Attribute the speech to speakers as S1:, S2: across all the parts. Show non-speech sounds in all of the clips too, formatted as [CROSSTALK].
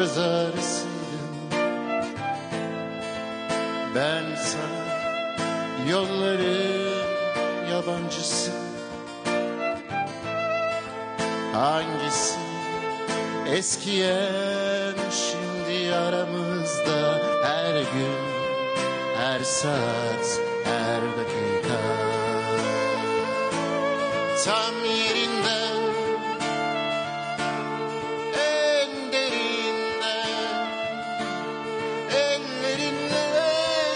S1: Kızarsın Ben sana yolların yabancısı Hangisi eskiyen şimdi aramızda Her gün, her saat, her dakika Tam yerinde en derinden Ellerinle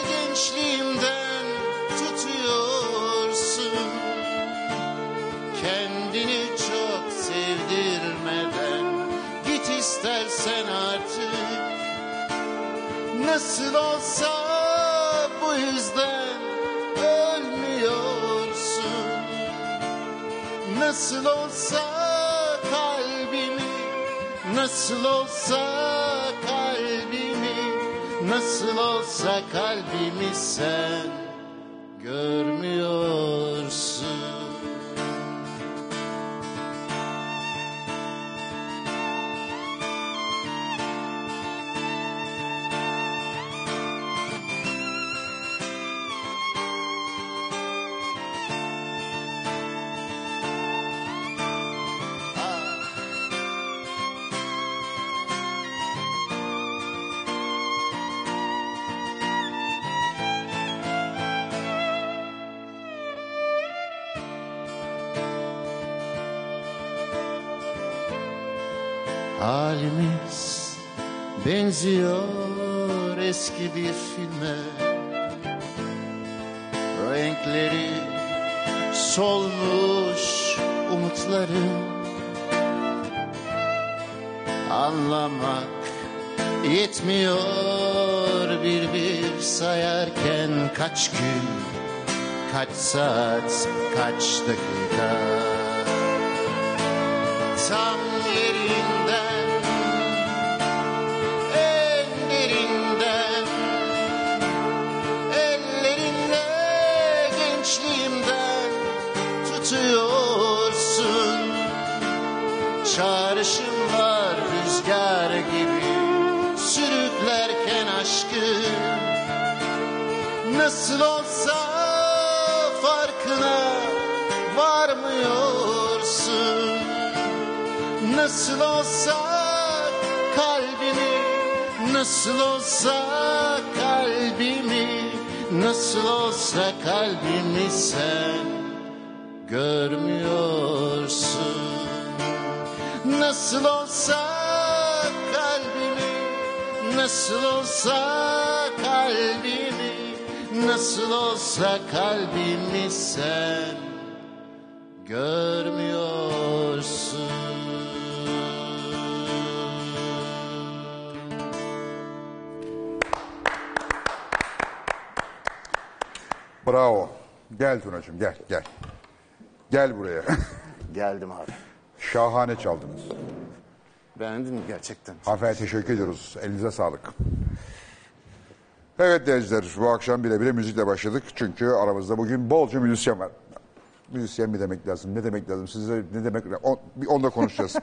S1: gençliğimden tutuyorsun Kendini çok sevdirmeden git istersen artık Nasıl olsa bu yüzden ölmüyorsun Nasıl olsa kalbimi Nasıl olsa kalbimi Nasıl olsa kalbimi sen görmüyorsun Halimiz benziyor eski bir filme Renkleri solmuş umutların Anlamak yetmiyor bir bir sayarken Kaç gün, kaç saat, kaç dakika tam yerinden En derinden Ellerinle gençliğimden tutuyorsun Çağrışım var rüzgar gibi Sürüklerken aşkı Nasıl olsa farkına varmıyorsun Nasıl olsa kalbimi Nasıl olsa kalbimi Nasıl olsa kalbimi sen görmüyorsun Nasıl olsa kalbimi Nasıl olsa kalbimi Nasıl olsa kalbimi sen görmüyorsun
S2: Bravo. Gel Tunacığım gel gel. Gel buraya. [LAUGHS]
S1: Geldim abi.
S2: Şahane çaldınız.
S1: Beğendin mi gerçekten?
S2: Hanımefendi teşekkür ediyoruz. Elinize sağlık. Evet denizler bu akşam bile bile müzikle başladık. Çünkü aramızda bugün bolca müzisyen var. Müzisyen mi demek lazım? Ne demek lazım? Size ne demek? On, bir onunla konuşacağız.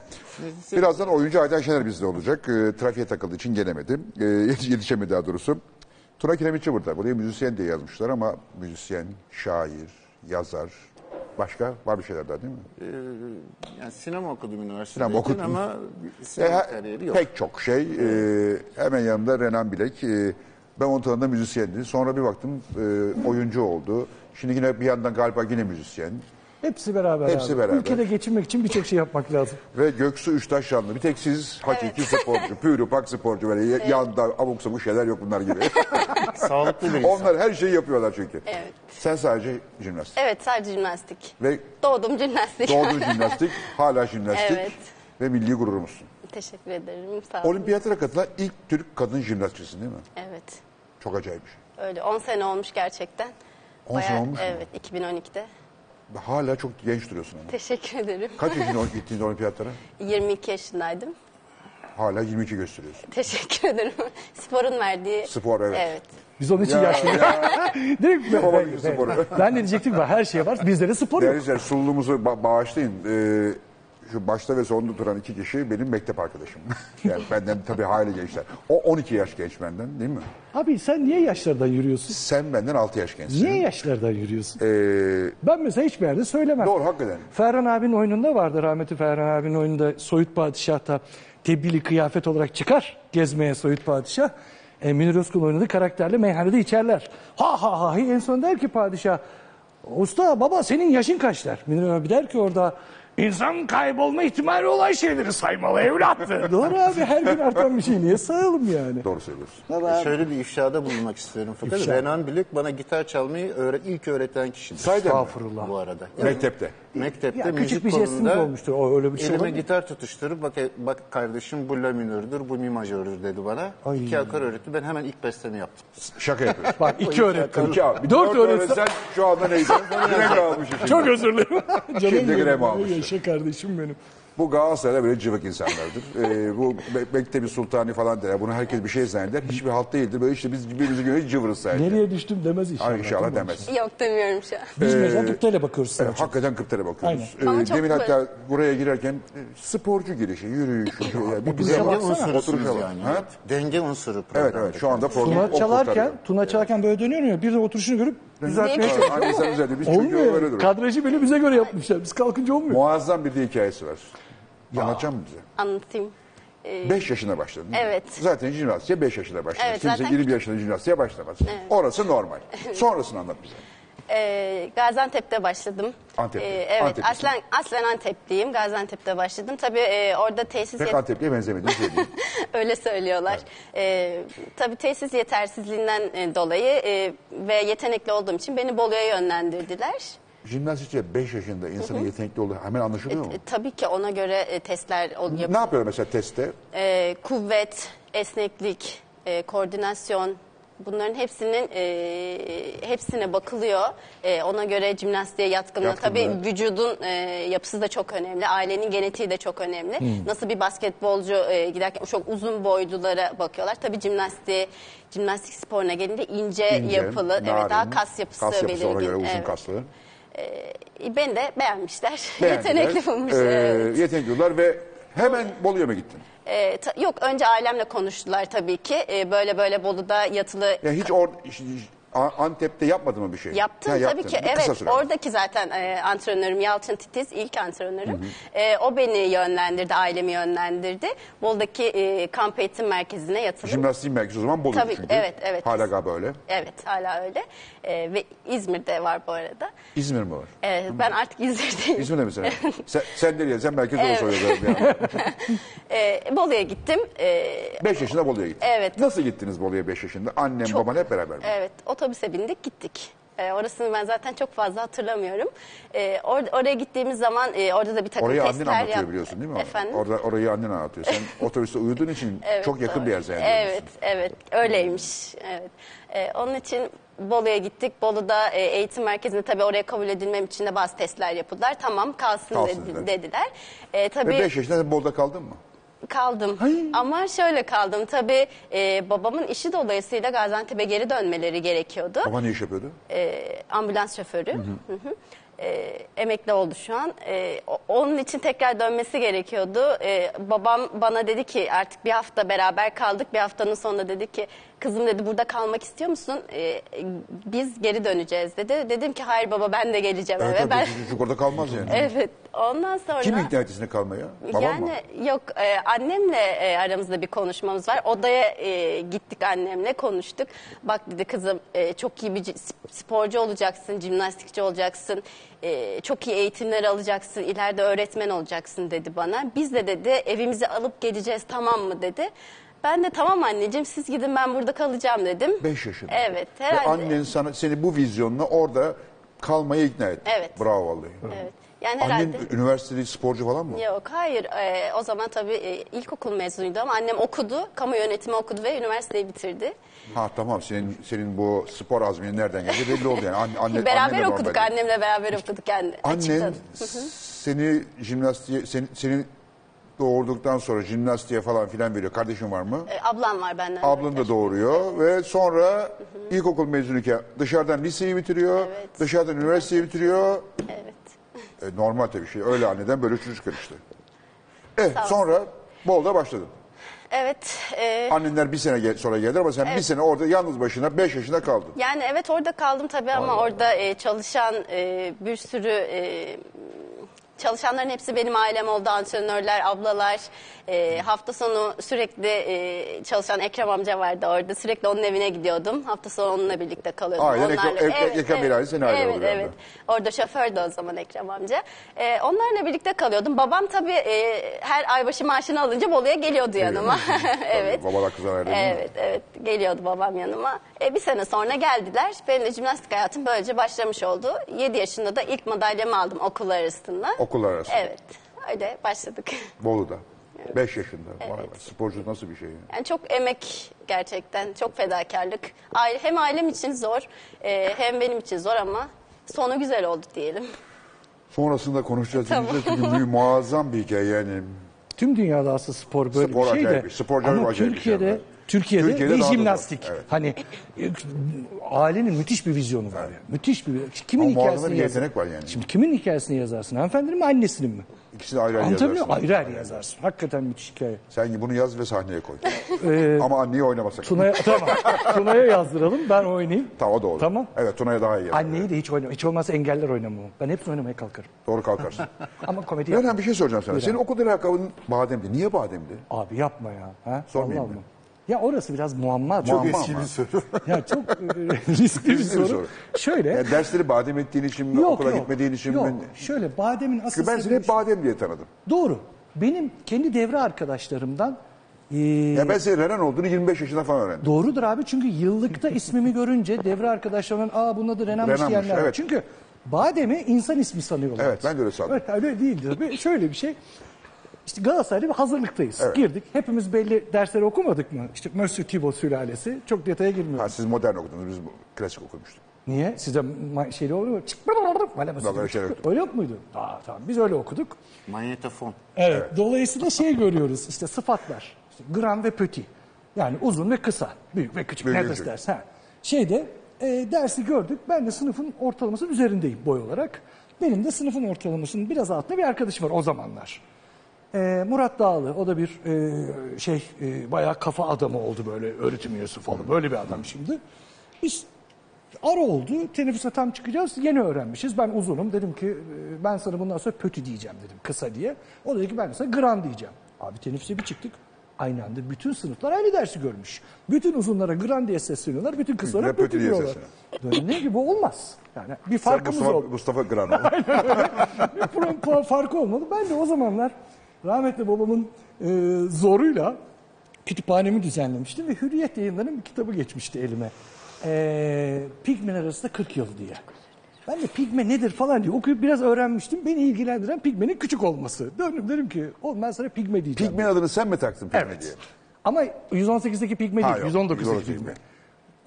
S2: Birazdan oyuncu Aydan Şener bizde olacak. Ee, trafiğe takıldığı için gelemedi. Ee, yetiş- yetişemedi daha doğrusu. Tuna Kiremitçi burada. Buraya müzisyen diye yazmışlar ama müzisyen, şair, yazar. Başka? Var bir şeyler daha değil mi?
S1: Yani sinema okudum üniversitedeyken
S2: Sinema okudun.
S1: ama
S2: E,
S1: sinema
S2: ha-
S1: kariyeri yok.
S2: Pek çok şey. E, hemen yanımda Renan Bilek. E, ben onun tanıdığımda müzisyendi. Sonra bir baktım e, oyuncu oldu. Şimdi yine bir yandan galiba yine müzisyen.
S3: Hepsi beraber
S2: Hepsi
S3: abi.
S2: beraber.
S3: Ülkede geçinmek için birçok şey yapmak lazım.
S2: Ve Göksu Üçtaşyanlı. Bir tek siz hakiki sporcu, pürü pak sporcu böyle ya- yanda abuk sabuk şeyler yok bunlar gibi.
S1: Sağlıklı bir insan.
S2: Onlar her şeyi yapıyorlar çünkü. Sen sadece jimnastik.
S4: Evet sadece jimnastik.
S2: Ve
S4: Doğdum jimnastik.
S2: doğduğun jimnastik, hala jimnastik
S4: Evet.
S2: ve milli gururumuzsun.
S4: [LAUGHS] Teşekkür ederim. Sağ olun.
S2: Olimpiyatlara katılan ilk Türk kadın jimnastçısın değil mi?
S4: Evet.
S2: Çok acayip bir şey.
S4: Öyle 10 sene olmuş gerçekten.
S2: 10 sene olmuş mu?
S4: Evet 2012'de.
S2: Hala çok genç duruyorsun ama.
S4: [LAUGHS] Teşekkür ederim.
S2: Kaç yaşında gittiğinde olimpiyatlara?
S4: 22 yaşındaydım. [LAUGHS]
S2: Hala 22 gösteriyorsun.
S4: Teşekkür ederim. Sporun verdiği.
S2: Spor, evet.
S4: Evet.
S3: Biz onun için yaşlıyız. [LAUGHS] Direkt ben,
S2: Yapamadık
S3: ben,
S2: sporu.
S3: ben, ben ne diyecektim ben her şey var. Bizde de spor yok.
S2: Değerli izleyiciler sunumumuzu ba- bağışlayın. Ee, şu başta ve sonda duran iki kişi benim mektep arkadaşım. Yani benden tabii hayli gençler. O 12 yaş genç benden değil mi?
S3: Abi sen niye yaşlardan yürüyorsun?
S2: Sen benden 6 yaş gençsin.
S3: Niye yaşlardan yürüyorsun?
S2: Ee,
S3: Ben mesela hiçbir yerde söylemem.
S2: doğru hakikaten.
S3: Ferhan abinin oyununda vardı rahmeti Ferhan abinin oyununda Soyut Padişah'ta tebdili kıyafet olarak çıkar gezmeye Soyut Padişah. E, Münir Özkul oynadığı karakterle meyhanede içerler. Ha ha ha hi. en son der ki padişah usta baba senin yaşın kaç der. Münir abi der ki orada insan kaybolma ihtimali olan şeyleri saymalı [LAUGHS] evlattı. Doğru abi her gün artan bir şey niye sayalım yani.
S2: Doğru söylüyorsun.
S5: Şöyle bir ifşada bulunmak istiyorum fakat
S3: İfşa.
S5: Renan Bilek bana gitar çalmayı öğre- ilk öğreten kişidir.
S2: Sayden mi?
S3: Estağfurullah.
S5: Bu arada. Yani
S2: Mektepte.
S5: mektepte
S3: Ya
S5: müzik
S3: küçük bir jestiniz
S5: kolunda
S3: olmuştur. O öyle bir şey
S5: elime
S3: olur mu?
S5: gitar tutuşturup bak e, bak kardeşim bu la minördür, bu mi majördür dedi bana.
S3: Ay.
S5: İki akor öğretti. Ben hemen ilk bestemi yaptım.
S2: Şaka yapıyorsun.
S3: [LAUGHS] Bak iki öğretmen.
S2: İki abi.
S3: Dört öğretmen.
S2: öğretsen şu anda
S3: [LAUGHS]
S2: neyse. Direkt almış işi.
S3: Çok özür dilerim. [LAUGHS] Canım
S2: Şimdi
S3: benim,
S2: Grem almıştı.
S3: Yaşa kardeşim benim.
S2: Bu Galatasaray'da böyle cıvık insanlardır. Ee, bu Be- Mektebi Sultani falan der. Bunu herkes bir şey zanneder. Hiçbir halk değildir. Böyle işte biz birbirimize göre cıvırız sadece.
S3: Nereye düştüm demez inşallah.
S2: Ay inşallah
S3: değil mi?
S2: demez.
S4: Yok demiyorum şu an.
S3: Biz mecburen gıptayla bakıyoruz sana.
S2: Evet, hakikaten kıptere bakıyoruz.
S4: Aynen. Ama
S2: Ee,
S4: çok
S2: demin
S4: güzel.
S2: hatta buraya girerken e, sporcu girişi, yürüyüşü. şöyle bir bize
S5: Denge
S2: bak.
S5: unsurusunuz
S2: Oturuşa bak.
S5: yani.
S2: Ha?
S5: evet. Denge unsuru
S2: Evet
S5: programda.
S2: evet şu anda formu
S3: Tuna
S2: o kurtarıyor.
S3: çalarken, Tuna çalarken böyle dönüyor ya. Bir de oturuşunu görüp düzeltmeye
S4: Değil mi?
S3: çalışıyor.
S2: Aynen sen düzeldi. Biz çocuğu öyle
S3: Olmuyor.
S2: duruyoruz.
S3: Kadrajı bile bize göre yapmışlar. Biz kalkınca olmuyor.
S2: Muazzam bir de hikayesi var. Anlatacak mısın bize?
S4: Anlatayım.
S2: 5 yaşına başladın. değil mi?
S4: Evet.
S2: Zaten jimnastiğe 5 yaşına başlar.
S4: Evet,
S2: Kimse
S4: zaten-
S2: 20 yaşında jimnastiğe başlamaz. Orası
S4: [LAUGHS]
S2: normal. Sonrasını anlat bize.
S4: Ee, Gaziantep'te başladım.
S2: Antepli.
S4: Ee, evet,
S2: Anteplisin.
S4: aslen, aslen Antepliyim. Gaziantep'te başladım. Tabii e, orada tesis
S2: Pek
S4: yet-
S2: Antepli'ye benzemediğini
S4: [LAUGHS]
S2: söyleyeyim.
S4: Öyle söylüyorlar. Ee, tabii tesis yetersizliğinden e, dolayı e, ve yetenekli olduğum için beni Bolu'ya yönlendirdiler.
S2: Jimnastikçi 5 yaşında insanın yetenekli olduğu hemen anlaşılıyor mu?
S4: E, tabii ki ona göre e, testler ol- yap-
S2: Ne yapıyor mesela testte?
S4: e, kuvvet, esneklik, e, koordinasyon bunların hepsinin e, hepsine bakılıyor. E, ona göre jimnastiğe yatkınlığı
S2: Yatkınlığı.
S4: tabii vücudun e, yapısı da çok önemli. Ailenin genetiği de çok önemli.
S2: Hmm.
S4: Nasıl bir basketbolcu e, giderken çok uzun boylulara bakıyorlar. Tabii jimnastiğe jimnastik sporuna gelince ince,
S2: İnce,
S4: yapılı, evet
S2: narin,
S4: daha kas yapısı,
S2: Kas yapısı ona
S4: belirgin.
S2: göre uzun
S4: Evet.
S2: kaslı.
S4: E, Beni de beğenmişler.
S2: Beğendiler.
S4: [LAUGHS] Yetenekli bulmuşlar.
S2: Ee,
S4: evet.
S2: Yetenekli buldular ve hemen Bolu'ya mı gittin?
S4: Ee, ta- yok önce ailemle konuştular tabii ki. Ee, böyle böyle Bolu'da yatılı
S2: Ya hiç or hiç- A- Antep'te yapmadın mı bir şey?
S4: yaptım
S2: Ha,
S4: tabii
S2: yaptın.
S4: ki.
S2: Bir kısa
S4: Evet
S2: sürede.
S4: oradaki zaten e, antrenörüm Yalçın Titiz ilk antrenörüm. Ee, o beni yönlendirdi, ailemi yönlendirdi. Bolu'daki e, kamp eğitim merkezine yatıldım.
S2: Jimnastiğin merkezi o zaman Bolu
S4: Tabii,
S2: çünkü.
S4: evet, evet.
S2: Hala galiba öyle.
S4: Evet hala öyle. Ee, ve İzmir'de var bu arada.
S2: İzmir mi var?
S4: Ee, ben artık İzmir'deyim.
S2: İzmir'de mi sen? sen, sen nereye? Sen merkez Bolu soruyorsun.
S4: [LAUGHS] Ee, Bolu'ya gittim. Ee,
S2: 5 yaşında Bolu'ya gittin.
S4: Evet.
S2: Nasıl gittiniz Bolu'ya 5 yaşında? Annem, baban hep beraber mi?
S4: Evet, otobüse bindik gittik. Ee, orasını ben zaten çok fazla hatırlamıyorum. Ee, or- oraya gittiğimiz zaman e, orada da bir takım
S2: Orayı
S4: testler
S2: annen anlatıyor
S4: yap-
S2: biliyorsun değil mi?
S4: Efendim?
S2: Orada orayı annen anlatıyor.
S4: [LAUGHS]
S2: Sen otobüste uyuduğun için çok yakın bir yer zannediyorsun.
S4: Evet, evet. Öyleymiş. Evet. Ee, onun için Bolu'ya gittik. Bolu'da e, eğitim merkezinde tabii oraya kabul edilmem için de bazı testler yapıldılar. Tamam kalsın,
S2: Kalsın
S4: dedi-
S2: dediler.
S4: dediler. Ee, tabii
S2: Ve 5 yaşında sen Bolu'da kaldın mı?
S4: Kaldım. Ama şöyle kaldım. Tabii e, babamın işi dolayısıyla Gaziantep'e geri dönmeleri gerekiyordu.
S2: Baba ne iş yapıyordu?
S4: Ee, ambulans şoförü. Hı hı. Ee, emekli oldu şu an. Ee, o- onun için tekrar dönmesi gerekiyordu. Ee, babam bana dedi ki artık bir hafta beraber kaldık. Bir haftanın sonunda dedi ki kızım dedi burada kalmak istiyor musun? Ee, biz geri döneceğiz dedi. Dedim ki hayır baba ben de geleceğim
S2: Evet,
S4: eve.
S2: evet,
S4: Ben...
S2: çocuk orada kalmaz yani.
S4: [LAUGHS] evet. Ondan sonra
S2: Kim ikna etti seni kalmaya? Baban mı?
S4: yani yok e, annemle e, aramızda bir konuşmamız var. Odaya e, gittik annemle konuştuk. Bak dedi kızım e, çok iyi bir ci- sporcu olacaksın, jimnastikçi olacaksın. e, çok iyi eğitimler alacaksın, ileride öğretmen olacaksın dedi bana. Biz de dedi evimizi alıp geleceğiz tamam mı dedi. Ben de tamam anneciğim siz gidin ben burada kalacağım dedim.
S2: 5 yaşında.
S4: Evet
S2: Ve
S4: herhalde.
S2: annen sana, seni bu vizyonla orada kalmaya ikna etti.
S4: Evet.
S2: Bravo vallahi.
S4: Evet. Yani
S2: Annen
S4: herhalde.
S2: üniversiteli sporcu falan mı?
S4: Yok hayır Ee, o zaman tabii e, ilkokul mezunuydu ama annem okudu kamu yönetimi okudu ve üniversiteyi bitirdi.
S2: Ha tamam senin senin bu spor azmini nereden geldi belli oldu yani. Anne, anne,
S4: beraber
S2: annenle
S4: okuduk
S2: beraber.
S4: annemle beraber okuduk yani
S2: Annen
S4: açıkladı.
S2: seni jimnastiğe seni, seni doğurduktan sonra jimnastiğe falan filan veriyor. Kardeşin var mı?
S4: Ee, Ablam var benden.
S2: Ablan da doğuruyor ve sonra ilkokul mezunuyken dışarıdan liseyi bitiriyor.
S4: Evet.
S2: Dışarıdan üniversiteyi bitiriyor.
S4: Evet.
S2: E, normal tabii şey. Öyle anneden böyle çocuk karıştı. Evet,
S4: Sağ ol.
S2: sonra Bol'da başladın.
S4: Evet. e,
S2: Annenler bir sene gel- sonra geldiler ama sen bir sene orada yalnız başına 5 yaşında kaldın.
S4: yani evet orada kaldım tabii ama orada e, çalışan e, bir sürü e, çalışanların hepsi benim ailem oldu. Antrenörler, ablalar. E, hafta sonu sürekli e, çalışan Ekrem amca vardı orada. Sürekli onun evine gidiyordum. Hafta sonu onunla birlikte kalıyordum.
S2: Ailen Ekrem- Ek- Ekrem Bilal senin ailen
S4: evet,
S2: oluyor
S4: evet.
S2: orada.
S4: Orada şofördü o zaman Ekrem amca. E, onlarla birlikte kalıyordum. Babam tabii e, her aybaşı maaşını alınca Bolu'ya geliyordu yanıma. [LAUGHS] evet.
S2: Tabii, babalar kızlar ayrı değil mi?
S4: Evet evet geliyordu babam yanıma. E, bir sene sonra geldiler. Benim de jimnastik hayatım böylece başlamış oldu. 7 yaşında da ilk madalyamı aldım okullar arasında.
S2: Okullar arasında.
S4: Evet öyle başladık. [LAUGHS]
S2: Bolu'da. 5 yaşında. Vay be, Sporcu nasıl bir şey? ya?
S4: Yani çok emek gerçekten çok fedakarlık. Aile, hem ailem için zor e, hem benim için zor ama sonu güzel oldu diyelim.
S2: Sonrasında konuşacağız. dinleyeceğiz Çünkü
S4: [LAUGHS]
S2: mü- muazzam bir hikaye yani.
S3: Tüm dünyada aslında spor böyle
S2: Spor
S3: bir şey de.
S2: acayip bir- spor acayip
S3: ama
S2: acayip bir şey
S3: Türkiye'de,
S2: ama.
S3: Türkiye'de,
S2: Türkiye'de
S3: ve
S2: daha da zor.
S3: jimnastik.
S2: Evet.
S3: Hani e, ailenin müthiş bir vizyonu var. ya. Müthiş bir Kimin
S2: Ama muazzam
S3: hikayesini
S2: bir
S3: yazar-
S2: yetenek var yani.
S3: Şimdi kimin hikayesini yazarsın? Hanımefendinin mi annesinin mi?
S2: İkisi de ayrı ayrı
S3: Anlatabiliyor
S2: yazarsın.
S3: muyum? Ayrı ayrı yazarsın. Hakikaten müthiş hikaye.
S2: Sen bunu yaz ve sahneye
S3: [LAUGHS]
S2: koy. Ama anneyi oynamasak.
S3: Ee, Tuna'ya, [LAUGHS] tamam. Tuna'ya yazdıralım ben oynayayım.
S2: Tamam o da olur.
S3: Tamam.
S2: Evet Tuna'ya daha iyi. yapar.
S3: Anneyi de hiç oynamam. Hiç olmazsa engeller oynamam. Ben hepsini oynamaya kalkarım.
S2: Doğru kalkarsın.
S3: [LAUGHS] Ama komedi yap-
S2: Önemli bir şey soracağım sana. Senin okul lakabın bademdi. Niye bademdi?
S3: Abi yapma ya. Ha?
S2: Sormayayım
S3: Vallahi
S2: mı?
S3: mı? Ya orası biraz muamma.
S2: Çok
S3: Muamma.
S2: eski
S5: Eski
S2: ama.
S5: bir soru.
S3: [LAUGHS] Ya çok e, riskli bir soru.
S2: soru.
S3: Şöyle.
S2: Yani dersleri badem ettiğin için mi,
S3: yok
S2: okula
S3: yok.
S2: gitmediğin için
S3: yok.
S2: mi?
S3: Şöyle bademin asıl
S2: Çünkü ben seni
S3: sebebi-
S2: hep badem diye tanıdım.
S3: Doğru. Benim kendi devre arkadaşlarımdan e,
S2: Ya ben senin Renan olduğunu 25 yaşında falan öğrendim.
S3: Doğrudur abi çünkü yıllıkta ismimi görünce devre arkadaşlarımın aa bunun adı Renan'mış
S2: Renan'mış,
S3: diyenler var.
S2: evet.
S3: Çünkü Badem'i insan ismi sanıyorlar.
S2: Evet, ben de öyle sandım.
S3: Evet, öyle değildir. Bir- Şöyle bir şey. İşte Galatasaray'da bir hazırlıktayız. Girdik. Hepimiz belli dersleri okumadık mı? İşte Mösyö Thibaut sülalesi. Çok detaya girmiyorum.
S2: Ha, siz modern okudunuz, biz bu- klasik okumuştuk.
S3: Niye? Size ma- şeyli oluyor mu? Çık, Vale Mösyö
S2: Yok, öyle
S3: Thibaut.
S2: şeyler yoktu.
S3: Öyle yok muydu? Aa, tamam biz öyle okuduk.
S5: Manyetofon.
S3: Evet. Dolayısıyla şey görüyoruz işte sıfatlar. İşte gran ve pöti. Yani uzun ve kısa. Büyük ve küçük.
S2: Büyük ve
S3: ne
S2: küçük.
S3: ders ha. Şeyde e, dersi gördük. Ben de sınıfın ortalamasının üzerindeyim boy olarak. Benim de sınıfın ortalamasının biraz altında bir arkadaşım var o zamanlar. E, Murat Dağlı o da bir e, şey e, bayağı kafa adamı oldu böyle öğretim üyesi falan böyle bir adam şimdi. Biz ara oldu teneffüse tam çıkacağız yeni öğrenmişiz ben uzunum dedim ki e, ben sana bundan sonra pötü diyeceğim dedim kısa diye. O dedi ki ben sana gran diyeceğim. Abi teneffüse bir çıktık aynı anda bütün sınıflar aynı dersi görmüş. Bütün uzunlara gran diye sesleniyorlar bütün kısalara
S2: Ve pötü
S3: pötü
S2: diye
S3: diyorlar. Dedim ki bu olmaz. Yani bir farkımız
S2: Mustafa,
S3: oldu.
S2: Mustafa
S3: [LAUGHS]
S2: Granoğlu.
S3: Bir pro- pro- farkı olmadı. Ben de o zamanlar rahmetli babamın e, zoruyla kütüphanemi düzenlemiştim ve Hürriyet yayınlarının bir kitabı geçmişti elime. E, Pigmen arasında 40 yıl diye. Ben de pigme nedir falan diye okuyup biraz öğrenmiştim. Beni ilgilendiren pigmenin küçük olması. Döndüm dedim ki oğlum ben sana pigme diyeceğim.
S2: Pigmen adını sen mi taktın Pigme diye?
S3: Evet. Ama 118'deki pigme
S2: Ha,
S3: değil,
S2: yok,
S3: 119'daki
S2: 119'daki
S3: pigme.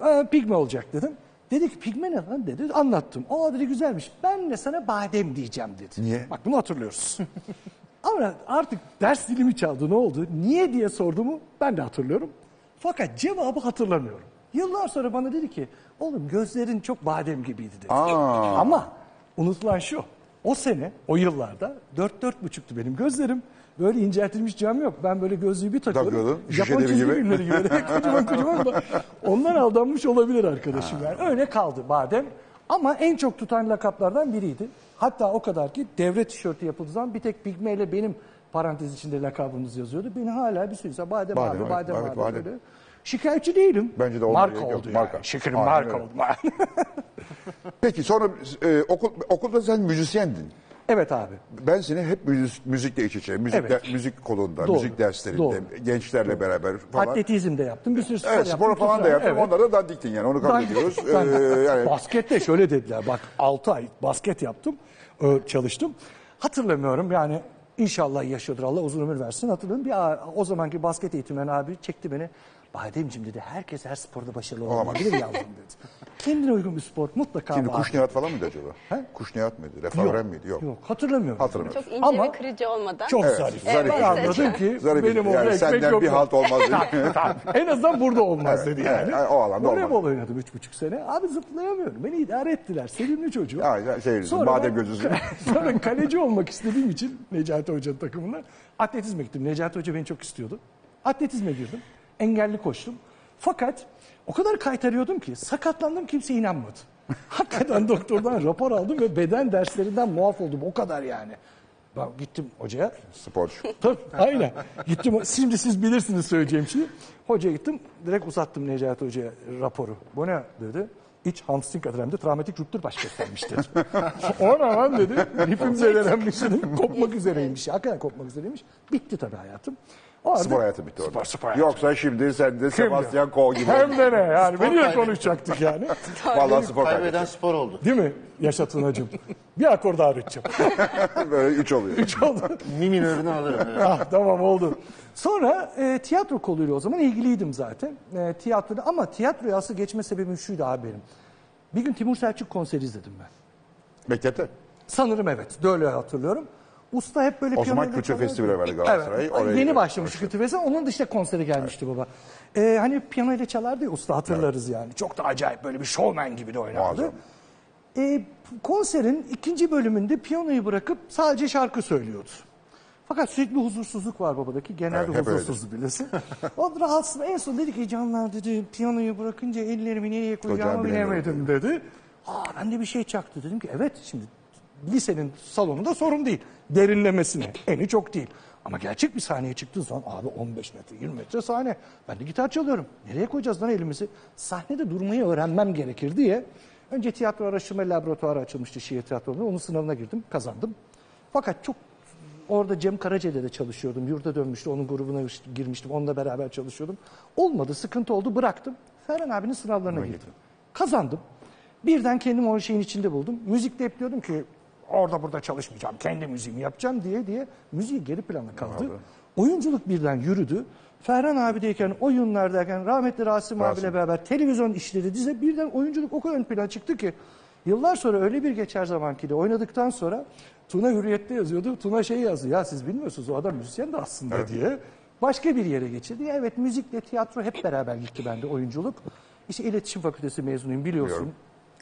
S3: Aa, pigme olacak dedim. Dedi ki pigme ne lan dedi. Anlattım. Aa dedi güzelmiş. Ben de sana badem diyeceğim dedi.
S2: Niye?
S3: Bak bunu hatırlıyoruz. [LAUGHS] Ama artık ders dilimi çaldı ne oldu? Niye diye sorduğumu ben de hatırlıyorum. Fakat cevabı hatırlamıyorum. Yıllar sonra bana dedi ki oğlum gözlerin çok badem gibiydi dedi.
S2: Aa.
S3: Ama unutulan şu. O sene, o yıllarda dört dört buçuktu benim gözlerim. Böyle inceltilmiş cam yok. Ben böyle gözlüğü bir takıyorum.
S2: Takıyordun, şişe
S3: Japon
S2: devi
S3: çizgi
S2: gibi. [LAUGHS]
S3: filmleri gibi. [LAUGHS] kocaman kocaman da. Ondan aldanmış olabilir arkadaşım yani. Öyle kaldı badem. Ama en çok tutan lakaplardan biriydi. Hatta o kadar ki devre tişörtü yapıldığı zaman bir tek Pigme ile benim parantez içinde lakabımız yazıyordu. Beni hala bir sürü badem,
S2: Badem,
S3: badem abi,
S2: evet,
S3: badem
S2: evet,
S3: abi.
S2: badem.
S3: Böyle. Şikayetçi değilim.
S2: Bence de olmaya
S3: marka
S2: gerek yok,
S3: oldu
S2: marka.
S3: yani. Şekerim
S2: Aynen
S3: marka
S2: öyle.
S3: oldu. [LAUGHS]
S2: Peki sonra e, okul, okulda sen müzisyendin.
S3: evet abi.
S2: Ben seni hep müzik, müzikle iç içe, müzik,
S3: Evet.
S2: de- müzik kolunda,
S3: Doğru.
S2: müzik derslerinde,
S3: Doğru.
S2: gençlerle beraber falan.
S3: Atletizm de yaptım. Bir sürü spor
S2: Evet,
S3: yaptım.
S2: spora falan da
S3: kültürel-
S2: yaptım.
S3: Evet.
S2: Onlara da dandiktin yani, onu kabul
S3: [LAUGHS]
S2: ediyoruz. Ee, yani
S3: Baskette şöyle dediler. Bak 6 ay basket yaptım. ö, Çalıştım. Hatırlamıyorum yani inşallah yaşıyordur. Allah uzun ömür versin. Hatırlıyorum. Bir a- o zamanki basket eğitimden abi çekti beni. Bademciğim dedi herkes her sporda başarılı
S2: Olamaz.
S3: olabilir
S2: [LAUGHS]
S3: yavrum dedi. Kendine uygun bir spor mutlaka
S2: Şimdi
S3: vardır.
S2: kuş niyat falan mıydı acaba?
S3: He?
S2: Kuş niyat mıydı? Refahren miydi? Yok.
S3: Yok hatırlamıyorum.
S2: Hatırlamıyorum.
S4: Çok ince
S3: Ama-
S4: ve kırıcı olmadan.
S3: Çok
S2: Evet,
S3: zarif.
S2: zarif.
S3: Ben
S4: Evet,
S3: anladım
S4: zarif.
S3: ki
S2: Zarif
S3: benim orada
S2: yani
S3: ekmek
S2: senden
S3: yok.
S2: bir halt olmaz
S3: [LAUGHS]
S2: dedi.
S3: [LAUGHS] Tamam. en azından burada olmaz dedi
S2: Evet,
S3: yani.
S2: evet, o alanda olmaz.
S3: Voleybol oynadım üç buçuk sene. Abi zıplayamıyorum. Beni idare ettiler. Sevimli çocuğum.
S2: Ya, ya, şey, badem
S3: ben-
S2: gözüzü.
S3: [LAUGHS] sonra kaleci olmak istediğim için Necati Hoca'nın takımına atletizme gittim. Necati Hoca beni çok istiyordu. Atletizme girdim. Engelli koştum. Fakat o kadar kaytarıyordum ki sakatlandım kimse inanmadı. [LAUGHS] Hakikaten doktordan rapor aldım ve beden derslerinden muaf oldum. O kadar yani. Ben gittim hocaya.
S2: Sporcu.
S3: Tabii aynen. Gittim şimdi siz bilirsiniz söyleyeceğim şeyi. Hocaya gittim direkt uzattım Necati Hoca'ya raporu. Bu ne dedi. İç hamstring adremde travmatik rüptür baş göstermiş dedi. Ona lan dedi. Lipim zedelenmiş dedim. şey Kopmak üzereymiş. Hakikaten kopmak üzereymiş. Bitti tabii hayatım. O arada-
S2: Spor hayatı bitti orada.
S3: Spor, spor hayatı.
S2: Yoksa şimdi sen de Sebastian Koh gibi.
S3: Hem de ne yani.
S5: Spor
S3: Beni de
S5: kaybetti.
S3: konuşacaktık yani.
S2: [LAUGHS] Vallahi spor kaybetti.
S5: Kaybeden spor oldu.
S3: Değil mi Yaşat Tunacığım? Bir akor daha üreteceğim.
S2: [LAUGHS] Böyle üç oluyor.
S3: Üç oldu.
S5: Mi
S3: [LAUGHS]
S5: minörünü alırım. evet.
S3: ah, tamam oldu. Sonra e, tiyatro koluyla o zaman ilgiliydim zaten. E, tiyatroda ama tiyatroya asıl geçme sebebim şuydu abi benim. Bir gün Timur Selçuk konseri izledim ben.
S2: Mektepte.
S3: Sanırım evet. Böyle hatırlıyorum. Usta hep böyle
S2: O zaman
S3: piyanoyla
S2: Kültür
S3: çalıyordu.
S2: Festivali vardı Galatasaray,
S3: Evet.
S2: oraya
S3: Yeni
S2: gidiyor.
S3: başlamış Kültür Festivali. Onun dışında konsere gelmişti baba. Ee, hani piyanoyla çalardı ya usta hatırlarız yani. Çok da acayip böyle bir şovmen gibi de oynardı.
S2: Muazzam.
S3: Ee, konserin ikinci bölümünde piyanoyu bırakıp sadece şarkı söylüyordu. Fakat sürekli huzursuzluk var babadaki. Genelde
S2: Evet, hep
S3: huzursuz bilirsin. o rahatsız. En son dedi ki canlar dedi piyanoyu bırakınca ellerimi nereye koyacağımı
S2: Koyacağımı bilemiyorum
S3: bilemedim dedi. Aa ben de bir şey çaktı. Dedim ki evet şimdi lisenin salonunda sorun değil. Derinlemesine. Eni çok değil. Ama gerçek bir sahneye çıktığın zaman abi 15 metre 20 metre sahne. Ben de gitar çalıyorum. Nereye koyacağız lan elimizi? Sahnede durmayı öğrenmem gerekir diye. Önce tiyatro araştırma laboratuvarı açılmıştı şiir tiyatrosunda. Onun sınavına girdim kazandım. Fakat çok Orada Cem Karaca'da da çalışıyordum. Yurda dönmüştü. Onun grubuna girmiştim. Onunla beraber çalışıyordum. Olmadı. Sıkıntı oldu. Bıraktım. Ferhan abinin sınavlarına girdim. Kazandım. Birden kendimi o şeyin içinde buldum. Müzikte hep diyordum ki orada burada çalışmayacağım. Kendi müziğimi yapacağım diye diye müziği geri plana kaldı. Oyunculuk birden yürüdü. Ferhan abideyken, oyunlardayken, rahmetli Rasim, abiyle beraber televizyon işleri dize birden oyunculuk o kadar ön plana çıktı ki Yıllar sonra öyle bir geçer zamankiyle oynadıktan sonra Tuna Hürriyet'te yazıyordu. Tuna şey yazdı. Ya siz bilmiyorsunuz o adam müzisyen de aslında diye. Başka bir yere geçirdi. Ya evet müzikle tiyatro hep beraber gitti bende oyunculuk. İşte iletişim fakültesi mezunuyum biliyorsun.
S2: Biliyorum.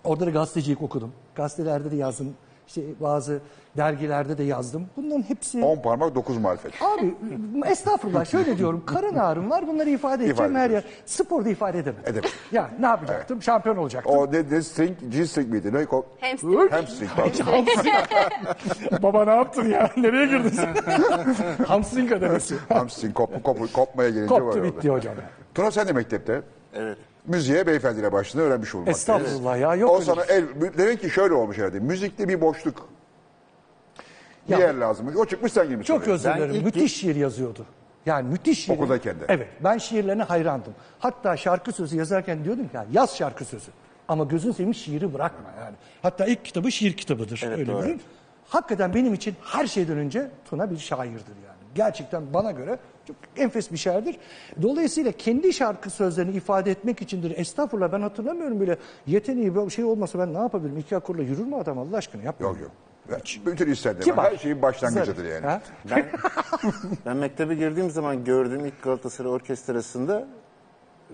S3: Orada da gazetecilik okudum. Gazetelerde de yazdım. İşte bazı dergilerde de yazdım. Bunların hepsi...
S2: On parmak dokuz marifet.
S3: Abi estağfurullah şöyle diyorum. Karın ağrım var bunları ifade edeceğim her yer.
S2: ediyorsun.
S3: Sporda ifade edemedim.
S2: Edemedim.
S3: Ya ne yapacaktım? Şampiyon olacaktım.
S2: O ne, ne string, G string miydi? Ne? Ko-
S4: Hamstring.
S2: Hamstring. pardon.
S3: [LAUGHS] Baba ne yaptın ya? Nereye
S2: [LAUGHS]
S3: girdin sen? Hamstring ödemesi.
S2: Hamstring kop, kop, kopmaya gelince var
S3: Koptu
S2: orada.
S3: bitti hocam. ya.
S2: Tuna sen de mektepte.
S5: Evet.
S2: Müziğe beyefendiyle başladığını öğrenmiş olmak.
S3: Estağfurullah ya, yok
S2: O
S3: öyle
S2: sana el, demek ki şöyle olmuş herhalde. Müzikte bir boşluk. Bir
S3: Ya-
S2: yer lazım. O çıkmış sen girmiş.
S3: Çok
S2: oraya.
S3: özür
S5: Ben
S3: dilerim.
S5: ilk-
S3: Müthiş şiir yazıyordu. Yani müthiş şiir.
S2: Okuldayken de.
S3: Evet. Ben şiirlerine hayrandım. Hatta şarkı sözü yazarken diyordum ki ya yaz şarkı sözü. Ama gözün seveyim şiiri bırakma yani. Hatta ilk kitabı şiir kitabıdır. öyle
S5: doğru.
S3: görün. Hakikaten benim için her şeyden önce Tuna bir şairdir yani. Gerçekten bana göre çok enfes bir şairdir. Dolayısıyla kendi şarkı sözlerini ifade etmek içindir. Estağfurullah ben hatırlamıyorum bile. Yeteneği bir şey olmasa ben ne yapabilirim? İki akorla yürür mü adam Allah aşkına? Yapma.
S2: Yok yok. Hiç- Bütün işlerde.
S3: Kibar.
S2: Her şeyin başlangıcıdır yani.
S3: Ha?
S5: Ben, ben mektebe girdiğim zaman gördüğüm ilk Galatasaray Orkestrası'nda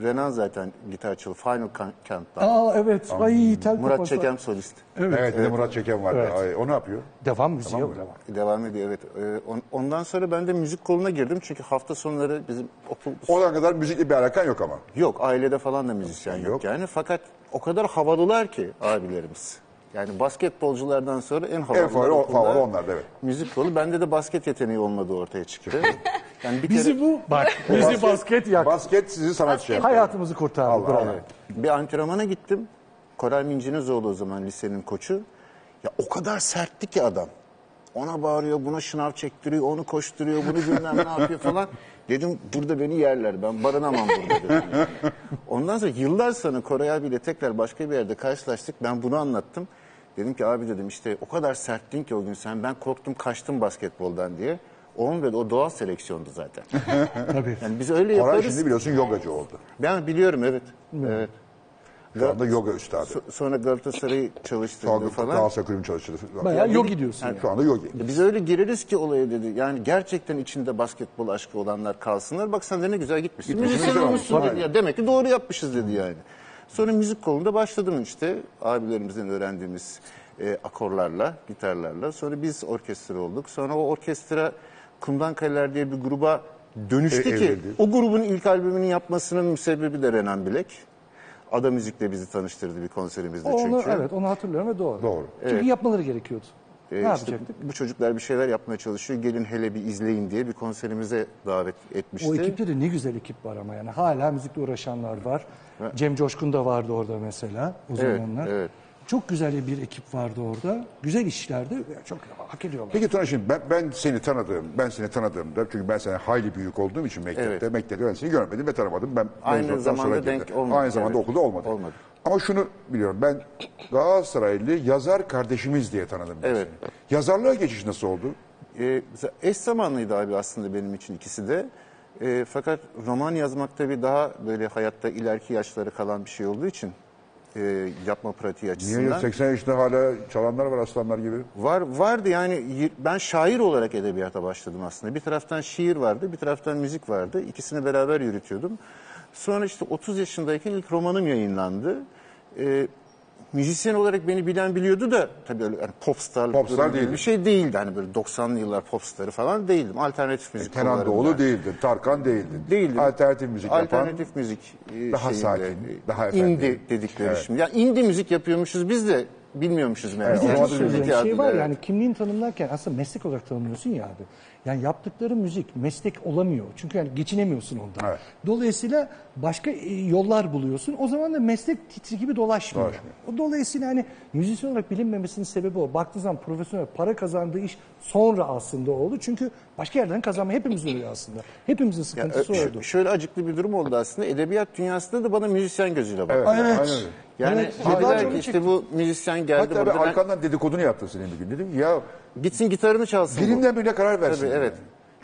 S5: Renan zaten gitar çalıyor. Final Countdown.
S3: Aa evet. Ay, tel
S5: Murat
S3: kafası.
S5: Çekem solist.
S2: Evet, bir de Murat Çeken vardı. Ay, o ne yapıyor?
S3: Devam müziği o devam.
S5: Devam ediyor evet. Ee, on- Ondan sonra ben de müzik koluna girdim. Çünkü hafta sonları bizim okul...
S2: Olan kadar müzikle bir alakan yok ama.
S5: Yok ailede falan da müzisyen yok,
S2: Yok.
S5: yani. Fakat o kadar havalılar ki abilerimiz. Yani basketbolculardan sonra en havalı.
S2: En favori, o- favori onlar da evet.
S5: Müzik kolu. Bende de basket yeteneği olmadığı
S2: [LAUGHS]
S5: ortaya çıktı. Yani bir kere
S3: Bizi bu bak bizi basket yak.
S2: Basket sizi sanatçı yaptı.
S3: Hayatımızı kurtardı.
S2: Allah
S3: bravo.
S2: Allah.
S5: bir antrenmana gittim. Koray Mincinizoğlu o zaman lisenin koçu. Ya o kadar sertti ki adam. Ona bağırıyor, buna şınav çektiriyor, onu koşturuyor, bunu bilmem ne
S2: [LAUGHS]
S5: yapıyor falan. Dedim burada beni yerler, ben barınamam burada dedim. yani. Ondan sonra yıllar sonra Koray abiyle tekrar başka bir yerde karşılaştık. Ben bunu anlattım. Dedim ki abi dedim işte o kadar serttin ki o gün sen ben korktum kaçtım basketboldan diye. Onun böyle o doğal seleksiyondu zaten.
S3: Tabii.
S5: Yani biz öyle
S2: Koray
S5: yaparız.
S2: şimdi biliyorsun yogacı oldu.
S5: Ben biliyorum evet. Evet.
S2: Şu anda yoga üstadı.
S5: So- Sonra Galatasaray'ı
S2: Şu
S5: çalıştırdı
S2: anda
S5: falan.
S2: Galatasaray kulübü çalıştırdı.
S3: Bayağı yogi diyorsun.
S2: Yani Şu anda yogi.
S5: Biz öyle gireriz ki olaya dedi. Yani gerçekten içinde basketbol aşkı olanlar kalsınlar. Bak sen de ne güzel gitmişsin.
S2: Gitmişsin,
S5: Müzisyen
S2: güzel
S5: olmuşsun
S2: olmuş.
S5: dedi. Ya demek ki doğru yapmışız dedi yani. Sonra müzik kolunda başladım işte. Abilerimizden öğrendiğimiz e, akorlarla, gitarlarla. Sonra biz orkestra olduk. Sonra o orkestra Kumdan Kaleler diye bir gruba dönüştü
S2: E,
S5: ki.
S2: evrildi.
S5: O grubun ilk albümünü yapmasının müsebbibi de Renan Bilek. Ada Müzik'le bizi tanıştırdı bir konserimizde
S3: Onu,
S5: çünkü.
S3: evet onu hatırlıyorum ve doğru.
S2: Doğru.
S3: Çünkü yapmaları gerekiyordu.
S5: Ee,
S3: ne
S5: işte
S3: yapacaktık?
S5: bu çocuklar bir şeyler yapmaya çalışıyor. Gelin hele bir izleyin diye bir konserimize davet etmişti.
S3: O ekipte de ne güzel ekip var ama yani hala müzikle uğraşanlar var. Cem Coşkun da vardı orada mesela o
S5: Evet,
S3: zamanlar.
S5: evet.
S3: Çok güzel bir ekip vardı orada. Güzel işlerdi. Çok hak ediyorlar.
S2: Peki Tuna şimdi ben, ben seni tanıdığım, ben seni tanıdığımda çünkü ben sana hayli büyük olduğum için mektepte,
S5: Evet.
S2: mektepte ben seni görmedim ve tanımadım. Ben
S5: Aynı
S2: mezuniyetten
S5: zamanda
S2: sonra girdim.
S5: denk olmadı,
S2: Aynı zamanda
S5: evet.
S2: okulda olmadı.
S5: Olmadı.
S2: Ama şunu biliyorum ben Galatasaraylı yazar kardeşimiz diye tanıdım ben
S5: Evet.
S2: seni. Yazarlığa geçiş nasıl oldu?
S5: Ee, za- eş zamanlıydı abi aslında benim için ikisi de. Ee, fakat roman yazmak tabii daha böyle hayatta ileriki yaşları kalan bir şey olduğu için e, yapma pratiği
S2: Niye
S5: açısından.
S2: ya? 80 yaşında hala çalanlar var aslanlar gibi.
S5: Var vardı yani y- ben şair olarak edebiyata başladım aslında. Bir taraftan şiir vardı, bir taraftan müzik vardı. İkisini beraber yürütüyordum. Sonra işte 30 yaşındayken ilk romanım yayınlandı. Ee, müzisyen olarak beni bilen biliyordu da tabii öyle yani popstar,
S2: Popstar
S5: durum gibi
S2: değildin.
S5: bir şey değildi. Hani böyle 90'lı yıllar popstarı falan değildim. Alternatif müzik
S2: E, Kenan
S5: kollarında.
S2: Doğulu değildin, Tarkan değildin.
S5: E, Değildim.
S2: Alternatif müzik yapan.
S5: Alternatif müzik e,
S2: Daha
S5: şeyinde,
S2: sakin,
S5: e,
S2: daha efendi.
S5: indie dedikleri şimdi. Ya indie müzik yapıyormuşuz biz de bilmiyormuşuz meğer.
S2: Bir de
S5: Olmadı
S2: şöyle
S5: müzik
S3: Yani şey
S5: adıyla,
S3: var
S5: evet.
S3: yani kimliğini tanımlarken aslında meslek olarak tanımlıyorsun ya abi. Yani yaptıkları müzik meslek olamıyor. Çünkü yani geçinemiyorsun ondan.
S2: Evet.
S3: Dolayısıyla başka e, yollar buluyorsun. O zaman da meslek titri gibi dolaşmıyor.
S2: Dolaşmıyor.
S3: O Dolayısıyla hani müzisyen olarak bilinmemesinin sebebi o. Baktığın zaman profesyonel para kazandığı iş sonra aslında oldu. Çünkü başka yerden kazanma hepimiz oluyor aslında. Hepimizin sıkıntısı
S5: Ö-
S3: oydu.
S5: ş- Şöyle acıklı bir durum oldu aslında. Edebiyat dünyasında da bana müzisyen gözüyle baktı.
S2: aynen
S3: Evet.
S2: öyle.
S5: Yani
S3: Evet, yıllarca
S5: dediler ki
S3: onu
S5: işte bu müzisyen geldi
S2: Hatta ben
S5: burada ben-
S2: arkandan dedikodunu yaptın senin bir gün. Dedim ki, ya
S5: gitsin gitarını çalsın. bu.
S2: Birinden birine karar versin.
S5: Tabii,
S2: yani.
S5: evet.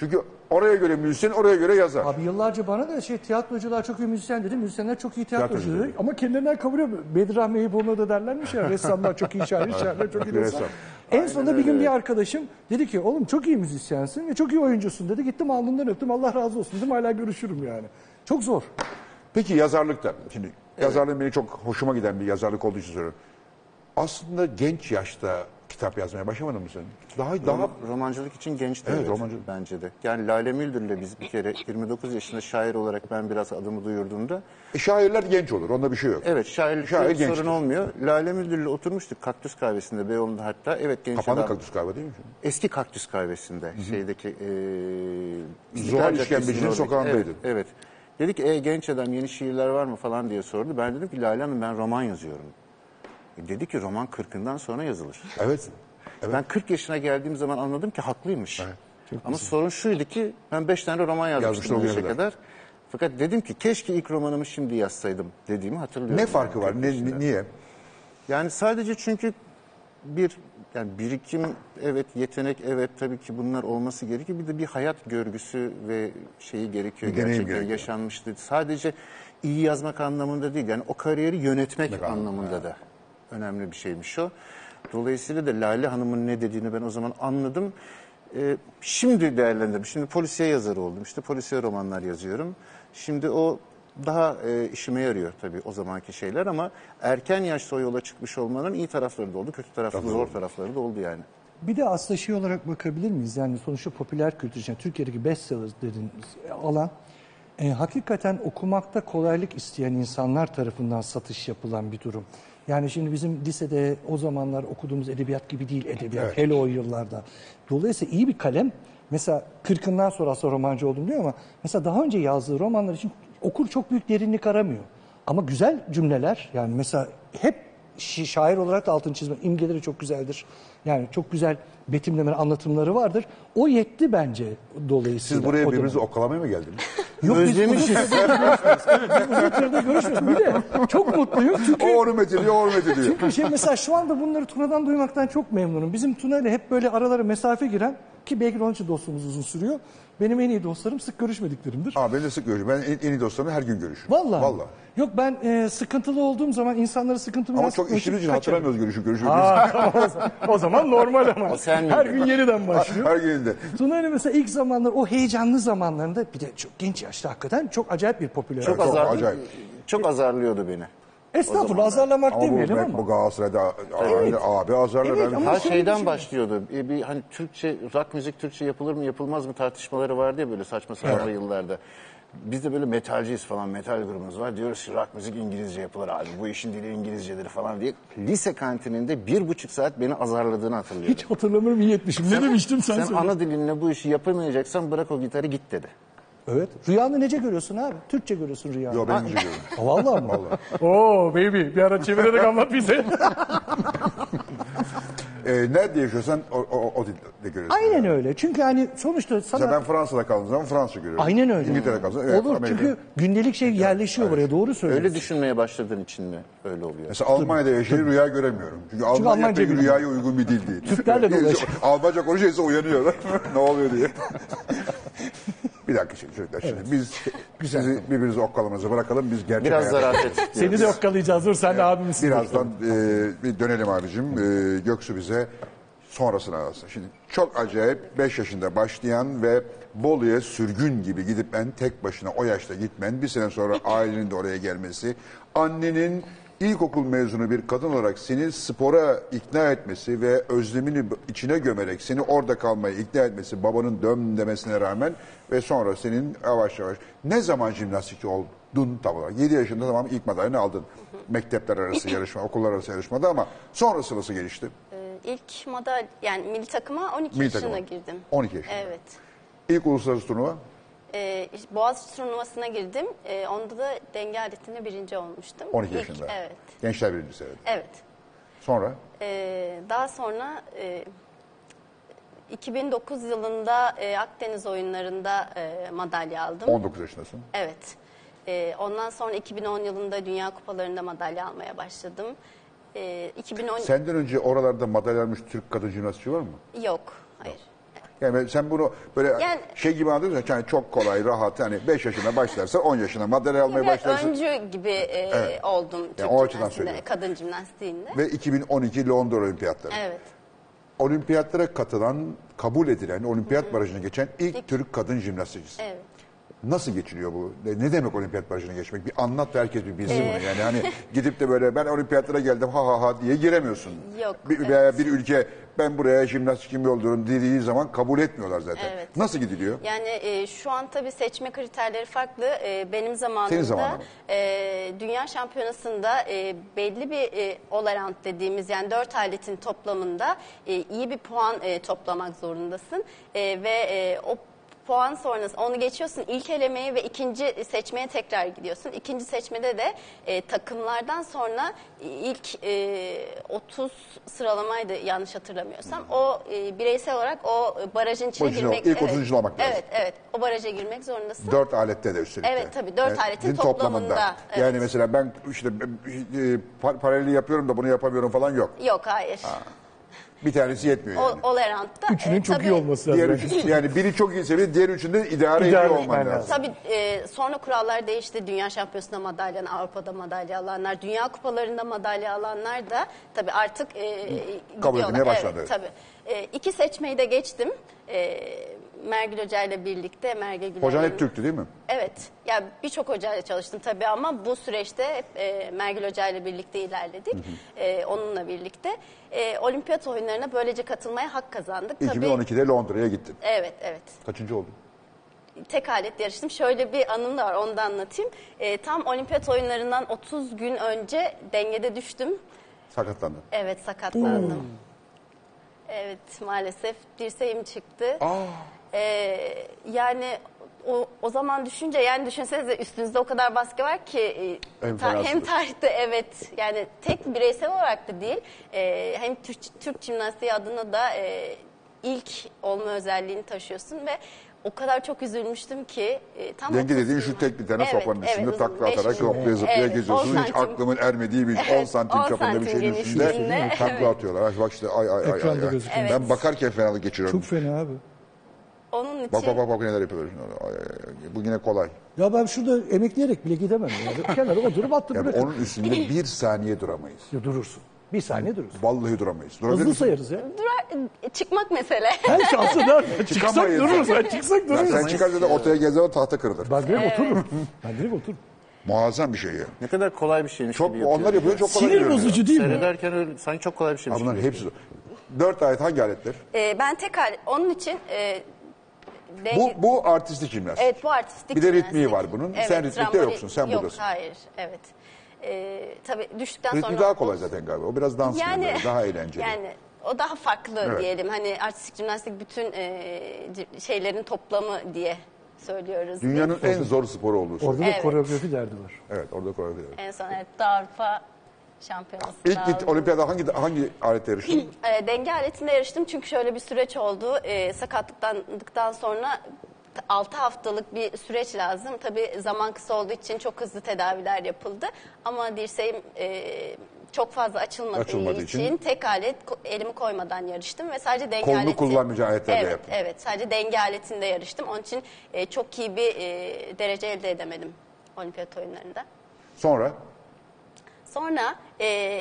S2: Çünkü oraya göre müzisyen, oraya göre yazar.
S3: Abi yıllarca bana da şey tiyatrocular çok iyi müzisyen dedi. Müzisyenler çok iyi tiyatrocu
S2: Tiyatrocu
S3: dedi. Ama kendilerinden kavuruyor. Bedir Rahmi Eyüboğlu'na da derlermiş ya. Ressamlar çok iyi [LAUGHS] şair, şairler çok iyi ressam.
S2: Ressam.
S3: En sonunda bir gün bir arkadaşım dedi ki oğlum çok iyi müzisyensin ve çok iyi oyuncusun dedi. Gittim alnından öptüm Allah razı olsun dedim hala görüşürüm yani. Çok zor.
S2: Peki yazarlıkta. Şimdi yazarlığın beni çok hoşuma giden bir yazarlık olduğu için soruyorum. Aslında genç yaşta kitap yazmaya başlamadın mı sen? Daha daha
S5: Ama romancılık için genç de
S2: Evet,
S5: evet,
S2: romancılık.
S5: bence de. Yani Lale Müldür'le biz bir kere 29 yaşında şair olarak ben biraz adımı duyurduğumda
S2: E, şairler genç olur. Onda bir şey yok.
S5: evet şairlik
S2: Şair
S5: sorun
S2: gençtir.
S5: olmuyor. Lale Müldür'le oturmuştuk Kaktüs Kahvesi'nde Beyoğlu'nda hatta. Evet genç
S2: Kapandı
S5: adam-
S2: kaktüs galiba değil mi? şimdi?
S5: Eski Kaktüs Kahvesi'nde şeydeki eee İstiklal
S2: Zuhal
S5: Caddesi'nin
S2: İşkembeci'nin
S5: oradaki-
S2: sokağındaydı.
S5: Evet, evet. Dedik e, genç adam yeni şiirler var mı falan diye sordu. Ben dedim ki Lale Hanım ben roman yazıyorum. E, dedi ki roman 40'ından sonra yazılır.
S2: Evet.
S5: Ben 40 yaşına geldiğim zaman anladım ki haklıymış. Ama sorun şuydu ki ben 5 tane roman
S2: Yazmıştı
S5: yazmıştım
S2: o
S5: bu yaşa
S2: güne
S5: kadar.
S2: kadar.
S5: Fakat dedim ki keşke ilk romanımı şimdi yazsaydım dediğimi hatırlıyorum.
S2: Ne
S5: Yani
S2: farkı
S5: 40
S2: var? Ne,
S5: yaşında.
S2: ni- niye?
S5: Yani sadece çünkü bir yani birikim evet yetenek evet tabii ki bunlar olması gerekiyor. Bir de bir hayat görgüsü ve şeyi gerekiyor.
S2: Bir deneyim
S5: gerçekten
S2: gerekiyor.
S5: yaşanmıştı. Sadece iyi yazmak anlamında değil. Yani o kariyeri yönetmek anlamında da önemli bir şeymiş o. Dolayısıyla da Lale Hanım'ın ne dediğini ben o zaman anladım. Ee, şimdi değerlendirdim. Şimdi polisiye yazarı oldum. İşte polisiye romanlar yazıyorum. Şimdi o daha e, işime yarıyor tabii o zamanki şeyler ama erken yaşta o yola çıkmış olmanın iyi tarafları da oldu, kötü tarafları, zor tarafları da oldu yani.
S3: Bir de aslında şey olarak bakabilir miyiz? Yani sonuçta popüler kültür için Türkiye'deki bestseller dediğimiz alan e, hakikaten okumakta kolaylık isteyen insanlar tarafından satış yapılan bir durum. Yani şimdi bizim lisede o zamanlar okuduğumuz edebiyat gibi değil edebiyat. Hele o yıllarda. Dolayısıyla iyi bir kalem mesela kırkından sonra aslında romancı oldum diyor ama mesela daha önce yazdığı romanlar için okur çok büyük derinlik aramıyor. Ama güzel cümleler yani mesela hep şi- şair olarak da altını çizme imgeleri çok güzeldir. Yani çok güzel betimleme anlatımları vardır. O yetti bence dolayısıyla.
S2: Siz buraya
S3: o dönem.
S2: birbirinizi okalamaya mı geldiniz?
S3: Yok, biz
S5: Özlemişiz.
S3: uzun süredir görüşmüyoruz. Evet, biz uzun süredir görüşmüyoruz. Bir de çok mutluyum
S2: o
S3: çünkü
S2: onu methediyor, o onu methediyor.
S3: çünkü şey mesela şu anda bunları Tuna'dan duymaktan çok memnunum. Bizim Tuna ile hep böyle aralara mesafe giren Ki belki de onun için dostluğumuz uzun sürüyor. Benim en iyi dostlarım sık görüşmediklerimdir.
S2: Aa, ben de sık görüşüyorum. Ben en, en iyi dostlarımla her gün görüşürüm.
S3: Vallahi.
S2: Vallahi.
S3: Yok ben e, sıkıntılı olduğum zaman insanları sıkıntımı
S2: Ama
S3: yansıtmak
S2: çok işimiz için
S3: kaçarım.
S2: hatırlamıyoruz görüşüp görüşüp.
S3: Aa, tamam. o zaman normal ama.
S5: sen
S3: Her
S5: miydin?
S3: gün yeniden başlıyor.
S2: Her gün de.
S3: Tuna Öyle mesela ilk zamanlar o heyecanlı zamanlarında bir de çok genç yaşta hakikaten çok acayip bir popüler.
S5: Çok,
S2: çok
S5: azarlı-
S2: acayip.
S5: çok azarlıyordu beni.
S3: Estağfurullah azarlamak
S2: Ama bu,
S3: demeyelim
S2: Mac-
S3: ama.
S2: bu Galatasaray'da abi, abi azarlar.
S3: Evet,
S2: ben-
S3: ama-
S5: Her
S3: şöyle bir
S5: şeyden
S3: şey-
S5: başlıyordu. Bir, bir hani Türkçe, rock müzik Türkçe yapılır mı yapılmaz mı tartışmaları vardı ya böyle saçma sapan yıllarda. Biz de böyle metalciyiz falan, metal grubumuz var. Diyoruz ki rock müzik İngilizce yapılır abi. Bu işin dili İngilizcedir falan diye. Lise kantininde bir buçuk saat beni azarladığını hatırlıyorum.
S3: Hiç hatırlamıyorum iyi etmişim. Ne demiştim sen,
S5: Sen
S3: söyle.
S5: ana dilinle bu işi yapamayacaksan bırak o gitarı git dedi.
S3: Evet. Rüyanı nece görüyorsun abi? Türkçe görüyorsun rüyanı.
S2: Yo, ben üzülüyorum.
S3: Ha, vallahi mı? Oo baby bir ara çevirerek anlat bize.
S2: Ee, nerede yaşıyorsan o, o, o dilde görüyorsun.
S3: Aynen öyle. Çünkü hani sonuçta sana...
S2: Mesela ben Fransa'da kaldığım zaman Fransa görüyorum.
S3: Aynen öyle.
S2: İngiltere'de kaldığım zaman evet,
S3: Olur
S2: Amerika.
S3: çünkü gündelik şey yerleşiyor buraya doğru söylüyorsun.
S5: Öyle düşünmeye başladığın için mi öyle oluyor?
S2: Mesela Almanya'da yaşayı rüya göremiyorum. Çünkü, Almanya
S3: Almanca
S2: pek
S3: bilmiyor.
S2: rüyaya uygun bir dil değil.
S3: Türklerle
S2: Yani
S3: dolaşıyor.
S2: [LAUGHS] Almanca konuşuyor insan uyanıyor. [LAUGHS] ne oluyor
S3: [LAUGHS]
S2: diye. bir dakika şimdi çocuklar. Şimdi biz sizi birbirinizi okkalamanızı bırakalım. Biz gerçek
S5: Biraz
S2: hayata-
S5: zarafet istiyoruz.
S3: Seni de yokkalayacağız. Dur sen de abimsin.
S2: Birazdan e, bir dönelim abicim. E, Göksu bize sonrasını arasın. Şimdi çok acayip 5 yaşında başlayan ve Bolu'ya sürgün gibi gidip ben tek başına o yaşta gitmen bir sene sonra ailenin de oraya gelmesi annenin ilkokul mezunu bir kadın olarak seni spora ikna etmesi ve özlemini içine gömerek seni orada kalmaya ikna etmesi babanın dön demesine rağmen ve sonra senin yavaş yavaş ne zaman jimnastikçi oldun tam olarak 7 yaşında tamam ilk madalyonu
S4: [LAUGHS]
S2: aldın mektepler arası yarışma okullar arası yarışmada ama sonrası nasıl gelişti?
S4: İlk madal yani milli takıma 12
S2: Milli
S4: yaşında
S2: takıma.
S4: girdim.
S2: 12 yaşında.
S4: Evet.
S2: İlk uluslararası turnuva
S4: Ee, işte Boğaziçi turnuvasına girdim. Ee, onda da denge aletinde birinci olmuştum.
S2: 12
S4: İlk-
S2: yaşında.
S4: Evet.
S2: Gençler birinci senede.
S4: Evet.
S2: Sonra
S4: Ee, daha sonra e, 2009 yılında e, Akdeniz oyunlarında e, madalya aldım.
S2: 19 yaşındasın.
S4: Evet. Ee, ondan sonra 2010 yılında Dünya Kupalarında madalya almaya başladım. Ee, 2010
S2: Senden önce oralarda madalya almış Türk kadın jimnastikçi var mı?
S4: yok. Hayır.
S2: Yani ben- sen bunu böyle
S4: Yani-
S2: şey gibi anlıyorsun ya, yani çok kolay, rahat. Hani 5 yaşına başlarsa 10 yaşına madalya almaya
S4: Biraz
S2: başlarsın.
S4: öncü gibi e, oldum Türk
S2: o açıdan
S4: jimnastiğinde,
S2: söylüyorum.
S4: kadın jimnastiğinde.
S2: Ve 2012 Londra Olimpiyatları.
S4: Evet.
S2: Olimpiyatlara katılan, kabul edilen, olimpiyat barajına geçen ilk Türk kadın jimnastikçisi.
S4: Evet.
S2: Nasıl geçiliyor bu? Ne ne demek olimpiyat barajına geçmek? Bir anlat da herkes bir bilsin bunu. Yani
S4: [LAUGHS]
S2: hani gidip de böyle ben olimpiyatlara geldim ha ha ha diye giremiyorsun.
S4: Yok,
S2: Bir, Veya bir ülke ben buraya jimnastikimi yolluyorum dediği zaman kabul etmiyorlar zaten.
S4: Evet.
S2: Nasıl gidiliyor?
S4: Yani e, şu an tabii seçme kriterleri farklı. E, benim
S2: Senin
S4: zamanımda
S2: zamanında mı?
S4: e, dünya şampiyonasında e, belli bir e, all-around dediğimiz yani dört aletin toplamında e, iyi bir puan e, toplamak zorundasın. E, ve e, o puan sonrası onu geçiyorsun ilk elemeye ve ikinci seçmeye tekrar gidiyorsun. İkinci seçmede de e, takımlardan sonra ilk e, 30 sıralamaydı yanlış hatırlamıyorsam. O e, bireysel olarak o barajın içine
S2: Barajın
S4: girmek.
S2: ilk 30'uncu olmak lazım.
S4: Evet, evet. O baraja girmek zorundasın.
S2: Dört alette de üstelik.
S4: Evet,
S2: de.
S4: tabii, dört aletin
S2: din
S4: toplamında, evet.
S2: Yani mesela ben işte e, par- paraleli yapıyorum da bunu yapamıyorum falan yok.
S4: Yok, hayır.
S2: Bir tanesi yetmiyor
S4: O,
S2: yani.
S4: all around'da.
S3: Üçünün
S4: e,
S3: çok
S4: tabii-
S3: iyi olması lazım.
S2: Diğer üç- yani biri çok iyi seviye, diğer üçünde idare ediyor
S3: İdare
S2: olman
S3: etmen
S2: lazım.
S3: lazım.
S4: Tabii e, sonra kurallar değişti. Dünya Şampiyonası'nda madalya, Avrupa'da madalya alanlar, Dünya Kupalarında madalya alanlar da tabii artık e, gidiyorlar.
S2: edilmeye başladı.
S4: Evet, tabii. E, iki seçmeyi de geçtim. E, Mergül Hoca ile birlikte Mergül Güler.
S2: Hocan hep Türk'tü değil mi?
S4: Evet. Ya birçok hocayla çalıştım tabii ama bu süreçte hep e, Mergül Hoca ile birlikte ilerledik. E, onunla birlikte e, olimpiyat oyunlarına böylece katılmaya hak kazandık. Tabii,
S2: 2012'de Londra'ya gittin.
S4: evet, evet.
S2: Kaçıncı oldun?
S4: Tek alet yarıştım. Şöyle bir anım da var onu da anlatayım. E, tam olimpiyat oyunlarından 30 gün önce dengede düştüm.
S2: Sakatlandın.
S4: Evet sakatlandım. Evet maalesef dirseğim çıktı. Ee, yani o, o zaman düşünce yani düşünsenize üstünüzde o kadar baskı var ki e,
S2: En
S4: ta-
S2: fenasıdır.
S4: hem tarihte evet yani tek bireysel olarak da değil e, hem Türk, Türk jimnastiği adına da e, ilk olma özelliğini taşıyorsun ve o kadar çok üzülmüştüm ki e, tam
S2: Denge
S4: otuz
S2: dediğin
S4: gün
S2: şu
S4: var.
S2: tek bir tane
S4: Evet,
S2: sopanın
S4: evet,
S2: içinde
S4: uzun,
S2: takla
S4: beş
S2: atarak
S4: gün.
S2: hoplaya zıplaya
S4: Evet,
S2: geziyorsunuz.
S4: on
S2: Hiç
S4: santim.
S2: aklımın ermediği
S4: [LAUGHS]
S2: bir
S4: Evet,
S2: 10 santim
S4: on
S2: çapında bir
S4: santim
S2: şeyin üstünde
S4: genişliğinde,
S2: takla
S4: [LAUGHS] evet.
S2: atıyorlar. Ay bak işte ay ay ay. ay,
S3: Ekranda
S2: ay.
S3: gözüküyor.
S2: Ben bakarken fenalık geçiriyorum.
S3: Çok fena abi.
S4: Onun için
S2: Bak bak bak bak neler yapıyorlar. şimdi orada. Ay, ay, ay. Bu yine kolay.
S3: Ya ben şurada emekleyerek bile gidemem.
S2: [LAUGHS]
S3: Yani. Kenara oturup attım
S2: Yani
S3: bırakırım.
S2: onun üstünde bir saniye duramayız.
S3: Durursun. Bir saniye durursun.
S2: Vallahi duramayız. Durabilir
S3: Hızlı
S2: misin?
S3: sayarız ya.
S4: dura- e, çıkmak mesele.
S3: Her
S2: [LAUGHS]
S3: şansı nerede? Çıksak
S2: Çıkamayız.
S3: dururuz. Ben çıksak
S2: Ya
S3: dururuz.
S2: sen Ee? çıkar dedi ortaya gezer tahta kırılır.
S3: Ben direkt
S2: [LAUGHS]
S3: otururum. Ben direkt otururum.
S2: Muazzam bir şey ya.
S5: Ne kadar kolay bir şeymiş
S2: Çok,
S5: gibi
S2: onlar yapıyor çok kolay
S3: Sinir
S2: görünüyor.
S3: bozucu değil mi?
S5: Seyrederken öyle, sanki çok kolay bir
S2: Ha,
S5: şeymiş
S2: Bunlar
S5: gibi.
S2: hepsi. Dört ayet hangi aletler?
S4: E, ben tekrar onun için e, denge-
S2: Bu, bu artistik jimnastik.
S4: Evet bu artistik.
S2: Bir de ritmi
S4: jimnastik.
S2: var bunun. Sen ritmikte
S4: trambolin-
S2: yoksun, sen
S4: Yok,
S2: buradasın.
S4: hayır evet. Ee, tabii düştükten
S2: Ritmi
S4: sonra.
S2: daha kolay zaten galiba. O biraz dans yani,
S4: Yani,
S2: daha eğlenceli.
S4: Yani o daha farklı
S2: Evet.
S4: diyelim. Hani artistik jimnastik bütün e, c- şeylerin toplamı diye söylüyoruz.
S2: Dünyanın en zor sporu olduğu söyleniyor.
S3: Orada da
S4: Evet.
S3: koreografi derdi var.
S2: Evet orada kolay değil.
S4: En son evet Doğu Avrupa şampiyonası.
S2: İlk git olimpiyada hangi hangi alet
S4: [CLEARS THROAT]
S2: yarıştın?
S4: E, denge aletinde yarıştım çünkü şöyle bir süreç oldu. E, sakatlıktan sonra 6 haftalık bir süreç lazım. Tabii zaman kısa olduğu için çok hızlı tedaviler yapıldı. Ama dirseğim e, çok fazla açılmadığı,
S2: Açılmadığı için.
S4: için, tek alet ko- elimi koymadan yarıştım ve sadece denge
S2: Kolunu
S4: aleti.
S2: kullanmayacağı aletlerle
S4: evet,
S2: yaptın.
S4: Evet sadece denge aletinde yarıştım. Onun için e, çok iyi bir e, derece elde edemedim olimpiyat oyunlarında.
S2: Sonra
S4: Sonra e,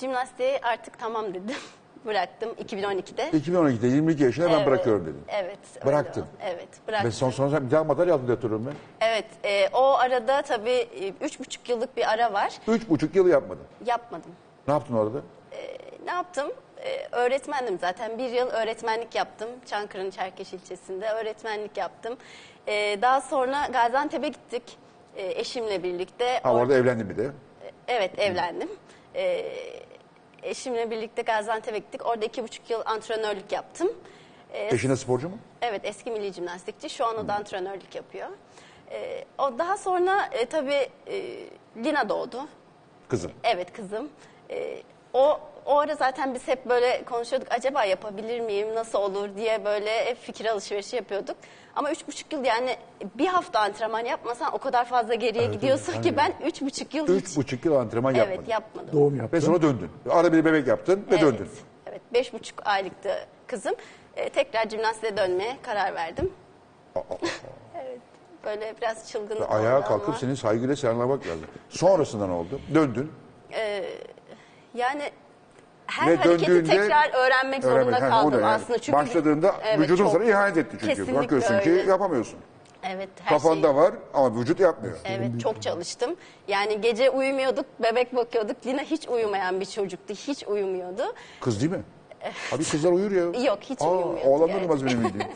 S4: jimnastiği artık tamam dedim. [LAUGHS] Bıraktım 2012'de.
S2: 2012'de 22 yaşında ben bırakıyorum dedim.
S4: Evet. öyle
S2: Bıraktın.
S4: oldu. Evet bıraktım.
S2: Ve son sonra bir daha madalya aldım diye hatırlıyorum ben.
S4: Evet e, o arada tabii e, üç buçuk yıllık bir ara var.
S2: Üç buçuk yıl yapmadım.
S4: Yapmadım.
S2: Ne yaptın orada?
S4: Ne yaptım? E, öğretmendim zaten. Bir yıl öğretmenlik yaptım. Çankırı'nın Çerkeş ilçesinde öğretmenlik yaptım. E, daha sonra Gaziantep'e gittik. E, eşimle birlikte.
S2: Ha orada evlendim bir de.
S4: Evet evlendim. Ee, eşimle birlikte Gaziantep'e gittik. Orada iki buçuk yıl antrenörlük yaptım. Ee,
S2: Eşine sporcu mu?
S4: evet eski milli jimnastikçi şu an o da antrenörlük yapıyor. Ee, o daha sonra e, tabii e, Lina doğdu.
S2: Kızım.
S4: Evet kızım. Ee, o o ara zaten biz hep böyle konuşuyorduk. Acaba yapabilir miyim? Nasıl olur diye böyle hep fikir alışverişi yapıyorduk. Ama üç buçuk yıl yani bir hafta antrenman yapmasan o kadar fazla geriye gidiyorsun ki ben üç buçuk yıl hiç
S2: Üç buçuk yıl antrenman yapmadın.
S4: Evet yapmadım.
S3: Doğum yaptı.
S2: Ve sonra döndün. Arada bir bebek yaptın ve
S4: evet.
S2: döndün.
S4: Evet beş buçuk aylıktı kızım. Ee, tekrar jimnastiğe dönmeye karar verdim. [LAUGHS] evet böyle biraz çılgın
S2: Ayağa
S4: oldu
S2: kalkıp
S4: ama-
S2: seni saygıyla selamlamak lazım. Sonrasında ne oldu? Döndün.
S4: Yani her
S2: Ve
S4: hareketi
S2: döndüğünde-
S4: tekrar öğrenmek zorunda
S2: Öğrenmek- Ha, o
S4: kaldım
S2: da yani.
S4: aslında. Çünkü
S2: Başladığında
S4: Evet,
S2: vücudun
S4: çok-
S2: sana ihanet etti çünkü.
S4: Kesinlikle
S2: Bakıyorsun
S4: öyle.
S2: ki yapamıyorsun.
S4: Evet her
S2: Kafanda
S4: şeyi-
S2: var ama vücut yapmıyor.
S4: Evet çok çalıştım. Yani gece uyumuyorduk, bebek bakıyorduk. Lina hiç uyumayan bir çocuktu, hiç uyumuyordu.
S2: Kız değil mi? Abi kızlar uyur ya.
S4: Eh. Yok, hiç uyumuyordu
S2: Oğlanlar
S4: yani.
S2: uyumaz benim bildiğim.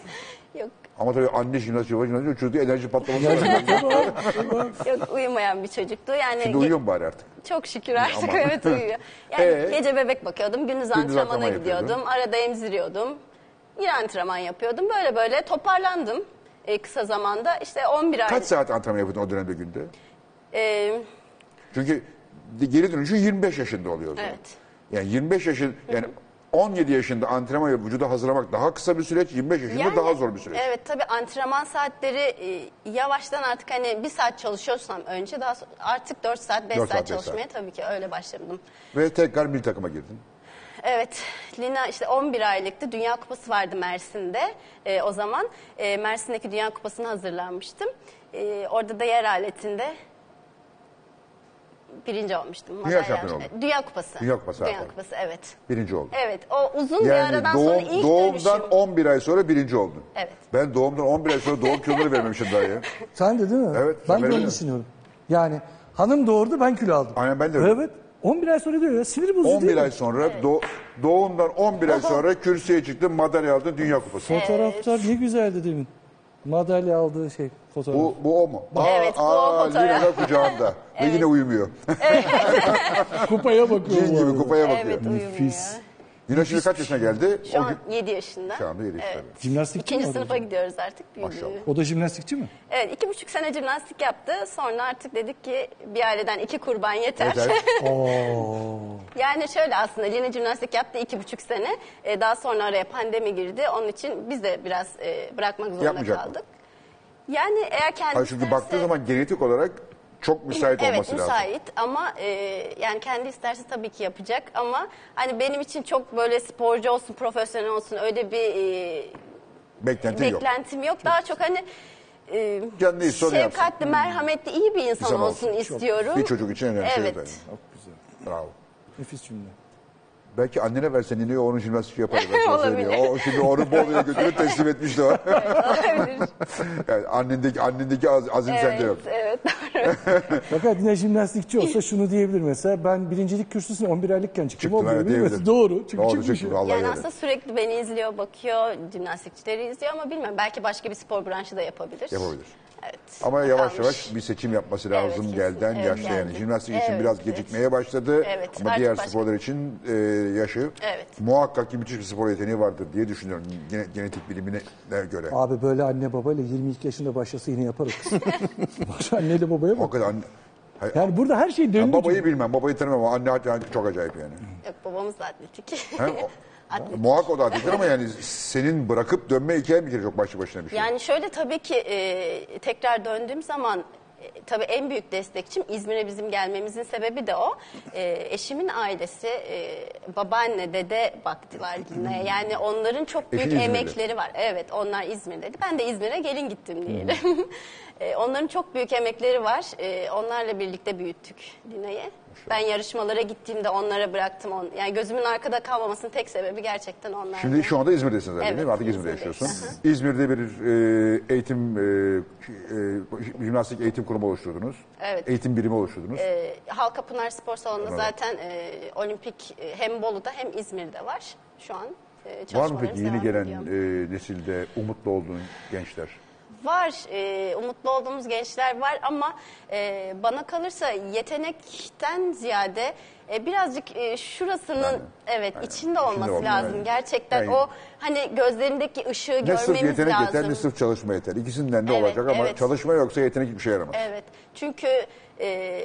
S4: Yok,
S2: Ama tabii anne jimnastik, baba jimnastik, çocuğu enerji
S4: [LAUGHS]
S2: patlaması var.
S4: yok uyumayan bir çocuktu. Yani
S2: Şimdi
S4: ge-
S2: uyuyor mu bari artık?
S4: Çok şükür artık
S2: Ama-
S4: evet uyuyor. Yani
S2: [LAUGHS] Ee?
S4: gece bebek bakıyordum, gündüz,
S2: antrenman
S4: antrenmana
S2: yapıyordun.
S4: gidiyordum, arada emziriyordum. Yine antrenman yapıyordum. Böyle böyle toparlandım e, kısa zamanda. İşte 11 ay.
S2: Kaç saat antrenman yapıyordun o dönemde günde?
S4: E,
S2: Çünkü geri dönüşü 25 yaşında oluyor o zaman.
S4: Evet.
S2: Yani 25 yaşın yani 17 yaşında antrenman yapıp vücuda hazırlamak daha kısa bir süreç, 25 yaşında
S4: yani-
S2: daha zor bir süreç.
S4: Evet tabii antrenman saatleri e, yavaştan artık hani bir saat çalışıyorsam önce daha so- artık 4 saat 5
S2: Dört
S4: saat,
S2: saat, beş
S4: çalışmaya tabii ki öyle başladım.
S2: Ve tekrar milli takıma girdin.
S4: Evet, Lina işte 11 aylıktı. Dünya Kupası vardı Mersin'de e, o zaman. E, Mersin'deki Dünya Kupası'na hazırlanmıştım. E, orada da yer aletinde birinci olmuştum.
S2: Dünya
S4: Madalya-
S2: şampiyonu oldun.
S4: Dünya Kupası.
S2: Dünya Kupası,
S4: Dünya
S2: pardon.
S4: Kupası, evet.
S2: Birinci oldun.
S4: Evet, o uzun bir
S2: Yani
S4: aradan sonra
S2: doğum,
S4: ilk
S2: doğumdan
S4: dönüşüm.
S2: 11 ay sonra birinci oldun.
S4: Evet.
S2: Ben doğumdan 11 ay sonra doğum kiloları vermemişim
S4: [LAUGHS]
S2: daha ya.
S3: Sen de değil mi?
S2: Evet,
S3: Ben
S2: ben
S3: de onu
S2: öyle.
S3: düşünüyorum. Yani hanım doğurdu ben kilo aldım.
S2: Aynen, ben de öyle.
S3: Evet. 11 ay sonra diyor ya sinir bozucu değil
S2: 11
S3: mi?
S2: ay sonra doğ- doğumdan 11 ay sonra kürsüye çıktın, madalya aldın, dünya kupası.
S3: Fotoğraflar ne güzeldi demin. Madalya aldığı şey fotoğraf.
S2: Bu, bu o mu?
S4: Evet, bu o fotoğraf.
S2: Lina da kucağında. Ve yine uyumuyor. [LAUGHS]
S3: Kupaya bakıyor.
S2: Cin
S3: bu
S2: gibi
S3: arada.
S2: kupaya bakıyor.
S4: Evet, uyumuyor.
S2: Lina şimdi kaç yaşına geldi?
S4: Şu
S2: O
S4: an
S2: gün-
S4: 7 yaşında.
S2: Şu anda yedi yaşında.
S4: Evet.
S3: Jimnastikçi mi?
S4: İkinci
S3: o da?
S4: sınıfa gidiyoruz artık. büyüdü.
S2: Maşallah.
S3: O da jimnastikçi mi?
S4: Evet, iki buçuk sene jimnastik yaptı. Sonra artık dedik ki bir aileden iki kurban
S2: Yeter.
S4: [LAUGHS] Yani şöyle aslında Lina jimnastik yaptı iki buçuk sene. Ee, daha sonra araya pandemi girdi. Onun için biz de biraz e, bırakmak zorunda
S2: Yapmayacak mı?
S4: kaldık. Yani eğer kendisi
S2: Hayır, çünkü
S4: isterse-
S2: baktığı zaman genetik olarak çok müsait
S4: evet,
S2: olması lazım.
S4: müsait ama e, yani kendi isterse tabii ki yapacak ama hani benim için çok böyle sporcu olsun, profesyonel olsun öyle bir e,
S2: Beklentin yok.
S4: beklentim yok. Daha çok hani e,
S2: Kendine iyi soru yapsın.
S4: şefkatli, merhametli, iyi bir insan
S2: İnsan
S4: olsun,
S2: olsun.
S4: istiyorum.
S2: Bir
S4: [LAUGHS]
S2: çocuk için önemli şey
S4: Evet.
S2: efendim.
S5: Çok güzel.
S2: Bravo.
S5: Nefis cümle.
S2: Belki annene versen iniyor onun jimnastik yapar.
S4: [LAUGHS]
S2: Ben sana
S4: Olabilir.
S2: söyleyeyim. O şimdi onu Bolu'ya götürüp teslim etmişti
S4: [LAUGHS]
S2: o.
S4: Olabilir.
S2: yani annendeki, annendeki az- azim sende yok.
S4: evet, şey. evet.
S3: Fakat yine jimnastikçi olsa şunu diyebilir mesela ben birincilik kürsüsüne 11 aylıkken çıktım.
S2: Çıktın,
S3: o
S2: evet,
S3: diyebilir
S2: diyebilir.
S3: mesela. Doğru. Çünkü
S2: Doğru
S3: çıkmış.
S2: çıktı, vallahi
S4: Yani
S2: öyle.
S4: aslında sürekli beni izliyor, bakıyor, jimnastikçileri izliyor ama bilmiyorum. Belki başka bir spor branşı da yapabilir.
S2: Yapabilir.
S4: Evet.
S2: Ama yavaş
S4: Kalmış.
S2: yavaş bir seçim yapması lazım
S4: kesin.
S2: gelden
S4: Evet,
S2: yaşlı yani.
S4: geldi.
S2: Jimnastik için
S4: Evet,
S2: biraz
S4: evet.
S2: gecikmeye başladı.
S4: Evet,
S2: Ama
S4: artık
S2: diğer
S4: başka-
S2: sporlar için e, yaşı
S4: Evet.
S2: muhakkak ki müthiş bir spor yeteneği vardır diye düşünüyorum gene- genetik bilimine göre.
S3: Abi böyle anne babayla 22 yaşında başlasa yine [LAUGHS] yaparız. Bak anneyle babaya bak.
S2: Hakikaten anne- Hay-
S3: Yani burada her şey döndü.
S2: babayı bilmem, babayı tanımam ama anne hakikaten çok acayip
S4: [LAUGHS]
S2: yani.
S4: Yok babamız da atletik. [LAUGHS]
S2: He, o-
S4: Atletik.
S2: Muhakkak o da atletik ama yani senin bırakıp dönme hikayen bir kere çok başlı başına bir şey.
S4: Yani şöyle tabii ki e, tekrar döndüğüm zaman e, tabii en büyük destekçim İzmir'e bizim gelmemizin sebebi de o. E, eşimin ailesi e, babaanne, dede baktılar Lina'ya.
S2: Hmm.
S4: Yani onların çok büyük
S2: İzmirli.
S4: emekleri var. Evet onlar İzmir'deydi. Ben de İzmir'e gelin
S2: Hmm.
S4: gittim diyelim. [LAUGHS] E, onların çok büyük emekleri var. E, onlarla birlikte büyüttük Lina'yı. Ben yarışmalara gittiğimde onlara bıraktım. On, yani gözümün arkada kalmamasının tek sebebi gerçekten onlar.
S2: Şimdi şu anda İzmir'desin zaten
S4: Evet,
S2: değil mi? Artık İzmir'de
S4: İzmir'deyim.
S2: yaşıyorsun. İzmir'de bir e, eğitim, e, e, jimnastik eğitim kurumu oluşturdunuz.
S4: Evet.
S2: Eğitim birimi oluşturdunuz.
S4: Ee, Halka Pınar Spor Salonu'nda zaten e, olimpik e, hem Bolu'da hem İzmir'de var şu an. e,
S2: Var mı
S4: çalışmalarımız
S2: peki yeni
S4: devam
S2: gelen
S4: ediyor.
S2: e, nesilde umutlu olduğun gençler?
S4: Var, e, umutlu olduğumuz gençler var ama e, bana kalırsa yetenekten ziyade e, birazcık e, şurasının evet içinde olması
S2: olmalı,
S4: lazım.
S2: aynen.
S4: Gerçekten
S2: Yani-
S4: o hani gözlerindeki ışığı
S2: Ne
S4: görmemiz
S2: sırf yetenek
S4: lazım.
S2: yeter ne sırf çalışma yeter. İkisinden de
S4: Evet,
S2: olacak ama
S4: evet.
S2: çalışma yoksa yetenek hiçbir şey yaramaz.
S4: Evet. Çünkü e,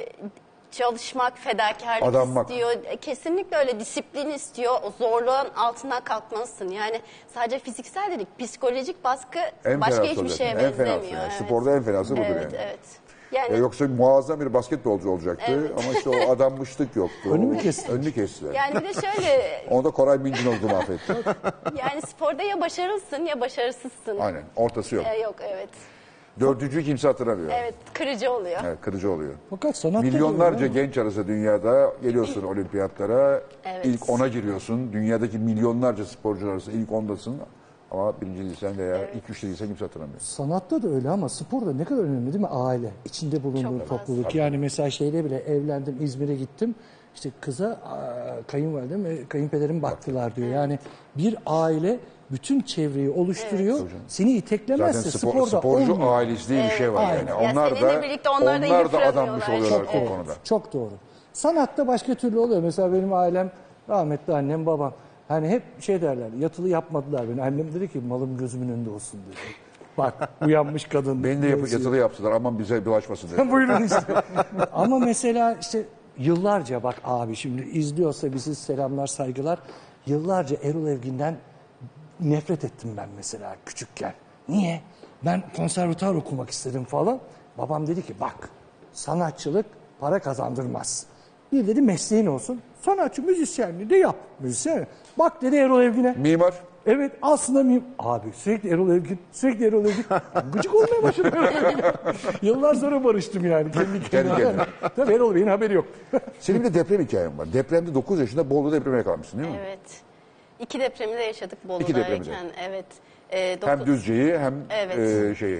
S4: çalışmak, fedakarlık
S2: Adanmak.
S4: istiyor. E, Kesinlikle öyle disiplin istiyor. O zorluğun altından kalkmalısın. Yani sadece fiziksel dedik, psikolojik baskı
S2: En
S4: başka
S2: fenası o
S4: hiçbir
S2: zaten.
S4: şeye
S2: En
S4: benzemiyor.
S2: fenası yani. Sporda en fenası budur
S4: evet,
S2: yani.
S4: Evet, Yani
S2: E, yoksa muazzam bir basketbolcu olacaktı
S4: Evet.
S2: ama işte o adanmışlık yoktu.
S3: Önümü
S2: O-
S3: kestiler.
S2: Önünü kestiler.
S4: yani bir de şöyle
S2: Onu da Koray Mincinoğlu mahvetti.
S4: yani sporda ya başarılısın ya başarısızsın.
S2: Aynen ortası yok.
S4: E, yok evet.
S2: Dördüncü kimse hatırlamıyor.
S4: Evet kırıcı oluyor.
S2: Evet, kırıcı oluyor.
S3: Fakat sanatta
S2: Milyonlarca
S3: diyorum,
S2: genç arası dünyada geliyorsun olimpiyatlara.
S4: Evet.
S2: ilk ona giriyorsun. Dünyadaki milyonlarca sporcular arasında ilk ondasın. Ama birinci değilsen veya ilk üç değilsen kimse hatırlamıyor.
S3: Sanatta da öyle ama sporda ne kadar önemli değil mi aile? içinde bulunduğun
S4: Çok
S3: topluluk. Yani mesela şeyle bile evlendim İzmir'e gittim. İşte kıza aa, kayınvalidem ve kayınpederim baktılar diyor. Yani bir aile bütün çevreyi oluşturuyor. Seni
S2: Zaten
S3: iteklemezse
S2: spor-
S3: sporda
S2: sporcu
S3: olmuyor.
S2: ailesi diye bir şey var
S3: Aynen.
S2: yani.
S4: Ya
S2: Onlar
S4: seninle
S2: da
S4: birlikte onlar da
S2: onlar da
S4: yıpranıyorlar.
S2: adanmış oluyorlar
S4: Çok
S2: o
S4: doğru.
S2: konuda.
S3: Çok doğru. Sanatta başka türlü oluyor. Mesela benim ailem, rahmetli annem, babam. Hani hep şey derler, yatılı yapmadılar beni. Annem dedi ki malım gözümün önünde olsun dedi. Bak uyanmış kadın.
S2: Beni de yap- yatılı yaptılar aman bize bulaşmasın dedi.
S3: [LAUGHS] Buyurun işte. Ama mesela işte yıllarca bak abi şimdi izliyorsa bizi selamlar saygılar. Yıllarca Erol Evgin'den nefret ettim ben mesela küçükken. Niye? Ben konservatuar okumak istedim falan. Babam dedi ki bak sanatçılık para kazandırmaz. Bir dedi mesleğin olsun. Sanatçı müzisyenliği de yap. Müzisyen. Bak dedi Erol Evgin'e.
S2: Mimar
S3: Evet aslında miyim? Abi sürekli Erol Evgin, sürekli
S2: [LAUGHS]
S3: Erol Evgin. Gıcık olmaya başladım. [LAUGHS] Yıllar sonra barıştım yani. Kendi kendime.
S2: kendine.
S3: [LAUGHS] Tabii Erol Bey'in haberi yok.
S2: senin bir de deprem hikayen var. Depremde 9 yaşında Bolu'da depreme yakalanmışsın değil mi?
S4: Evet. İki depremi de yaşadık
S2: depremi de.
S4: Bolu'dayken. Evet. E,
S2: Hem
S4: dokuz-
S2: Düzce'yi hem
S4: Evet.
S2: e, şey e,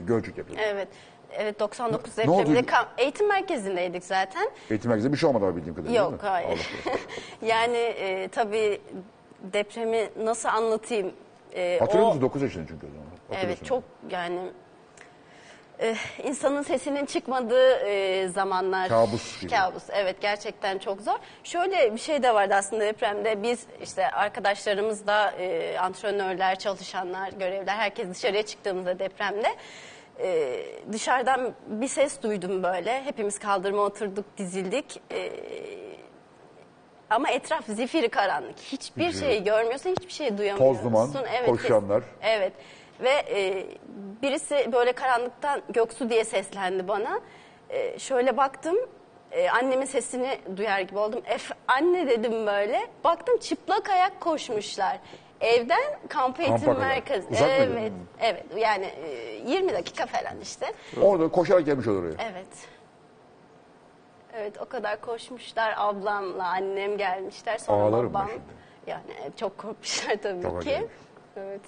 S2: Gölcük depremi.
S4: Evet. Evet 99
S2: Ne oldu?
S4: depreminde kam- eğitim merkezindeydik zaten.
S2: Eğitim merkezinde bir şey olmadı ama bildiğim kadarıyla
S4: Yok
S2: değil mi? Allah
S4: hayır.
S2: korusun.
S4: [LAUGHS] yani e, tabii depremi nasıl anlatayım? E,
S2: Hatırlıyor
S4: o-
S2: musun 9 yaşında çünkü o zaman. Hatırlıyorsun.
S4: Evet çok yani e, insanın sesinin çıkmadığı e, zamanlar.
S2: Kabus gibi.
S4: Kabus evet gerçekten çok zor. Şöyle bir şey de vardı aslında depremde biz işte arkadaşlarımızla e, antrenörler, çalışanlar, görevler herkes dışarıya çıktığımızda depremde e, dışarıdan bir ses duydum böyle. Hepimiz kaldırıma oturduk, dizildik. E, ama etraf zifiri karanlık. Hiçbir şey görmüyorsun, hiçbir şey duyamıyorsun.
S2: duman, koşanlar.
S4: kes- Evet. Ve e, birisi böyle karanlıktan Göksu diye seslendi bana. E, şöyle baktım. e, annemin sesini duyar gibi oldum. Ef anne dedim böyle. Baktım çıplak ayak koşmuşlar. Evden kamp eğitim
S2: kadar.
S4: merkezi.
S2: Uzak mıydı?
S4: evet. Evet. Yani e, 20 dakika falan işte.
S2: Orada koşarak gelmiş olur oraya.
S4: Evet. Evet o kadar koşmuşlar ablamla annem gelmişler sonra
S2: Ağlarım ben
S4: babam.
S2: şimdi.
S4: Yani e, çok korkmuşlar tabii
S2: Çok
S4: ki.
S2: acayip.
S4: Evet.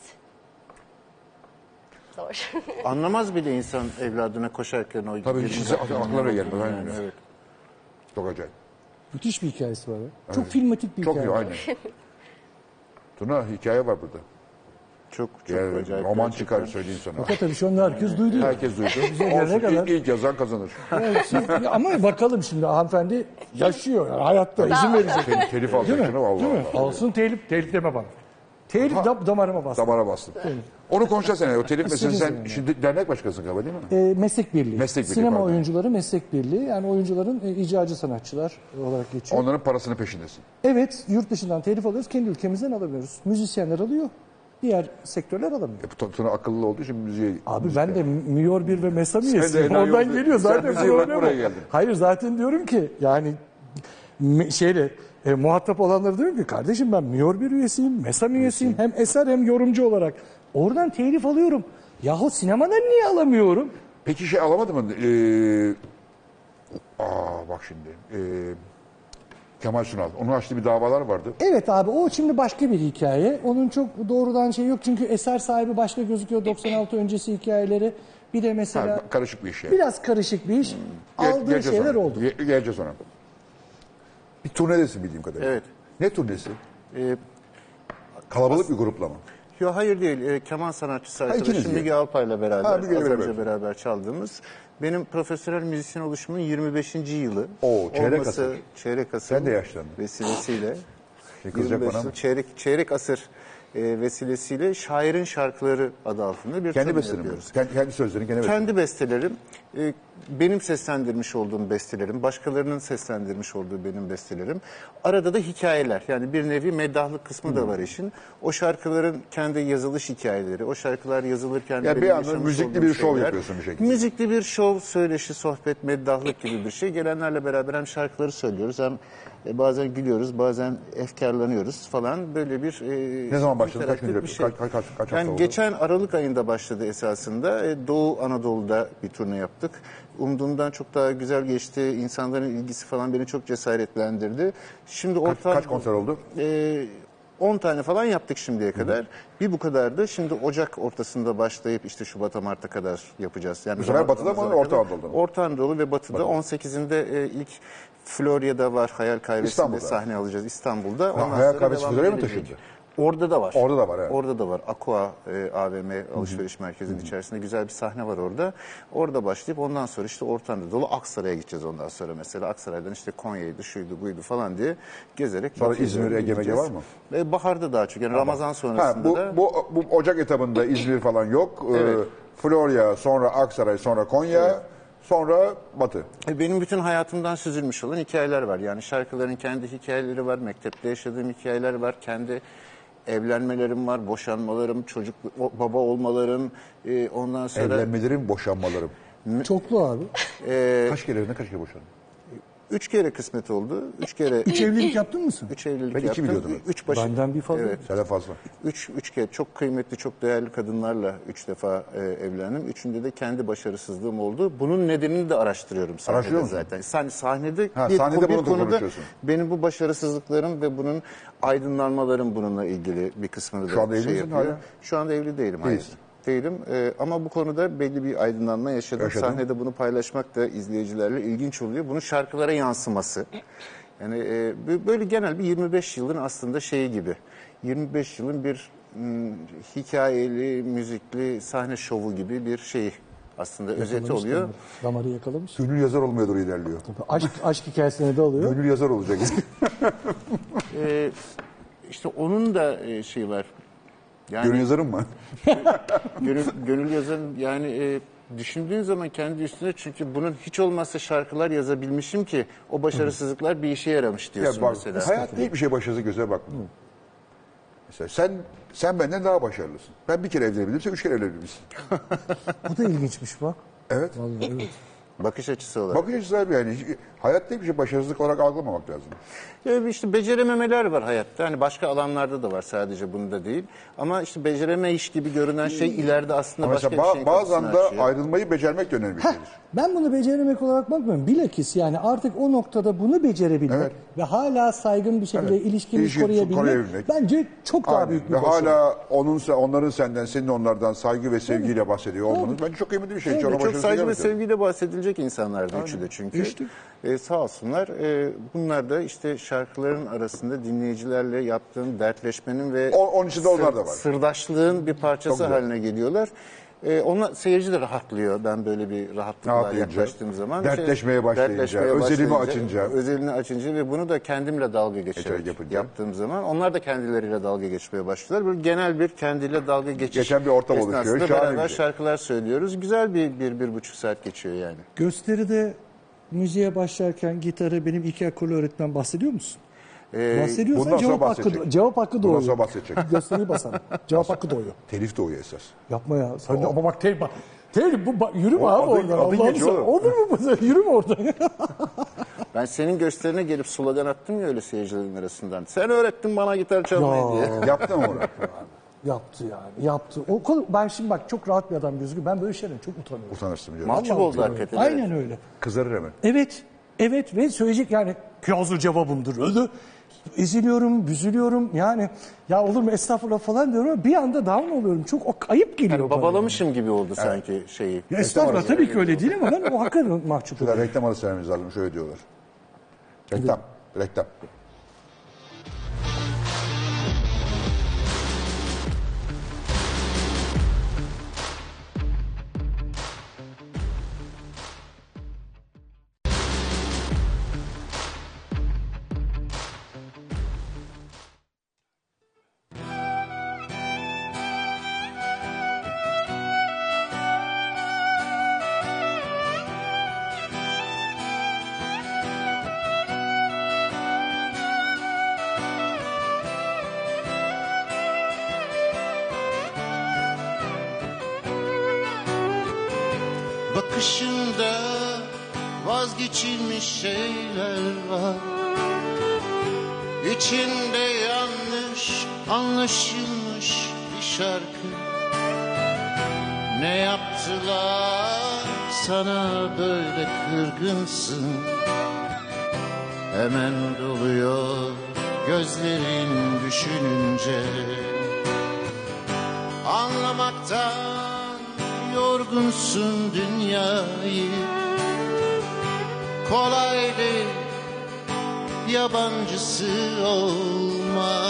S4: Zor. [LAUGHS]
S5: Anlamaz bile insan evladına koşarken o
S2: Tabii
S5: yirmi
S2: hiç
S5: dakika.
S2: aklına bile gelmez. Aynen öyle.
S5: Evet.
S2: Çok acayip.
S3: Müthiş bir hikayesi var. ya. Çok filmatik bir
S2: Çok
S3: hikaye.
S2: iyi aynen. Tuna hikaye var burada.
S5: Çok çok
S2: Yani
S5: acayip.
S2: roman
S5: gerçekten.
S2: çıkar söyleyeyim sana.
S3: Fakat tabii şu anda şey herkes duydu.
S2: Herkes duydu.
S3: gelene
S2: Olsun,
S3: kadar.
S2: ilk, ilk yazan kazanır.
S3: Evet, siz- ama bakalım şimdi hanımefendi yaşıyor. yani hayatta izin verecek.
S2: Tel- telif alacak şunu vallahi.
S3: Değil mi?
S2: Allah.
S3: Alsın telif, telif deme bana. Telif dam- damarıma bas.
S2: Damara bastı. Onu konuşacağız seninle. O telif meselesi sen
S3: İstediğiniz
S2: şimdi dernek başkasın galiba değil mi?
S3: E, meslek birliği.
S2: Meslek birliği,
S3: Sinema
S2: pardon.
S3: oyuncuları meslek birliği. Yani oyuncuların e, icracı sanatçılar olarak geçiyor.
S2: Onların parasını peşindesin.
S3: Evet yurt dışından telif alıyoruz. Kendi ülkemizden alamıyoruz. Müzisyenler alıyor. Diğer sektörler alamıyor.
S2: E, bu Tuna akıllı olduğu için müziği...
S3: Abi ben de Miyor 1 ve Mesam üyesiyim.
S2: enayi
S3: Oradan
S2: oldun.
S3: geliyor
S2: Sen
S3: zaten.
S2: bize bak
S3: problem
S2: buraya
S3: o.
S2: geldin.
S3: Hayır zaten diyorum ki yani me- şeyle e, muhatap olanlara diyorum ki kardeşim ben Miyor 1 üyesiyim, Mesam üyesiyim. Hem eser hem yorumcu olarak. Oradan telif alıyorum. Yahu sinemadan niye alamıyorum?
S2: Peki şey alamadı mı? Ee, aa bak şimdi. Ee, Kemal Sunal. Onun açtığı bir davalar vardı.
S3: Evet abi o şimdi başka bir hikaye. Onun çok doğrudan şey yok çünkü eser sahibi başka gözüküyor 96 öncesi hikayeleri. Bir de mesela
S2: Ha, karışık bir iş yani.
S3: biraz karışık bir iş.
S2: Gel-
S3: Aldığı
S2: geleceğiz
S3: şeyler
S2: ona.
S3: oldu.
S2: Ge- geleceğiz ona. Bir turnedesin bildiğim kadarıyla.
S5: Evet.
S2: Ne turnesi?
S5: Ee,
S2: Kalabalık bir grupla mı?
S5: Yo hayır değil. Ee, keman sanatçısı
S2: ikiniz
S5: arkadaşım
S2: değil.
S5: Müge Alpay'la beraber,
S2: Ha, Müge'yle
S5: az önce
S2: beraber.
S5: beraber çaldığımız. Benim profesyonel müzisyen oluşumun 25. yılı.
S2: Oo, çeyrek
S5: Olması-
S2: asır.
S5: Çeyrek asır.
S2: Sen de yaşlandın.
S5: Vesilesiyle.
S2: [LAUGHS] Şey kızacak
S5: 25
S2: bana mı?
S5: Çeyrek, çeyrek asır e, vesilesiyle Şairin Şarkıları adı altında bir
S2: Kendi
S5: turne
S2: bestelerim.
S5: yapıyoruz.
S2: Kendi, kendi sözlerin kendi bestelerin.
S5: Kendi bestelerim, e, benim seslendirmiş olduğum bestelerim, başkalarının seslendirmiş olduğu benim bestelerim. Arada da hikayeler, yani bir nevi meddahlık kısmı
S2: Hmm.
S5: da var işin. O şarkıların kendi yazılış hikayeleri, o şarkılar yazılırken...
S2: bir
S5: benim
S2: yandan
S5: yaşamış
S2: müzikli
S5: olduğum
S2: bir şov yapıyorsun bir şekilde.
S5: Müzikli bir şov, söyleşi, sohbet, meddahlık gibi bir şey. Gelenlerle beraber hem şarkıları söylüyoruz hem e, bazen gülüyoruz, bazen efkarlanıyoruz falan. Böyle bir... e,
S2: Ne zaman başladı? Kaç
S5: interaktif
S2: gündür?
S5: bir şey.
S2: Kaç- kaç- kaç- kaç hafta
S5: Yani
S2: oldu?
S5: geçen Geçen Aralık ayında başladı esasında. E, Doğu Anadolu'da bir turne yaptık. Umduğumdan çok daha güzel geçti. İnsanların ilgisi falan beni çok cesaretlendirdi. Şimdi orta
S2: Kaç konser oldu?
S5: E, 10 tane falan yaptık şimdiye kadar. Bir bu kadardı. Şimdi Ocak ortasında başlayıp işte Şubat'a Mart'a kadar yapacağız. Yani bu
S2: sefer Batı'da mı, Orta Anadolu'da mı?
S5: Orta Anadolu ve Batı'da. 18'inde e, ilk Florya'da var Hayal Kahvesi'nde
S2: İstanbul'da.
S5: sahne alacağız İstanbul'da.
S2: Ha,
S5: Ondan
S2: Hayal
S5: sonra
S2: Kahvesi
S5: devam
S2: Florya'ya mı
S5: edecek.
S2: taşındı?
S5: Orada da var.
S2: Orada da var, evet.
S5: Orada da var. Aqua e, AVM alışveriş merkezinin içerisinde güzel bir sahne var orada. Orada başlayıp ondan sonra işte Orta Anadolu Aksaray'a gideceğiz ondan sonra mesela. Aksaray'dan işte Konya'ydı, şuydu, buydu falan diye gezerek.
S2: Sonra
S5: yapacağız,
S2: İzmir,
S5: öyle
S2: Ege, Mege
S5: gideceğiz.
S2: var mı?
S5: E, baharda daha çok. Yani Ramazan sonrasında
S2: bu,
S5: da.
S2: bu, bu Ocak etabında İzmir falan yok. Ee,
S5: Evet.
S2: Florya, sonra Aksaray, sonra Konya, sonra Batı.
S5: E, Benim bütün hayatımdan süzülmüş olan hikayeler var. Yani şarkıların kendi hikayeleri var, mektepte yaşadığım hikayeler var, kendi evlenmelerim var, boşanmalarım, çocuk o- baba olmalarım, e, ondan sonra
S2: Evlenmelerim, boşanmalarım.
S3: Çoklu abi.
S2: kaç kere evlendin, kaç kere boşandın?
S5: üç kere kısmet oldu, üç kere
S3: Hiç evlilik yaptın mısın?
S5: üç evlilik
S2: Ben iki
S5: yaptım,
S2: biliyordum.
S5: Ü- üç başı,
S3: Benden bir fazla.
S5: Evet.
S2: Senden fazla.
S5: üç üç kere çok kıymetli, çok değerli kadınlarla üç defa e, evlendim. Üçünde de kendi başarısızlığım oldu. Bunun nedenini de araştırıyorum sahnede
S2: Araştırıyor musun?
S5: zaten. Sen sahnede
S2: Ha,
S5: bir,
S2: sahnede
S5: bir
S2: bunu da
S5: konuda
S2: konuşuyorsun.
S5: benim bu başarısızlıklarım ve bunun aydınlanmalarım bununla ilgili bir kısmını da
S2: Şu anda evli
S5: şey
S2: misin
S5: yapıyor.
S2: hala?
S5: Şu anda evli değilim. Hayır.
S2: Değilsin.
S5: Değilim E, ama bu konuda belli bir aydınlanma yaşadım.
S2: Yaşadın.
S5: Sahnede bunu paylaşmak da izleyicilerle ilginç oluyor. Bunun şarkılara yansıması. Yani e, bö- böyle genel bir 25 yılın aslında şeyi gibi. 25 yılın bir m, hikayeli, müzikli sahne şovu gibi bir şeyi aslında özeti
S3: Yakalamış
S5: oluyor.
S3: tabii. Damarı yakalamış.
S2: Gönül yazar olmaya doğru ilerliyor.
S3: Aşk, aşk hikayesini de alıyor.
S2: Gönül yazar olacak.
S5: E, işte onun da e, şeyi var.
S2: [LAUGHS]
S5: Yani
S2: Gönül yazarım mı?
S5: gönül, [LAUGHS] gönül yazarım yani e, düşündüğün zaman kendi üstüne çünkü bunun hiç olmazsa şarkılar yazabilmişim ki o başarısızlıklar bir işe yaramış diyorsun
S2: Ya bak,
S5: mesela.
S2: Hayat değil bir şey başarısı göze bakmıyor. Mesela sen sen benden daha başarılısın. Ben bir kere evlenebilirim, sen üç kere evlenebilirsin.
S3: Bu da ilginçmiş bak.
S2: Evet.
S3: Vallahi evet.
S5: Bakış açısı olarak.
S2: Bakış açısı abi yani. Hayatta hiçbir şey başarısızlık olarak algılamamak lazım.
S5: Ya Ee, işte becerememeler var hayatta. Hani başka alanlarda da var sadece bunda değil. Ama işte becereme iş gibi görünen şey ileride aslında
S2: Ee, Ama
S5: başka
S2: mesela
S5: bir
S2: ba-
S5: şeyin
S2: bazen
S5: kapısını
S2: de
S5: açıyor.
S2: ayrılmayı becermek de önemli bir şeydir.
S3: Ben bunu beceremek olarak bakmıyorum. Bilakis yani artık o noktada bunu becerebilmek
S2: Evet.
S3: ve hala saygın bir şekilde
S2: Evet.
S3: ilişkimi
S2: İlişkini
S3: koruyabilmek,
S2: koruyabilmek.
S3: bence çok daha
S2: Aynen.
S3: büyük bir
S2: ve
S3: başarı.
S2: hala onun onların senden senin onlardan saygı ve sevgiyle bahsediyor olmanız bence çok kıymetli bir şey. Hiç ona
S5: Çok
S2: başarısızlık
S5: saygı ve
S2: görmüyorum.
S5: sevgiyle bahsedilecek insanlardı üçü de çünkü. Ee, sağ olsunlar. Ee, bunlar da işte şarkıların arasında dinleyicilerle yaptığın dertleşmenin ve
S2: O- onun içinde onlar da var.
S5: sırdaşlığın bir parçası
S2: güzel.
S5: haline geliyorlar. Ee, ona seyirci de rahatlıyor ben böyle bir rahatlıkla
S2: Rahatlayınca,
S5: yaklaştığım zaman.
S2: dertleşmeye
S5: İşte
S2: başlayınca, özelimi açınca.
S5: Özelini açınca ve bunu da kendimle dalga geçerek
S2: Geçerek yapınca.
S5: yaptığım zaman onlar da kendileriyle dalga geçmeye başlıyorlar. Böyle genel bir kendiyle dalga geçiş
S2: Geçen bir ortam
S5: esnasında
S2: oluşuyor. Şahane bir
S5: Beraber
S2: şey.
S5: şarkılar söylüyoruz. Güzel bir, bir, bir buçuk saat geçiyor yani.
S3: Gösteride müziğe başlarken gitarı benim iki akıllı öğretmen bahsediyor musun?
S5: Ee,
S3: Bahsediyorsan
S2: bundan sonra
S3: cevap hakkı,
S2: bahsedecek.
S3: cevap hakkı
S2: Bundan
S3: doğuyor.
S2: sonra bahsedecek.
S3: [LAUGHS] Gösteriyi basalım. Cevap hakkı doğuyor.
S2: Telif de o esas.
S3: Yapma ya. Sen de, ama bak tel, bak, tel bu, bak, yürüme
S2: O
S3: abi
S2: adı-
S3: oradan.
S2: adı
S3: Allah'ını
S2: geçiyor
S3: seversen.
S2: oğlum.
S3: Olur mu? bu?
S2: [LAUGHS]
S3: yürüme oradan.
S5: ben senin gösterine gelip slogan attım ya öyle seyircilerin arasından. Sen öğrettin bana gitar çalmayı diye.
S2: Yaptın mı
S5: [LAUGHS]
S2: onu?
S3: yaptı yani. Yaptı. O, konu- ben şimdi bak çok rahat bir adam gözüküyor. Ben böyle şeylerden çok utanıyorum.
S2: Utanırsın biliyorum.
S5: Mahcup
S3: Vallahi
S5: oldu
S3: utanıyorum.
S5: hakikaten. evet.
S3: Aynen öyle.
S2: Kızarır hemen.
S3: Evet, evet ve söyleyecek yani kıyaslı cevabımdır. Öyle eziliyorum, büzülüyorum yani ya olur mu estağfurullah falan diyorum ama bir anda down oluyorum. Çok o kayıp geliyor bana.
S5: Babalamışım gibi oldu sanki şeyi.
S3: Ya estağfurullah tabii ki öyle değil ama ben o hakikaten mahcup
S2: Şurada
S3: oluyorum.
S2: reklam arası vermemiz lazım. Şöyle diyorlar. Reklam. Reklam.
S1: Bakışında vazgeçilmiş şeyler var İçinde yanlış anlaşılmış bir şarkı Ne yaptılar sana böyle kırgınsın Hemen doluyor gözlerin düşününce Anlamaktan yorgunsun dünyayı Kolay değil yabancısı olma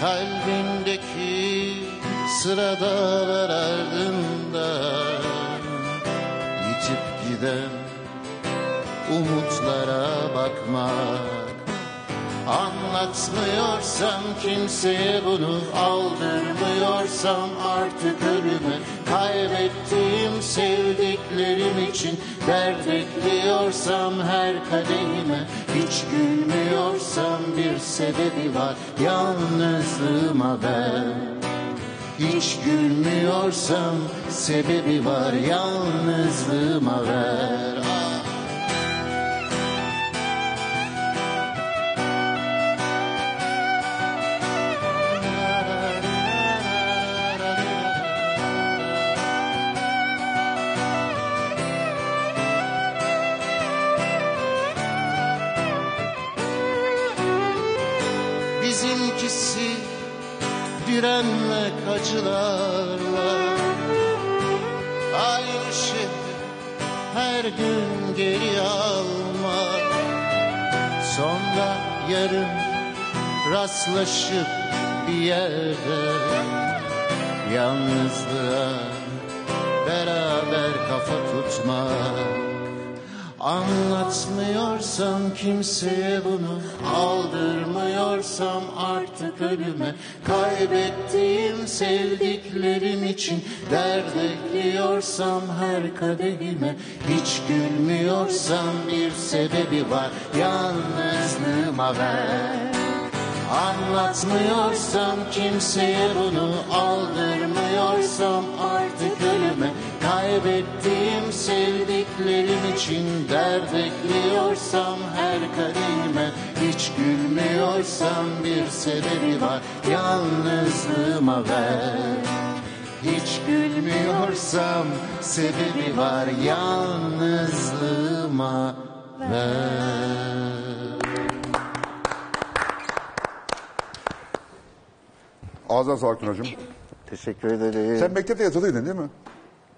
S1: Kalbindeki sıradalar ardında Yitip giden umutlara bakmak Anlatmıyorsam kimseye bunu aldırmıyorsam artık ölümü Kaybettiğim sevdiklerim için dert ekliyorsam her kadehime Hiç gülmüyorsam bir sebebi var yalnızlığıma ben Hiç gülmüyorsam sebebi var yalnızlığıma ver Ah. Bizimkisi direnmek acılarla Aynı şey her gün geri almak Sonra yarın rastlaşıp bir yerde Yalnızlığa beraber kafa tutmak Anlatmıyorsam kimseye bunu aldırmıyorsam artık ölüme kaybettiğim sevdiklerim için dert ekliyorsam her kadehime hiç gülmüyorsam bir sebebi var yalnızlığıma ver Anlatmıyorsam kimseye bunu aldırmıyorsam artık ölüme kaybettiğim Kaybettiğim sevdiklerim için dert ekliyorsam her kadime Hiç gülmüyorsam bir sebebi var yalnızlığıma ver Hiç gülmüyorsam sebebi var yalnızlığıma ver
S2: Ağzına sağlık Tunacığım.
S5: Teşekkür ederim.
S2: Sen mektepte yatılıydın değil mi?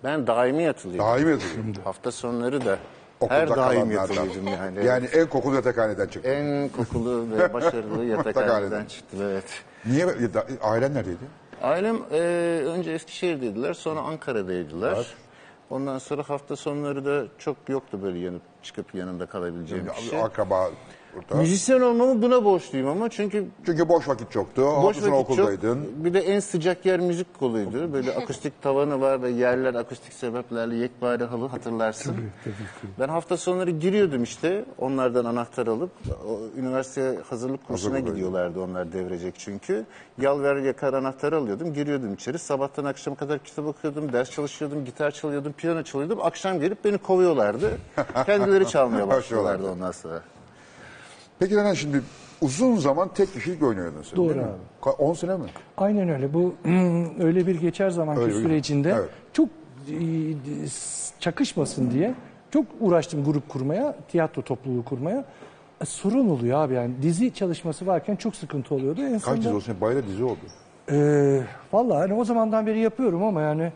S5: Ben daimi yatılıyordum.
S2: Daimi yatılıydın.
S5: Hafta sonları da
S2: Okulda
S5: her daim
S2: kalanlardan.
S5: yatılıyordum yani.
S2: Yani en kokulu yatakhaneden çıktın.
S5: En kokulu
S2: [LAUGHS]
S5: ve başarılı yatakhaneden
S2: Yatakhaneden.
S5: çıktı. Evet.
S2: Niye? ya da- Ailen neredeydi?
S5: Ailem e, önce Eskişehir'deydiler sonra Ankara'daydılar. Ondan sonra hafta sonları da çok yoktu böyle yanıp çıkıp yanında kalabileceğim bir şey.
S2: Akraba burada.
S5: Müzisyen olmamı buna borçluyum ama çünkü
S2: Çünkü boş vakit çoktu.
S5: boş
S2: Boş
S5: vakit
S2: sonra
S5: çok.
S2: okuldaydın.
S5: Bir de en sıcak yer müzik koluydu. Böyle akustik tavanı var ve yerler akustik sebeplerle yekpare halı hatırlarsın. Ben hafta sonları giriyordum işte onlardan anahtar alıp. O, üniversite hazırlık kursuna
S2: olaydı.
S5: gidiyorlardı onlar devrecek çünkü. Yalver yakar anahtar alıyordum giriyordum içeri. Sabahtan akşama kadar kitap okuyordum, ders çalışıyordum, gitar çalıyordum, piyano çalıyordum. Akşam gelip beni kovuyorlardı.
S2: [LAUGHS]
S5: Kendileri çalmaya başlıyorlardı ondan sonra.
S2: Peki neden şimdi uzun zaman tek kişilik oynuyordun sen
S3: Doğru
S2: değil mi?
S3: abi.
S2: Ka- 10 sene mi?
S3: [LAUGHS] Aynen öyle. Bu hmm, öyle bir geçer zamanki
S2: Öyle bir-
S3: sürecinde
S2: Evet.
S3: çok e, s- çakışmasın diye çok uğraştım grup kurmaya, tiyatro topluluğu kurmaya. E, sorun oluyor abi yani. Dizi çalışması varken çok sıkıntı oluyordu. En
S2: Kaç
S3: sonunda-
S2: yıl olsun? Bayra dizi oldu.
S3: Ee, vallahi hani o zamandan beri yapıyorum ama yani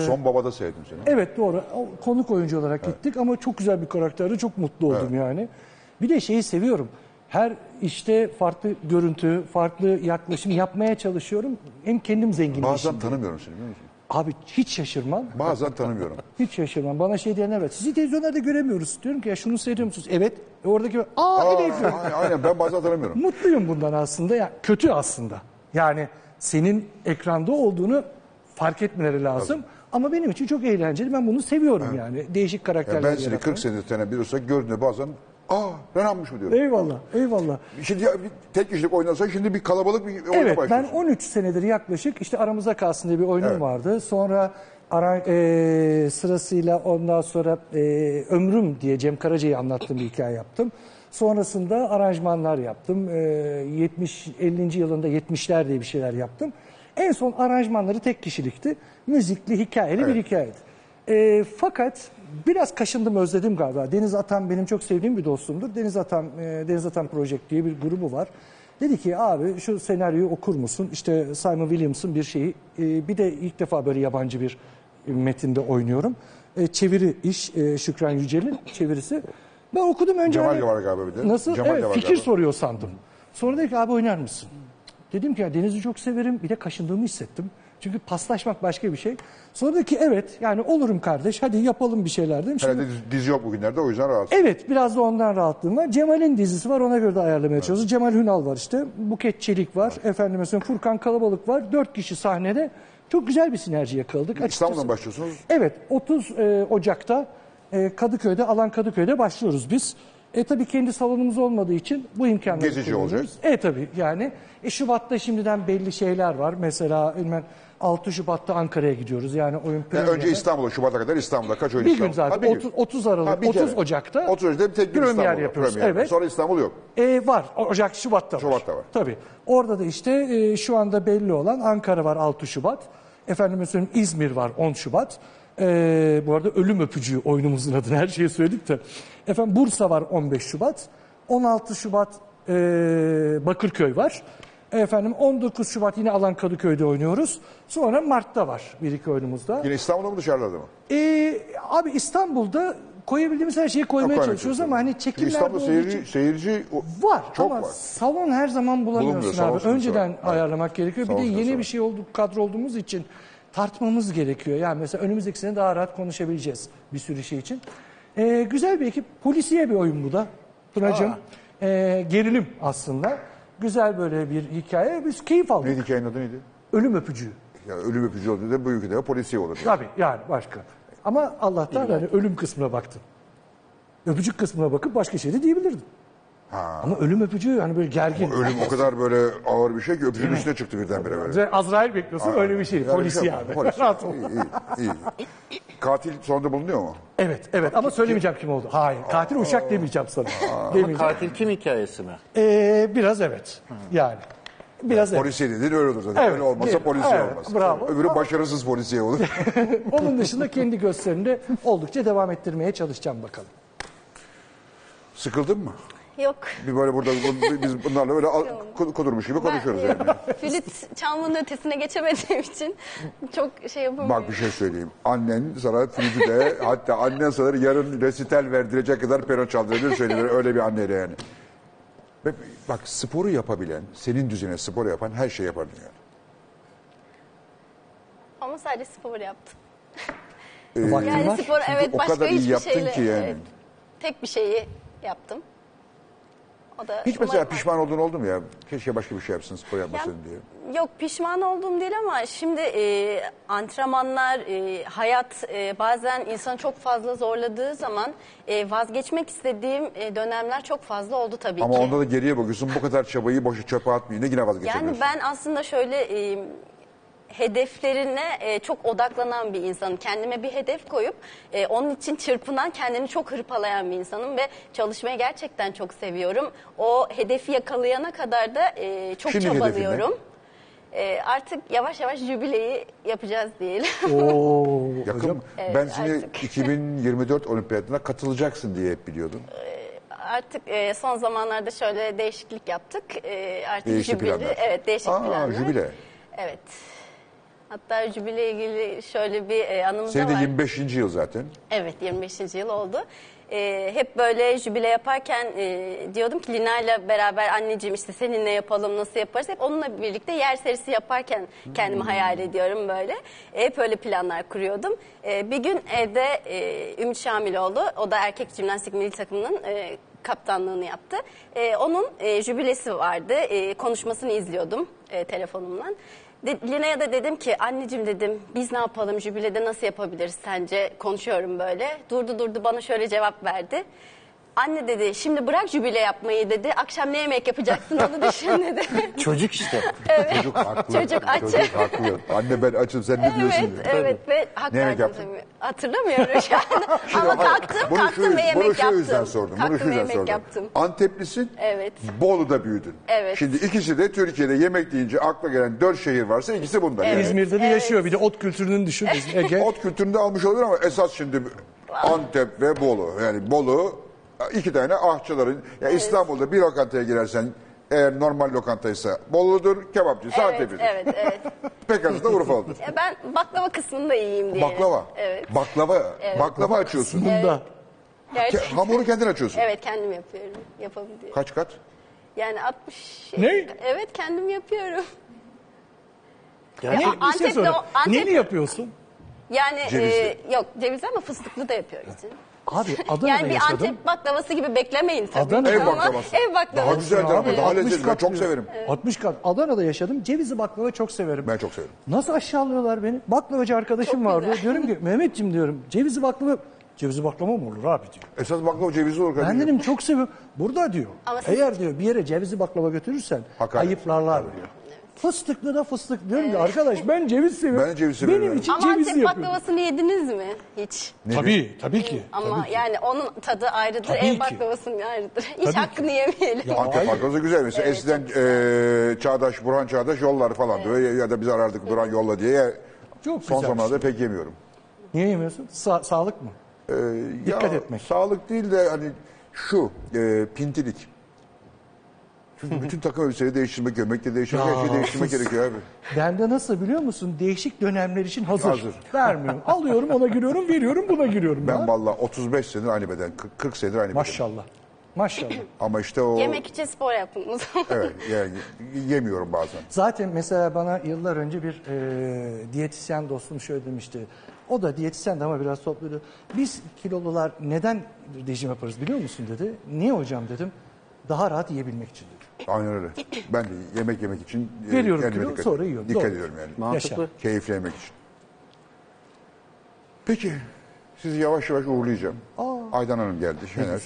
S2: Son Baba'da seyrettim seni.
S3: Evet doğru. O- Konuk oyuncu olarak gittik ama çok güzel bir karakterdi. Çok mutlu oldum yani. Bir de şeyi seviyorum. Her işte farklı görüntü, farklı yaklaşım yapmaya çalışıyorum. Hem kendim zenginleşeyim.
S2: Bazen tanımıyorum seni biliyor musun?
S3: Abi hiç şaşırmam.
S2: Bazen tanımıyorum.
S3: Hiç şaşırmam. Bana şey diyenler var. Sizi televizyonlarda göremiyoruz. Diyorum ki ya şunu seyrediyor musunuz? Evet. E oradaki aa, evet.
S2: Aa, Aynen ben bazen tanımıyorum.
S3: Mutluyum bundan aslında. Ya kötü aslında. Yani senin ekranda olduğunu fark etmeleri lazım. Ama benim için çok eğlenceli. Ben bunu seviyorum yani. Değişik
S2: Yani
S3: karakterler
S2: ben seni
S3: yaratmak.
S2: 40 senedir tanıyan biri olsa gördüğünde bazen aa ben almış mı diyorum.
S3: Eyvallah, eyvallah.
S2: Şimdi ya bir tek kişilik oynansa şimdi bir kalabalık bir oyuna
S3: Evet, ben
S2: başlıyorsun.
S3: 13 senedir yaklaşık işte aramızda kalsın diye bir oyunum
S2: Evet.
S3: vardı. Sonra ara, e, sırasıyla ondan sonra e, Ömrüm diye Cem Karaca'yı anlattığım bir hikaye yaptım. Sonrasında aranjmanlar yaptım. E, 70 50. yılında 70'ler diye bir şeyler yaptım. En son aranjmanları tek kişilikti. Müzikli, hikayeli bir hikayeydi. E, fakat biraz kaşındım özledim galiba. Deniz Atan benim çok sevdiğim bir dostumdur. Deniz Atan e, Deniz Atan Project diye bir grubu var. Dedi ki abi şu senaryoyu okur musun? İşte Simon Williams'ın bir şeyi. e, bir de ilk defa böyle yabancı bir metinde oynuyorum. E, çeviri iş e, Şükran Yücel'in çevirisi. Ben okudum önce.
S2: Cemal
S3: hani-
S2: Yavar galiba bir de.
S3: Nasıl?
S2: Cemal
S3: evet,
S2: Yavar
S3: fikir
S2: galiba.
S3: soruyor sandım. Sonra dedi ki abi oynar mısın? Dedim ki ya Deniz'i çok severim. Bir de kaşındığımı hissettim. Çünkü paslaşmak başka bir şey. Sonra dedi ki evet yani olurum kardeş hadi yapalım bir şeyler dedim. Şimdi-
S2: Herhalde dizi- dizi yok bugünlerde o yüzden rahatsız.
S3: Evet biraz da ondan rahatlığım var. Cemal'in dizisi var ona göre de ayarlamaya çalışıyoruz. Cemal Hünal var işte. Buket Çelik var. Efendim mesela Furkan Kalabalık var. Dört kişi sahnede. Çok güzel bir sinerji yakaladık. Açıkçası-
S2: İstanbul'dan başlıyorsunuz.
S3: Evet 30 e, Ocak'ta e, Kadıköy'de Alan Kadıköy'de başlıyoruz biz. E tabii kendi salonumuz olmadığı için bu imkanları
S2: Gezici
S3: kullanıyoruz. E tabii yani. E, Şubat'ta şimdiden belli şeyler var. Mesela bilmem 6 Şubat'ta Ankara'ya gidiyoruz. Yani oyun
S2: Yani
S3: premieri-
S2: önce İstanbul'a, Şubat'a kadar İstanbul'da kaç oyun
S3: Bir gün
S2: İstanbul'da?
S3: zaten,
S2: Ha, bir gün.
S3: 30 30 Aralık,
S2: Ha, bir
S3: 30
S2: kere.
S3: Ocak'ta
S2: 30 Ocak'ta bir tek gün
S3: premier
S2: İstanbul'da.
S3: yapıyoruz,
S2: premier.
S3: evet.
S2: Sonra İstanbul yok.
S3: E, var. O- Ocak, Şubat'ta var.
S2: Şubat'ta var.
S3: Tabii. Orada da işte e, şu anda belli olan Ankara var 6 Şubat. Efendim söyleyeyim İzmir var 10 Şubat. E, bu arada Ölüm Öpücüğü oyunumuzun adını her şeyi söyledik de. Efendim Bursa var 15 Şubat. 16 Şubat e, Bakırköy var. Efendim 19 Şubat yine Alan Kadıköy'de oynuyoruz. Sonra Mart'ta var bir iki oyunumuz daha.
S2: Yine İstanbul'da mı dışarıda mı?
S3: E, abi İstanbul'da koyabildiğimiz her şeyi koymaya
S2: Koymayın
S3: çalışıyoruz
S2: çünkü.
S3: ama hani
S2: Çünkü
S3: çekimlerde
S2: İstanbul'da
S3: olduğu
S2: seyirci,
S3: için...
S2: seyirci o-
S3: Var
S2: çok
S3: ama
S2: var.
S3: salon her zaman
S2: Bulunmuyor,
S3: bulamıyorsun
S2: salon
S3: abi.
S2: sıkıntısı
S3: Önceden
S2: var. Evet.
S3: ayarlamak gerekiyor.
S2: Salon
S3: bir de
S2: sıkıntısı
S3: yeni
S2: var.
S3: bir şey olduk kadro olduğumuz için tartmamız gerekiyor. Yani mesela önümüzdeki sene daha rahat konuşabileceğiz bir sürü şey için. Ee, güzel bir ekip. Polisiye bir oyun bu da. Tunacığım. Ee, gerilim aslında. Güzel böyle bir hikaye. Biz keyif aldık.
S2: Neydi hikayenin adı neydi?
S3: Ölüm öpücüğü.
S2: Ya ölüm öpücü olduğu da bu ülkede de şey polisiye olur.
S3: Tabii yani başka. Ama Allah'tan hani ölüm kısmına baktım. Öpücük kısmına bakıp başka şey de diyebilirdim. Ama ölüm öpücüğü hani böyle gergin.
S2: Ölüm o kadar böyle ağır bir şey ki öpücüğün üstüne çıktı birdenbire böyle.
S3: Ve Azrail bekliyorsun öyle bir şey.
S2: Yani
S3: Polis
S2: şey
S3: yani.
S2: Polis.
S3: [LAUGHS] Rahat ol.
S2: İyi, iyi, iyi. Katil sonunda bulunuyor mu?
S3: Evet evet ama söylemeyeceğim kim oldu. Hayır katil uçak demeyeceğim sana. demeyeceğim.
S5: Katil kim hikayesi mi?
S3: Ee, biraz evet yani. Biraz evet.
S2: Polisiye dediğin öyle olur zaten.
S3: Evet,
S2: öyle olmasa
S3: değil.
S2: polisiye
S3: Evet,
S2: olmaz.
S3: bravo.
S2: Öbürü başarısız polisiye
S3: [LAUGHS]
S2: olur.
S3: Onun dışında kendi gösterimde oldukça devam ettirmeye çalışacağım bakalım.
S2: Sıkıldın mı?
S4: Yok.
S2: Bir böyle burada bu- biz bunlarla böyle al- ku- kudurmuş gibi konuşuyoruz
S4: Ben-
S2: yani.
S4: [LAUGHS] Flüt çalmanın ötesine geçemediğim için çok şey yapamıyorum.
S2: Bak bir şey söyleyeyim. Annen sana flütü de hatta annen sana yarın resital verdirecek kadar piyano çaldırabilir söylüyor. Öyle bir anneyle yani. Ve Bak sporu yapabilen, senin düzene spor yapan her şey yapar yani.
S4: Ama sadece spor yaptım.
S3: Vaktim
S4: Yani
S3: var.
S4: spor evet
S2: o
S4: başka
S2: kadar iyi
S4: hiçbir
S2: yaptın
S4: şeyle.
S2: ki yani.
S4: evet. tek bir şeyi yaptım. O da
S2: Hiç mesela
S4: umarım-
S2: pişman olduğun oldu mu ya? Keşke başka bir şey yapsın spor
S4: Ya,
S2: yapmasın diye.
S4: Yok pişman olduğum değil ama şimdi e, antrenmanlar, e, hayat e, bazen insanı çok fazla zorladığı zaman e, vazgeçmek istediğim e, dönemler çok fazla oldu tabii
S2: Ama
S4: ki.
S2: onda da geriye bakıyorsun bu kadar çabayı boşa çöpe atmayın yine vazgeçemiyorsun.
S4: Yani ben aslında şöyle e, hedeflerine e, çok odaklanan bir insanım. Kendime bir hedef koyup e, onun için çırpınan, kendini çok hırpalayan bir insanım ve çalışmayı gerçekten çok seviyorum. O hedefi yakalayana kadar da e, çok
S2: Şimdi hedefin ne?
S4: çabalıyorum. E, artık yavaş yavaş jübileyi yapacağız diyelim.
S3: Oo.
S2: Yakın mı? ben seni
S4: [LAUGHS]
S2: 2024 olimpiyatına katılacaksın diye hep biliyordum.
S4: artık e, son zamanlarda şöyle değişiklik yaptık. E, artık
S2: Değişik
S4: jübile,
S2: planlar.
S4: evet değişik
S2: Aa,
S4: planlar.
S2: jübile.
S4: Evet. Hatta jübile ilgili şöyle bir e, anımız da
S2: Senin de
S4: var.
S2: 25. yıl zaten.
S4: Evet 25. yıl oldu. Ee, hep böyle jübile yaparken e, diyordum ki Lina'yla beraber anneciğim işte seninle yapalım nasıl yaparız. Hep onunla birlikte yer serisi yaparken kendimi
S2: Hmm.
S4: hayal ediyorum böyle. E, Hep öyle planlar kuruyordum. Ee, bir gün evde e, Ümit Şamiloğlu o da erkek jimnastik milli takımının e, kaptanlığını yaptı. E, onun e, jübilesi vardı. E, konuşmasını izliyordum e, telefonumdan. De- Lina'ya da dedim ki anneciğim dedim biz ne yapalım jübilede nasıl yapabiliriz sence konuşuyorum böyle. Durdu durdu bana şöyle cevap verdi. Anne dedi şimdi bırak jübile yapmayı dedi. Akşam ne yemek yapacaksın onu düşün dedi.
S5: Çocuk işte.
S4: [LAUGHS]
S2: Çocuk haklı.
S4: Çocuk aç.
S2: Çocuk haklı. Anne ben açım sen ne [LAUGHS] diyorsun?
S4: evet
S2: diyor.
S4: evet ve hak
S2: Ne yemek
S4: verdim
S2: yaptın?
S4: tabii. Hatırlamıyorum şu
S2: [LAUGHS]
S4: an. Ama
S2: Hayır,
S4: kalktım
S2: bunu
S4: kalktım
S2: şu-
S4: ve yemek
S2: bunu şu
S4: yaptım.
S2: yüzden sordum. bunu şu
S4: Kalktım ve
S2: yüzden
S4: yemek
S2: sordum.
S4: yaptım.
S2: Anteplisin.
S4: Evet.
S2: Bolu'da büyüdün.
S4: Evet.
S2: Şimdi ikisi de Türkiye'de yemek deyince akla gelen dört şehir varsa ikisi bunlar. yani.
S3: İzmir'de de yaşıyor bir de ot kültürünün düşün. İzmir- Ege.
S2: Ot kültüründe almış olabilir ama esas şimdi Antep ve Bolu. Yani Bolu iki tane ahçıların. Ya İstanbul'da bir lokantaya girersen eğer normal lokantaysa Bolu'dur, kebapçıysa
S4: Evet
S2: Antep'idir.
S4: evet evet.
S2: Pekası da Urfa'lıdır.
S4: Ya E, ben baklava kısmında iyiyim diye.
S2: Baklava.
S4: Evet.
S2: Baklava. Baklava açıyorsun.
S3: Bunda.
S2: Ke-
S4: Gerçekten.
S2: Hamuru kendin açıyorsun.
S4: Evet kendim yapıyorum. Yapabiliyorum.
S2: Kaç kat?
S4: Yani 60.
S3: Ne?
S4: Evet kendim yapıyorum.
S3: Ne,
S4: Ya,
S3: bir şey
S4: Antep'te
S3: sorayım.
S4: o- Antep-
S3: Neli yapıyorsun?
S4: Yani
S2: Cevizli.
S4: e, yok cevizli ama fıstıklı da yapıyoruz. [LAUGHS]
S3: Abi Adana'da
S4: yani bir
S3: yaşadım.
S4: Antep baklavası gibi beklemeyin tabii.
S3: Adana-
S4: ki
S2: Ev
S4: ama
S2: baklavası.
S4: Ev baklavası.
S2: Daha güzeldir ama daha
S3: 60
S2: lezzetli. Ben
S3: kat
S2: çok
S3: diyor.
S2: severim.
S3: 60 kat. Adana'da yaşadım. Cevizi baklava çok severim.
S2: Ben çok severim.
S3: Nasıl aşağılıyorlar beni? Baklavacı arkadaşım
S4: Çok
S3: vardı.
S4: güzel.
S3: Diyorum ki Mehmetciğim diyorum cevizi baklava... Cevizi baklava mı olur abi diyor.
S2: Esas baklava cevizli olur.
S3: Ben
S2: kardeşim.
S3: dedim çok seviyorum. Burada diyor.
S4: Ama siz-
S3: Eğer diyor bir yere cevizi baklava götürürsen
S2: Hakaret.
S3: ayıplarlar diyor. Fıstıklı da fıstık diyorum ki arkadaş ben ceviz seviyorum.
S2: Ben de ceviz
S3: Benim
S2: seviyorum.
S3: için
S4: Ama
S3: cevizi
S4: Antep
S3: yapıyorum.
S4: baklavasını yediniz mi hiç?
S3: Tabii tabii ki.
S4: Ama yani onun tadı ayrıdır,
S3: Tabii
S4: ev
S3: ki.
S4: baklavasının ayrıdır. Hiç
S3: Tabii ki.
S4: hakkını yemeyelim.
S2: Antep
S3: Hayır.
S2: baklavası güzel. Mesela eskiden eee, Çağdaş, Burhan Çağdaş yollar falan diyor. Ya- Ya da biz arardık Burhan yolla diye. Ya-
S3: Çok
S2: Son
S3: güzel. şey.
S2: zamanlarda pek yemiyorum.
S3: Niye yemiyorsun? Sa- sağlık mı?
S2: Ee,
S3: Dikkat
S2: ya,
S3: etmek.
S2: Sağlık değil de hani şu e, pintilik. Çünkü bütün takım elbiseyi değiştirmek, gömlek de değiştirmek, her şeyi
S3: Ya.
S2: değiştirmek gerekiyor abi.
S3: Bende nasıl biliyor musun? Değişik dönemler için hazır.
S2: Hazır.
S3: Vermiyorum. Alıyorum ona giriyorum, veriyorum buna giriyorum.
S2: Ben
S3: ya.
S2: valla 35 senedir aynı beden, 40, 40 senedir aynı beden.
S3: Maşallah. Maşallah.
S2: Ama işte o...
S4: Yemek için spor yapın o zaman.
S2: [LAUGHS] Evet, yani yemiyorum bazen.
S3: Zaten mesela bana yıllar önce bir e, diyetisyen dostum şöyle demişti. O da diyetisyen de ama biraz topluydu. Biz kilolular neden rejim yaparız biliyor musun dedi. Niye hocam dedim. Daha rahat yiyebilmek için dedi.
S2: Aynen öyle. Ben de yemek yemek için... e,
S3: Veriyorum
S2: kendime
S3: kilo,
S2: dikkat-
S3: sonra yiyorum.
S2: Dikkat
S3: Doğru.
S2: ediyorum yani.
S5: Mantıklı.
S3: Yaşa.
S2: Keyifli yemek için. Peki, sizi yavaş yavaş uğurlayacağım.
S3: Aa,
S2: Aydan Hanım geldi. Şener.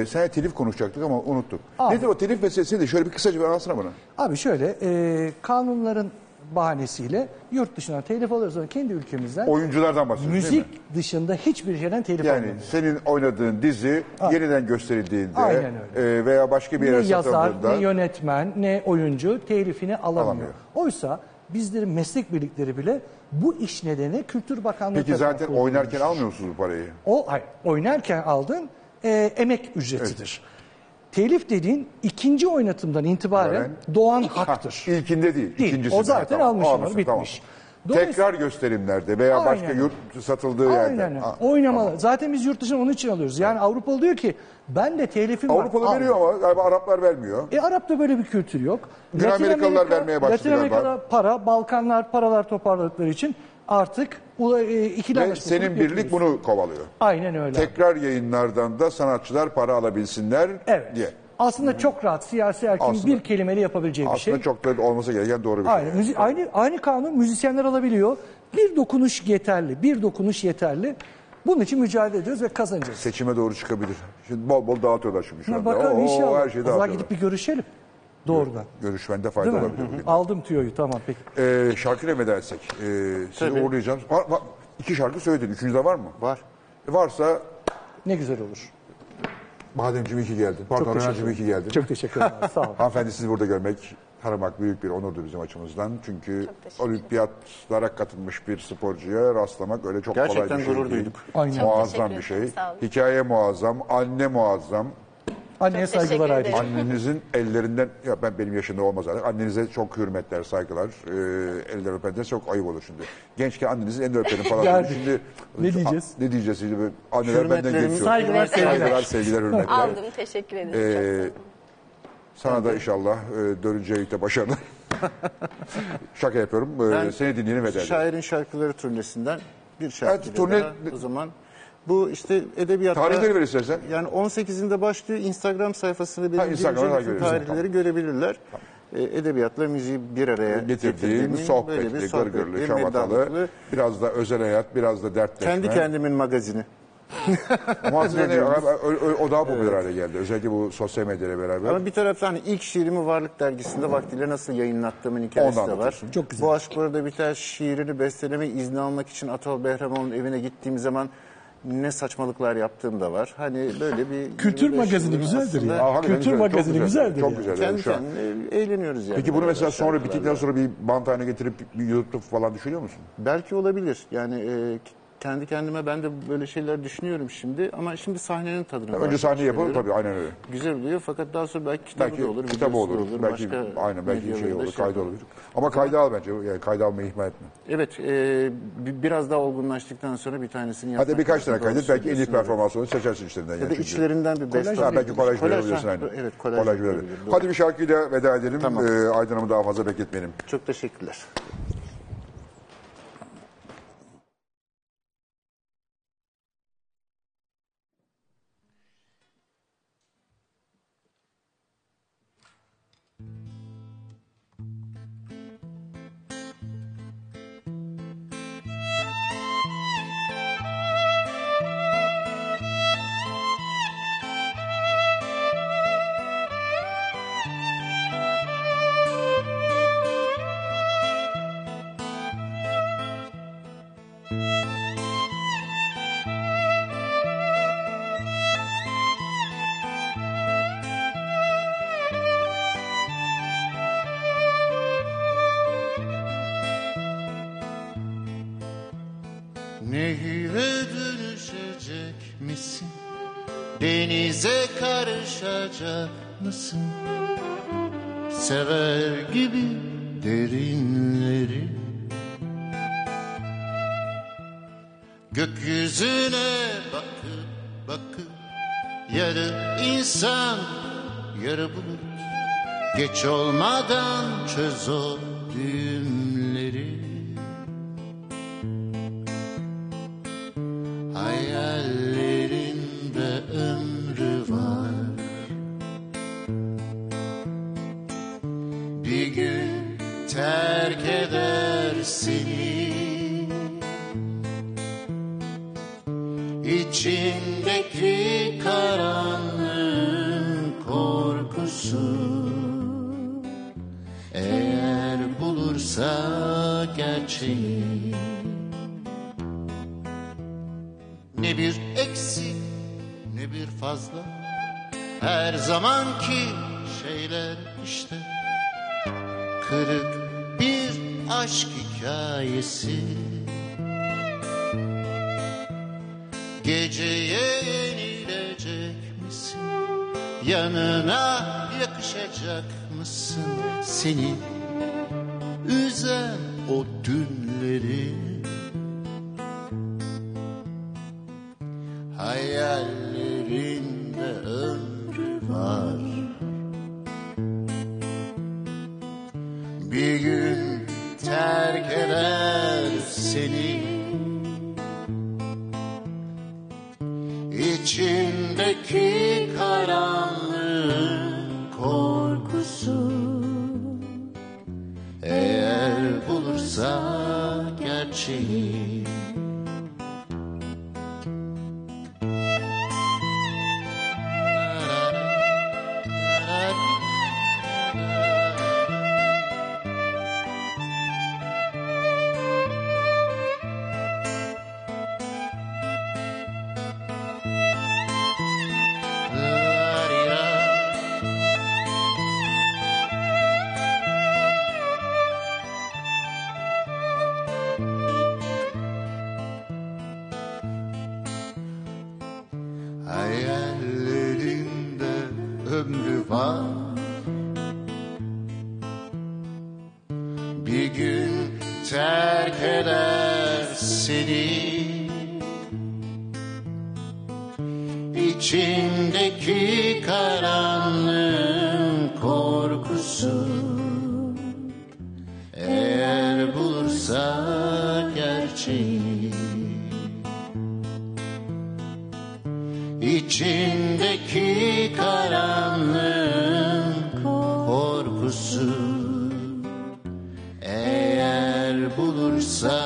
S2: Ee, seninle telif konuşacaktık ama unuttuk. Nedir o telif meselesi de şöyle bir kısaca bir anlatsana bana.
S3: Abi şöyle e, kanunların bahanesiyle yurt dışından telif alıyoruz ama kendi ülkemizden
S2: Oyunculardan bahsediyoruz değil mi?
S3: müzik dışında hiçbir şeyden telif
S2: Yani
S3: almıyoruz.
S2: senin oynadığın dizi yeniden gösterildiğinde
S3: Aynen
S2: e, veya başka bir
S3: Ne
S2: yere
S3: yazar,
S2: satıldığında
S3: ne yönetmen, ne oyuncu telifini alamıyor.
S2: Alamıyor.
S3: Oysa bizlerin meslek birlikleri bile bu iş nedeni Kültür Bakanlığı
S2: peki
S3: tarafından
S2: zaten
S3: kurulmuş.
S2: oynarken almıyorsunuz bu parayı.
S3: O hayır, oynarken aldığın e, emek ücretidir. Telif dediğin ikinci oynatımdan itibaren
S2: Evet.
S3: doğan haktır.
S2: İlkinde değil,
S3: Değil,
S2: ikincisinde.
S3: o zaten almışım,
S2: almışsın,
S3: bitmiş. Dolayısıyla-
S2: Tekrar gösterimlerde veya
S3: Aynen
S2: başka
S3: öyle.
S2: yurt satıldığı yerde.
S3: Aynen.
S2: Ha,
S3: Oynamalı. Zaten biz yurt dışından onun için alıyoruz. Yani Avrupalı diyor ki ben de telifim var.
S2: Avrupalı
S3: al.
S2: veriyor ama galiba Araplar vermiyor.
S3: E Arap'ta böyle bir kültür yok.
S2: Güney Amerikalılar vermeye başladı
S3: Latin
S2: galiba.
S3: Amerika'da para, Balkanlar paralar toparladıkları için artık ula, e, ikili
S2: Ve
S3: anlaşmasını
S2: senin
S3: yapıyoruz.
S2: birlik bunu kovalıyor.
S3: Aynen öyle.
S2: Tekrar yayınlardan da sanatçılar para alabilsinler
S3: evet.
S2: diye.
S3: Aslında çok rahat siyasi erkin
S2: Aslında-
S3: bir kelimeyle yapabileceği bir şey.
S2: Aslında çok da olması gereken doğru bir
S3: Aynen.
S2: şey.
S3: Müzi- aynı, aynı kanun müzisyenler alabiliyor. Bir dokunuş yeterli. Bir dokunuş yeterli. Bunun için mücadele ediyoruz ve kazanacağız.
S2: Seçime doğru çıkabilir. Şimdi bol bol dağıtıyorlar çünkü şu
S3: Buna
S2: anda.
S3: bakalım
S2: Oo,
S3: inşallah.
S2: Her şeyi
S3: o zaman
S2: dağıtıyorlar.
S3: gidip bir görüşelim. Doğrudan.
S2: Görüşmende
S3: Değil
S2: fayda
S3: mi?
S2: olabilir bugün.
S3: Aldım tüyoyu tamam peki.
S2: Ee, şarkı ne edersek? Ee, sizi uğurlayacağım. Var, var- iki şarkı söyledin. Üçüncü de var mı?
S5: Var.
S2: Varsa
S3: Ne güzel olur.
S2: Bademciğim iyi ki geldin. Pardon
S3: teşekkür
S2: Renancığım iyi ki geldin.
S3: Çok teşekkür ederim abi, sağ olun.
S2: Hanımefendi sizi burada görmek tanımak büyük bir onurdu bizim açımızdan. Çünkü olimpiyatlara katılmış bir sporcuya rastlamak öyle çok kolay
S5: Gerçekten
S2: bir şey
S5: gurur
S2: değil.
S5: duyduk.
S3: Aynen. Çok
S2: Muazzam
S4: teşekkür
S2: bir
S4: ederim,
S2: şey.
S4: sağ olun.
S2: Hikaye muazzam, anne muazzam.
S3: Anneye
S4: teşekkür
S3: saygılar
S4: ederim.
S3: ayrıca.
S2: Annenizin [LAUGHS] ellerinden, ya ben benim yaşımda olmaz artık. Annenize çok hürmetler, saygılar. Ee, elden öpen de çok ayıp olur şimdi. Gençken annenizin elini öperim
S3: [LAUGHS]
S2: falan.
S3: Geldi.
S2: Şimdi,
S3: Ne diyeceğiz?
S2: Ne diyeceğiz şimdi? Böyle Anneler benden
S5: Hürmetlerimiz,
S2: geçiyor.
S5: saygılar,
S2: saygılar, sevgiler, hürmetler.
S4: Aldım teşekkür ederim. Çok sağ
S2: Ee,
S4: olun.
S2: sana da inşallah e, dönünce birlikte
S5: [LAUGHS]
S2: başarılar. Şaka yapıyorum. Ee,
S5: Ben-
S2: seni dinleyelim ve derdim.
S5: Şairin şarkıları turnesinden bir şarkı
S2: Evet, turne-
S5: daha o zaman. Bu işte edebiyatta...
S2: Tarihleri ver istersen.
S5: Yani 18'inde başlıyor. Instagram sayfasını benim
S2: Instagram'dan
S5: gireceğim bütün
S2: takip ederiz.
S5: tarihleri görebilirler. E, Edebiyatla müziği bir araya
S2: Getirdiğim
S5: getirdiğim böyle bir
S2: sohbetli, gırgırlı,
S5: sohbetli,
S2: şamatalı,
S5: meddanlıklı,
S2: biraz da özel hayat, biraz da dertleşme.
S5: kendi kendimin magazini.
S2: Ama aslında ne- o, o- o daha popüler hale geldi. Özellikle bu sosyal medyayla beraber.
S5: Ama bir taraftan hani ilk şiirimi Varlık Dergisi'nde vaktiyle nasıl yayınlattığımın hikayesi
S2: Onu
S5: de var.
S2: anlatıyorsun.
S3: Çok güzel.
S5: Bu aşk burada biter şiirini besteleme izni almak için Atol Behramoğlu'nun evine gittiğim zaman ne saçmalıklar yaptığım da var. Hani böyle bir...
S6: Kültür
S5: 25
S6: magazini
S5: yılın
S6: güzeldir ya.
S5: aslında
S2: Aa, hakikaten
S6: Kültür
S2: güzel, çok
S6: magazini
S2: güzel,
S6: güzeldir
S2: Çok
S6: yani.
S2: güzel. yani
S5: Kendi
S2: şu an.
S5: kendine eğleniyoruz yani. şey
S2: Peki bunu
S5: beraber
S2: mesela sonra
S5: şarkılarla.
S2: bittikten sonra bir bant haline getirip bir YouTube falan düşünüyor musun?
S5: Belki olabilir. Yani e, kendi kendime ben de böyle şeyler düşünüyorum şimdi. Ama şimdi sahnenin tadına
S2: Önce
S5: bakmak
S2: sahne yapalım
S5: istiyorum.
S2: tabii aynen öyle.
S5: Güzel oluyor fakat daha sonra belki kitabı
S2: Belki
S5: da olur.
S2: kitabı
S5: videosu da
S2: olur, belki
S5: başka
S2: aynen belki şey
S5: medyalarda
S2: olur, kayda
S5: yapalım.
S2: olur. Ama kayda al bence, yani kayda almayı ihmal etme.
S5: Evet, e, bi- biraz daha olgunlaştıktan sonra bir tanesini yapmak.
S2: Hadi birkaç tane
S5: lazım.
S2: kaydet,
S5: Doğrusu
S2: belki en iyi
S5: diyorsun,
S2: performansını seçersin içlerinden. yani
S5: evet. Ya da
S2: çünkü.
S5: içlerinden bir beste.
S2: Ha, belki kolaj verebilirsin
S5: ha,
S2: aynen.
S5: Evet, kolaj,
S2: verebilir.
S5: verebilirim, doğru.
S2: Hadi bir şarkıyla veda edelim.
S5: Tamam.
S2: Ee, Aydın Hanım'ı daha fazla bekletmeyelim.
S5: Çok teşekkürler.
S1: Nehire dönüşecek misin? Denize karışacak mısın? Sever gibi derinleri Gökyüzüne bakıp bakıp Yarı insan yarı bulut Geç olmadan çöz o düğümleri Hayallerinde ömrü var Bir gün terk eder seni İçindeki kısa gerçeği Ne bir eksik ne bir fazla Her zamanki şeyler işte Kırık bir aşk hikayesi Geceye yenilecek misin? Yanına yakışacak mısın? Seni üzen o dünleri Hayallerinde ömrü var Bir gün terk eder seni İçindeki karanlığın korkusu Eğer bulursa gerçeği La-di-da. Hayallerinde ömrü var Bir gün terk eder seni İçindeki karanlığın korkusu Eğer bulursa gerçeği İçindeki karanlığın korkusu Eğer bulursa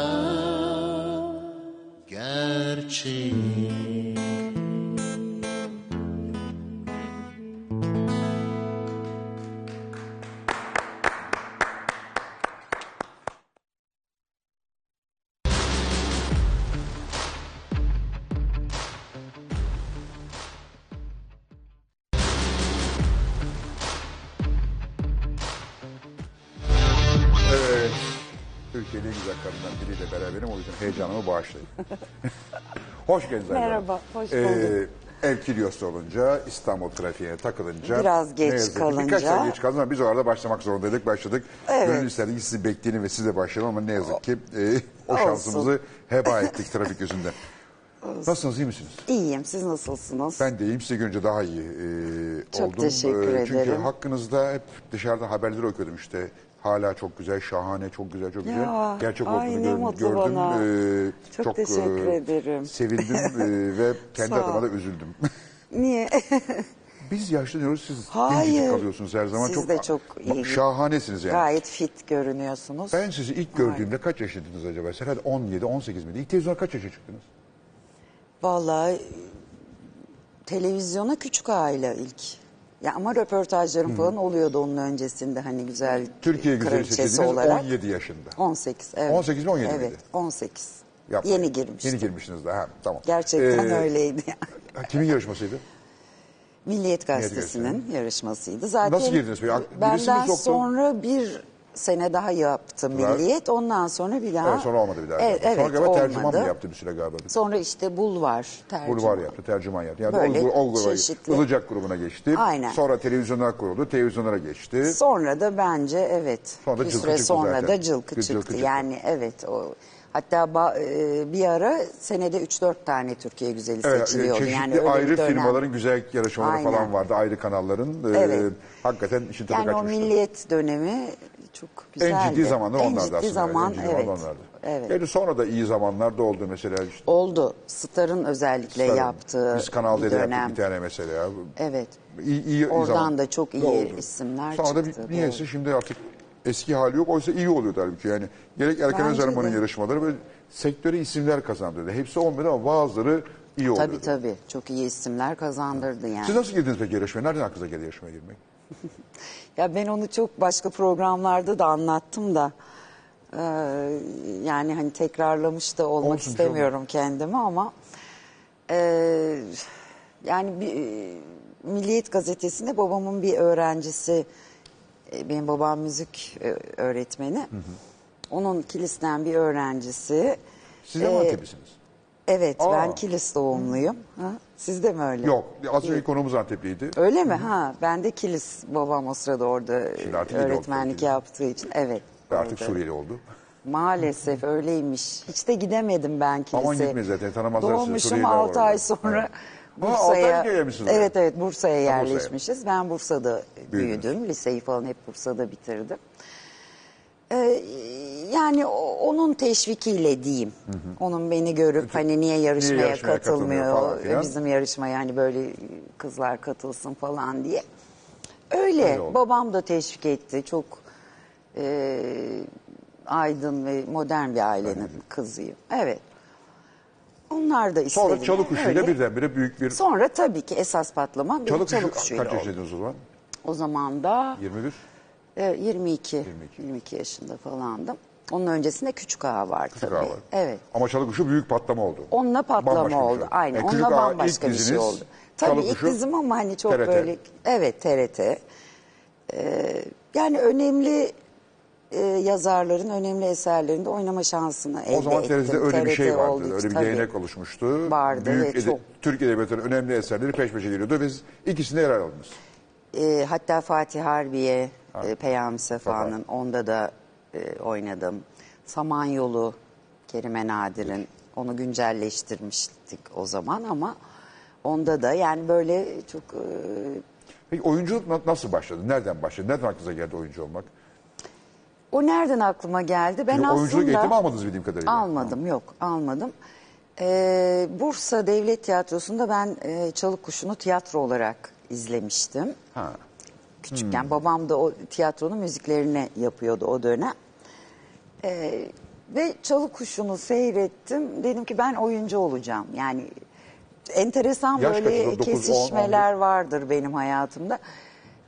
S1: gerçeği
S2: Evet. Türkiye'nin en güzel kadınlarından biriyle beraberim. O yüzden heyecanımı
S7: [LAUGHS]
S2: bağışlayın. hoş geldiniz.
S7: Merhaba, hoş
S2: bulduk. Erkilios olunca, İstanbul trafiğine takılınca...
S7: Biraz geç
S2: ne yazık ki Birkaç
S7: kalınca.
S2: saat geç kalınca biz o arada başlamak zorundaydık. Başladık.
S7: Evet.
S2: Gönül isterdik ki sizi bekleyelim ve siz de başlayalım ama ne yazık ki e, o
S7: Olsun.
S2: şansımızı heba ettik trafik yüzünden. Nasılsınız, iyi misiniz?
S7: İyiyim. Siz nasılsınız?
S2: Ben de iyiyim. Sizi görünce daha iyi e,
S7: Çok
S2: oldum.
S7: teşekkür
S2: E, Çünkü
S7: ederim.
S2: hakkınızda hep dışarıda haberleri okuyordum işte. Hala çok güzel, şahane, çok güzel, çok güzel.
S7: Ya,
S2: Gerçek
S7: ay
S2: olduğunu
S7: ne
S2: gördüm.
S7: mutlu
S2: gördüm.
S7: bana.
S2: E,
S7: Çok teşekkür ederim. [LAUGHS]
S2: Sevindim e, ve kendi
S7: Sağ ol.
S2: adıma da üzüldüm. [LAUGHS]
S7: Niye?
S2: Biz yaşlanıyoruz, siz gencecik
S7: Hayır.
S2: kalıyorsunuz her zaman.
S7: Siz de çok iyi.
S2: Şahanesiniz yani.
S7: Gayet fit görünüyorsunuz.
S2: Ben sizi ilk gördüğümde kaç yaşlıydınız acaba? Herhalde 17, 18 miydi? İlk televizyona kaç yaşa çıktınız?
S7: Vallahi e, televizyona küçük aile ilk. Ya ama röportajlarım falan oluyordu onun öncesinde hani güzel
S2: Türkiye güzeli
S7: kraliçesi
S2: seçildiniz
S7: olarak.
S2: 17 yaşında.
S7: 18 evet.
S2: 18 mi, 17 miydi?
S7: Evet 18.
S2: Yapmayın.
S7: Yeni girmiştim.
S2: Yeni girmişsiniz daha. Tamam.
S7: Gerçekten
S2: Ee,
S7: öyleydi.
S2: [LAUGHS] Kimin yarışmasıydı?
S7: Milliyet Gazetesi'nin yarışmasıydı. Zaten
S2: Nasıl girdiniz peki? Birisi mi
S7: Benden
S2: soktu?
S7: sonra bir sene daha yaptı
S2: Var.
S7: Milliyet. Ondan sonra bir daha.
S2: Evet, sonra olmadı bir daha.
S7: Evet, evet
S2: sonra galiba
S7: olmadı.
S2: tercüman mı yaptı bir süre galiba?
S7: Sonra işte Bulvar tercüman.
S2: Bulvar yaptı, tercüman yaptı. Yani
S7: Böyle
S2: o, gru- o gruba,
S7: çeşitli.
S2: Ilıcak grubuna geçti.
S7: Aynen.
S2: Sonra televizyonlar kuruldu, televizyonlara geçti.
S7: Sonra da bence evet.
S2: Sonra da
S7: bir
S2: cılkı
S7: süre
S2: çıktı
S7: sonra
S2: zaten.
S7: da
S2: Bir
S7: cılkı
S2: cılkı
S7: çıktı.
S2: çıktı.
S7: Yani evet o Hatta ba- e, bir ara senede 3-4 tane Türkiye güzeli
S2: Evet, e,
S7: seçiliyordu.
S2: çeşitli
S7: yani öyle bir
S2: ayrı
S7: dönem.
S2: firmaların güzel yarışmaları
S7: Aynen.
S2: falan vardı, ayrı kanalların. Ee,
S7: Evet.
S2: hakikaten işin tadı
S7: Yani o
S2: kaçmıştı.
S7: milliyet dönemi çok güzeldi.
S2: En ciddi zamanlar
S7: En
S2: onlardı
S7: ciddi
S2: aslında.
S7: Zaman,
S2: en ciddi
S7: evet.
S2: zamanlar onlardı.
S7: Evet.
S2: Yani sonra da iyi zamanlar da oldu mesela işte.
S7: Oldu. Star'ın özellikle
S2: Sarı.
S7: yaptığı
S2: Biz Kanal
S7: bir
S2: D'de
S7: dönem.
S2: yaptık bir tane mesela.
S7: Evet.
S2: İyi, iyi
S7: Oradan
S2: zaman.
S7: da çok iyi
S2: Doğru.
S7: isimler
S2: Sonra da
S7: çıktı,
S2: bir- niyeyse
S7: doğru.
S2: şimdi artık eski hali yok. Oysa iyi oluyordu halbuki yani. Gerek Erkan
S7: Bence
S2: Özerman'ın
S7: de.
S2: yarışmaları böyle sektöre isimler kazandırdı. Hepsi olmadı ama bazıları iyi oluyordu.
S7: Tabii tabii. Çok iyi isimler kazandırdı yani.
S2: Siz nasıl girdiniz peki yarışmaya? Nereden aklınıza geldi yarışmaya girmek?
S7: Ya ben onu çok başka programlarda da anlattım da Ee, yani hani tekrarlamış da olmak
S2: Olsun, şey
S7: istemiyorum kendimi ama e, yani bir, e, Milliyet Gazetesi'nde babamın bir öğrencisi e, benim babam müzik e, öğretmeni. Onun kilisten bir öğrencisi.
S2: Siz de
S7: Ee,
S2: Anteplisiniz.
S7: Evet
S2: Aa.
S7: ben kilis doğumluyum. Ha? Siz de mi öyle?
S2: Yok. Az önce konumuz Antepliydi.
S7: Öyle mi? Ha ben de kilis babam o sırada orada
S2: Şimdi artık iyi de oldu
S7: öğretmenlik
S2: tabii.
S7: yaptığı için. Evet.
S2: Ve artık
S7: doğrudur.
S2: Suriyeli oldu.
S7: Maalesef öyleymiş. Hiç de gidemedim ben kilise.
S2: Aman gitme zaten, tanımazlar sizi,
S7: Doğmuşum
S2: Suriyeliler var
S7: 6 ay
S2: orada.
S7: sonra
S2: Ha,
S7: Bursa'ya.
S2: Antalya'ya mısınız?
S7: evet evet Bursa'ya
S2: Ha, Bursa'ya.
S7: yerleşmişiz. Ben Bursa'da
S2: Büyüdünüz.
S7: büyüdüm. Liseyi falan hep Bursa'da bitirdim. Ee, yani o- onun teşvikiyle diyeyim. Onun beni görüp hani niye yarışmaya,
S2: Niye yarışmaya
S7: katılmıyor,
S2: katılmıyor falan filan.
S7: bizim yarışmaya hani böyle kızlar katılsın falan diye. Öyle.
S2: Öyle oldu.
S7: Babam da teşvik etti. Çok e, aydın ve modern bir ailenin kızıyım. Evet. Onlar da istedi.
S2: Sonra çalı kuşuyla
S7: Öyle.
S2: birdenbire büyük bir...
S7: Sonra tabii ki esas patlama bir çalı,
S2: Çalı kuşu
S7: kuşuyla
S2: kaç
S7: oldu.
S2: yaşaydınız o zaman?
S7: O zaman da
S2: 21.
S7: e, 22,
S2: 22.
S7: 22. yaşında falandım. Onun öncesinde küçük ağa var
S2: Küçük
S7: tabii.
S2: ağa var.
S7: Evet.
S2: Ama çalı kuşu büyük patlama oldu.
S7: Onunla patlama
S2: Bambaşka bir şey
S7: oldu. Aynen.
S2: E, Küçük
S7: Onunla
S2: Ağa
S7: bambaşka
S2: ilk
S7: bir şey
S2: diziniz,
S7: oldu. Tabii
S2: Çalı
S7: ilk
S2: Kuşu,
S7: dizim ama hani çok
S2: TRT.
S7: böyle evet TRT. Ee, yani önemli e, yazarların önemli eserlerinde oynama şansını elde
S2: O zaman
S7: ettim.
S2: TRT'de öyle bir şey
S7: TRT
S2: vardı.
S7: olduğu için
S2: Öyle bir
S7: tabii.
S2: gelenek oluşmuştu.
S7: Vardı
S2: Büyük
S7: ve
S2: ede-
S7: çok.
S2: Türk Edebiyatı'nın önemli eserleri peş peşe geliyordu. ve Biz ikisinde yer aldınız.
S7: Ee, hatta Fatih Harbiye, e, Peyami Sefa'nın
S2: Sefa.
S7: onda da e, oynadım. Samanyolu, Kerime Nadir'in onu güncelleştirmiştik o zaman ama onda da yani böyle çok e,
S2: Peki oyunculuk na- nasıl başladı? Nereden başladı? Nereden aklınıza geldi oyuncu olmak?
S7: O nereden aklıma geldi? Ben
S2: Çünkü oyunculuk
S7: aslında
S2: eğitimi almadınız bildiğim kadarıyla.
S7: almadım yok almadım. Ee, Bursa Devlet Tiyatrosu'nda ben e, Çalık Kuşu'nu tiyatro olarak izlemiştim.
S2: Ha.
S7: Küçükken
S2: Hmm.
S7: babam da o tiyatronun müziklerini yapıyordu o dönem. Ee, ve Çalık Kuşu'nu seyrettim. Dedim ki ben oyuncu olacağım. Yani enteresan
S2: Yaş
S7: böyle
S2: kaçınız? Dokuz, on, on bir?
S7: kesişmeler vardır benim hayatımda.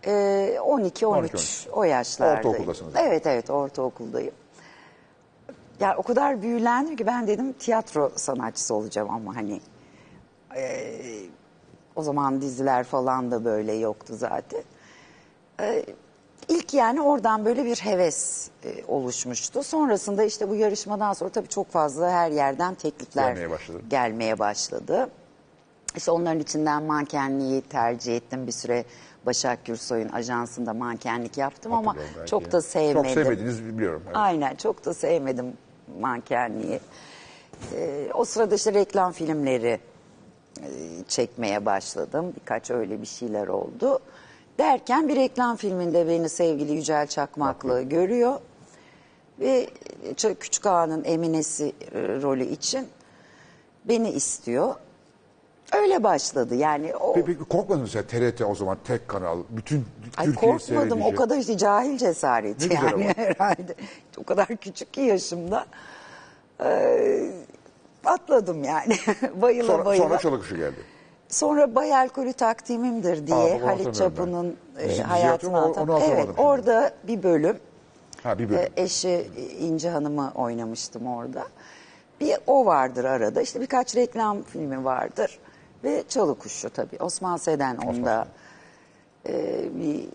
S7: Ee, 12, 13,
S2: 12.
S7: o yaşlardayım.
S2: Ortaokuldasınız.
S7: Evet evet ortaokuldayım. Ya o kadar büyülendim ki ben dedim tiyatro sanatçısı olacağım ama hani ee, o zaman diziler falan da böyle yoktu zaten. İlk yani oradan böyle bir heves e, oluşmuştu. Sonrasında işte bu yarışmadan sonra tabii çok fazla her yerden teklifler
S2: Gelmeye başladı.
S7: gelmeye başladı. İşte onların içinden mankenliği tercih ettim. Bir süre Başak Gürsoy'un ajansında mankenlik yaptım ama
S2: Hatırlıyorum belki.
S7: çok da sevmedim.
S2: Çok sevmediğinizi biliyorum. Evet.
S7: Aynen çok da sevmedim mankenliği. Ee, o sırada işte reklam filmleri e, çekmeye başladım. Birkaç öyle bir şeyler oldu. Derken bir reklam filminde beni sevgili Yücel Çakmaklı görüyor. Ve Ç- Küçük Ağa'nın Eminesi e, rolü için beni istiyor. Öyle başladı yani. O,
S2: Peki, peki korkmadınız mı sen TRT o zaman tek kanal bütün
S7: Ay
S2: Türkiye'yi
S7: korkmadım o
S2: seyredecek.
S7: kadar işte cahil cesareti
S2: Ne güzel
S7: yani
S2: ama.
S7: herhalde. [LAUGHS] O kadar küçük ki yaşımda. Ee, atladım yani [LAUGHS] bayıla
S2: Sonra,
S7: bayıla.
S2: sonra çalı kuşu geldi.
S7: Sonra bay alkolü takdimimdir diye
S2: Aa, bunu
S7: Halit
S2: hatırlıyorum ben.
S7: Çapı'nın
S2: Bizi-
S7: e,
S2: bizi
S7: hayatını
S2: yapıyor mu? Onu
S7: anlatan.
S2: hatırlamadım
S7: Evet
S2: şimdi.
S7: orada bir bölüm.
S2: Ha bir bölüm.
S7: E, Eşi İnci Hanım'ı oynamıştım orada. Bir o vardır arada. İşte birkaç reklam filmi vardır. Ve Çalı Kuşu tabii. Osman Seden onda e, bir,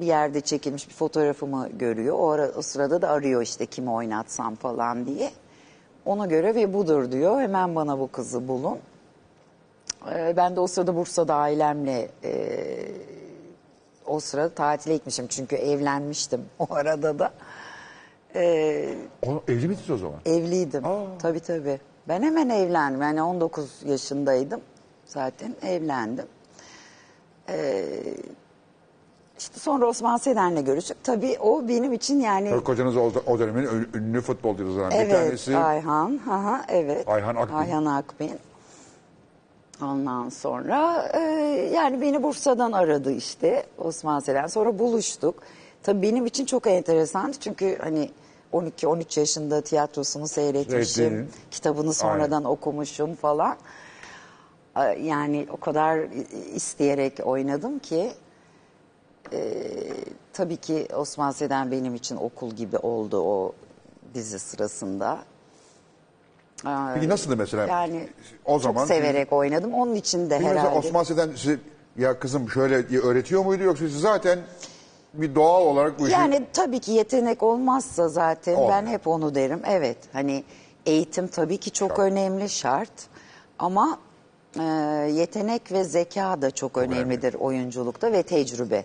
S7: bir yerde çekilmiş bir fotoğrafımı görüyor. O, ara, o sırada da arıyor işte kimi oynatsam falan diye. Ona göre ve budur diyor. Hemen bana bu kızı bulun. E, ben de o sırada Bursa'da ailemle e, o sırada tatile gitmişim. Çünkü evlenmiştim [LAUGHS] o arada da. Ee,
S2: O, evli misiniz o zaman?
S7: evliydim.
S2: Aa.
S7: Tabii tabii. Ben hemen evlendim. Yani 19 yaşındaydım. Zaten evlendim. Ee, işte sonra Osman Seden'le görüşüp tabii o benim için yani
S2: Tabii kocanız o, o dönemin ön- ünlü futbol yıldızlarından
S7: evet
S2: bir tanesi.
S7: Ayhan. Aha, evet.
S2: Ayhan Akbin.
S7: Ayhan Akbin. Ondan sonra e, yani beni Bursa'dan aradı işte Osman Selen. Sonra buluştuk. Tabii benim için çok enteresan çünkü hani 12-13 yaşında tiyatrosunu seyretmişim.
S2: Seyrettiğin.
S7: Kitabını sonradan okumuşum falan. E, Yani o kadar isteyerek oynadım ki e, tabii ki Osman Seden benim için okul gibi oldu o dizi sırasında. Aa,
S2: Peki nasıldı mesela?
S7: Yani
S2: o zaman
S7: çok severek oynadım. Onun için de
S2: Peki mesela
S7: herhalde.
S2: Osman Seden size ya kızım şöyle diye öğretiyor muydu yoksa siz zaten bir doğal olarak bu işi
S7: Yani tabii ki yetenek olmazsa zaten ben
S2: Olmuyor.
S7: hep onu derim. Evet hani eğitim tabii ki çok önemli şart ama e, yetenek ve zeka da çok önemlidir oyunculukta ve tecrübe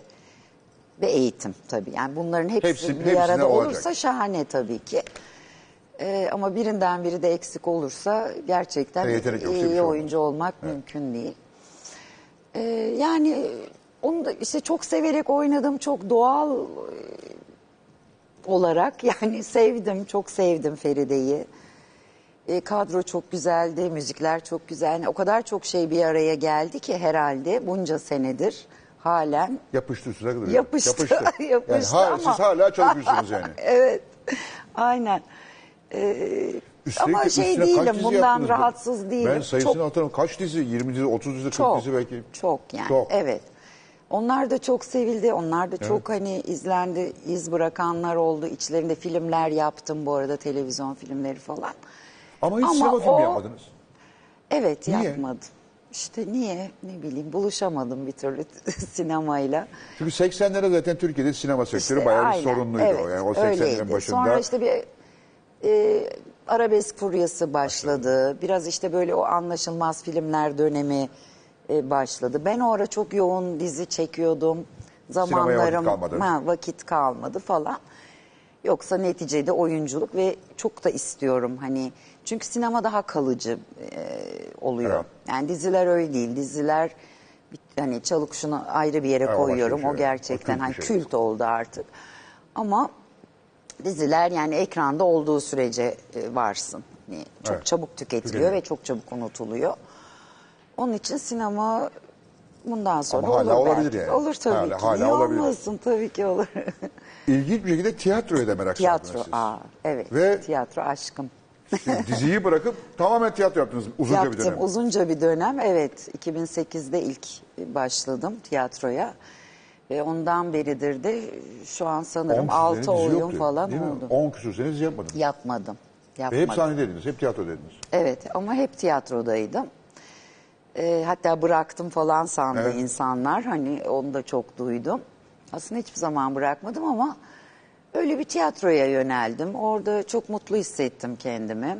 S7: ve eğitim tabii. Yani bunların hepsi
S2: Hepsi-
S7: bir
S2: hepsine
S7: arada
S2: olacak.
S7: olursa şahane tabii ki. E, ama birinden biri de eksik olursa gerçekten
S2: E, yetenek yoksa bir
S7: iyi
S2: şey olmaz.
S7: oyuncu olmak mümkün değil. E, yani onu da işte çok severek oynadım, çok doğal e, olarak [LAUGHS] yani sevdim çok sevdim Feride'yi. E, kadro çok güzeldi, müzikler çok güzel. Yani o kadar çok şey bir araya geldi ki herhalde bunca senedir halen
S2: yapıştı üstüne kadar.
S7: Yapıştı, [LAUGHS]
S2: yapıştı. yani
S7: yapıştı
S2: ha-
S7: ama-
S2: siz hala çalışıyorsunuz yani.
S7: [LAUGHS] evet aynen. E,
S2: Üstelik
S7: ama
S2: de
S7: şey
S2: üstüne kaç
S7: değilim
S2: dizi
S7: bundan
S2: yaptınız?
S7: rahatsız değilim.
S2: Ben sayısını
S7: Çok-
S2: hatırlamıyorum. Kaç dizi? 20 dizi, 30 dizi, 40
S7: çok,
S2: dizi belki.
S7: Çok yani
S2: Çok.
S7: evet. Onlar da çok sevildi. Onlar da çok hani izlendi, iz bırakanlar oldu. İçlerinde filmler yaptım bu arada televizyon filmleri falan.
S2: Ama hiç
S7: Ama
S2: sinema
S7: o-
S2: filmi yapmadınız.
S7: Evet
S2: Niye?
S7: yapmadım. İşte niye ne bileyim buluşamadım bir türlü [LAUGHS] sinemayla.
S2: Çünkü 80'lerde zaten Türkiye'de sinema sektörü
S7: İşte
S2: bayağı
S7: aynen,
S2: bir sorunluydu.
S7: evet,
S2: o. Yani o
S7: öyleydi.
S2: 80'lerin başında.
S7: Sonra işte bir e, arabesk furyası başladı. Biraz işte böyle o anlaşılmaz filmler dönemi e, başladı. Ben o ara çok yoğun dizi çekiyordum.
S2: vakit
S7: Zamanlarım
S2: kalmadı.
S7: Ha, vakit kalmadı falan. Yoksa neticede oyunculuk ve çok da istiyorum hani çünkü sinema daha kalıcı e, oluyor.
S2: Evet.
S7: Yani diziler öyle değil. Diziler bir- hani çalıkuşunu ayrı bir yere
S2: Evet, o başka
S7: koyuyorum.
S2: bir şey.
S7: O gerçekten
S2: O kült bir
S7: hani
S2: şey.
S7: kült oldu artık. Ama diziler yani ekranda olduğu sürece e, varsın. Yani çok
S2: Evet.
S7: çabuk tüketiliyor
S2: Tüketiliyor.
S7: ve çok çabuk unutuluyor. Onun için sinema bundan sonra
S2: Ama hala
S7: olur
S2: olabilir
S7: belki.
S2: yani.
S7: Olur tabii
S2: Hala-
S7: ki.
S2: hala
S7: Niye
S2: olabilir.
S7: olmasın tabii ki olur. [LAUGHS]
S2: İlginç bir şekilde tiyatroya da merak
S7: tiyatro.
S2: saldınız siz.
S7: Aa, evet.
S2: Ve-
S7: Tiyatro aşkım.
S2: Şimdi diziyi bırakıp tamamen tiyatro yaptınız uzunca
S7: Yaptım
S2: bir dönem.
S7: uzunca bir dönem. Evet 2008'de ilk başladım tiyatroya. Ve ondan beridir de şu an
S2: On
S7: sanırım
S2: küsür sene
S7: 6
S2: dizi
S7: oyun
S2: yoktu,
S7: falan
S2: değil mi?
S7: oldu.
S2: 10 küsür sene dizi yapmadınız.
S7: Yapmadım.
S2: Ve hep
S7: Yapmadım.
S2: sahnedeydiniz, hep tiyatro dediniz.
S7: Evet ama hep tiyatrodaydım. Ee, hatta bıraktım falan sandı
S2: Evet.
S7: insanlar. Hani onu da çok duydum. Aslında hiçbir zaman bırakmadım ama öyle bir tiyatroya yöneldim. Orada çok mutlu hissettim kendimi.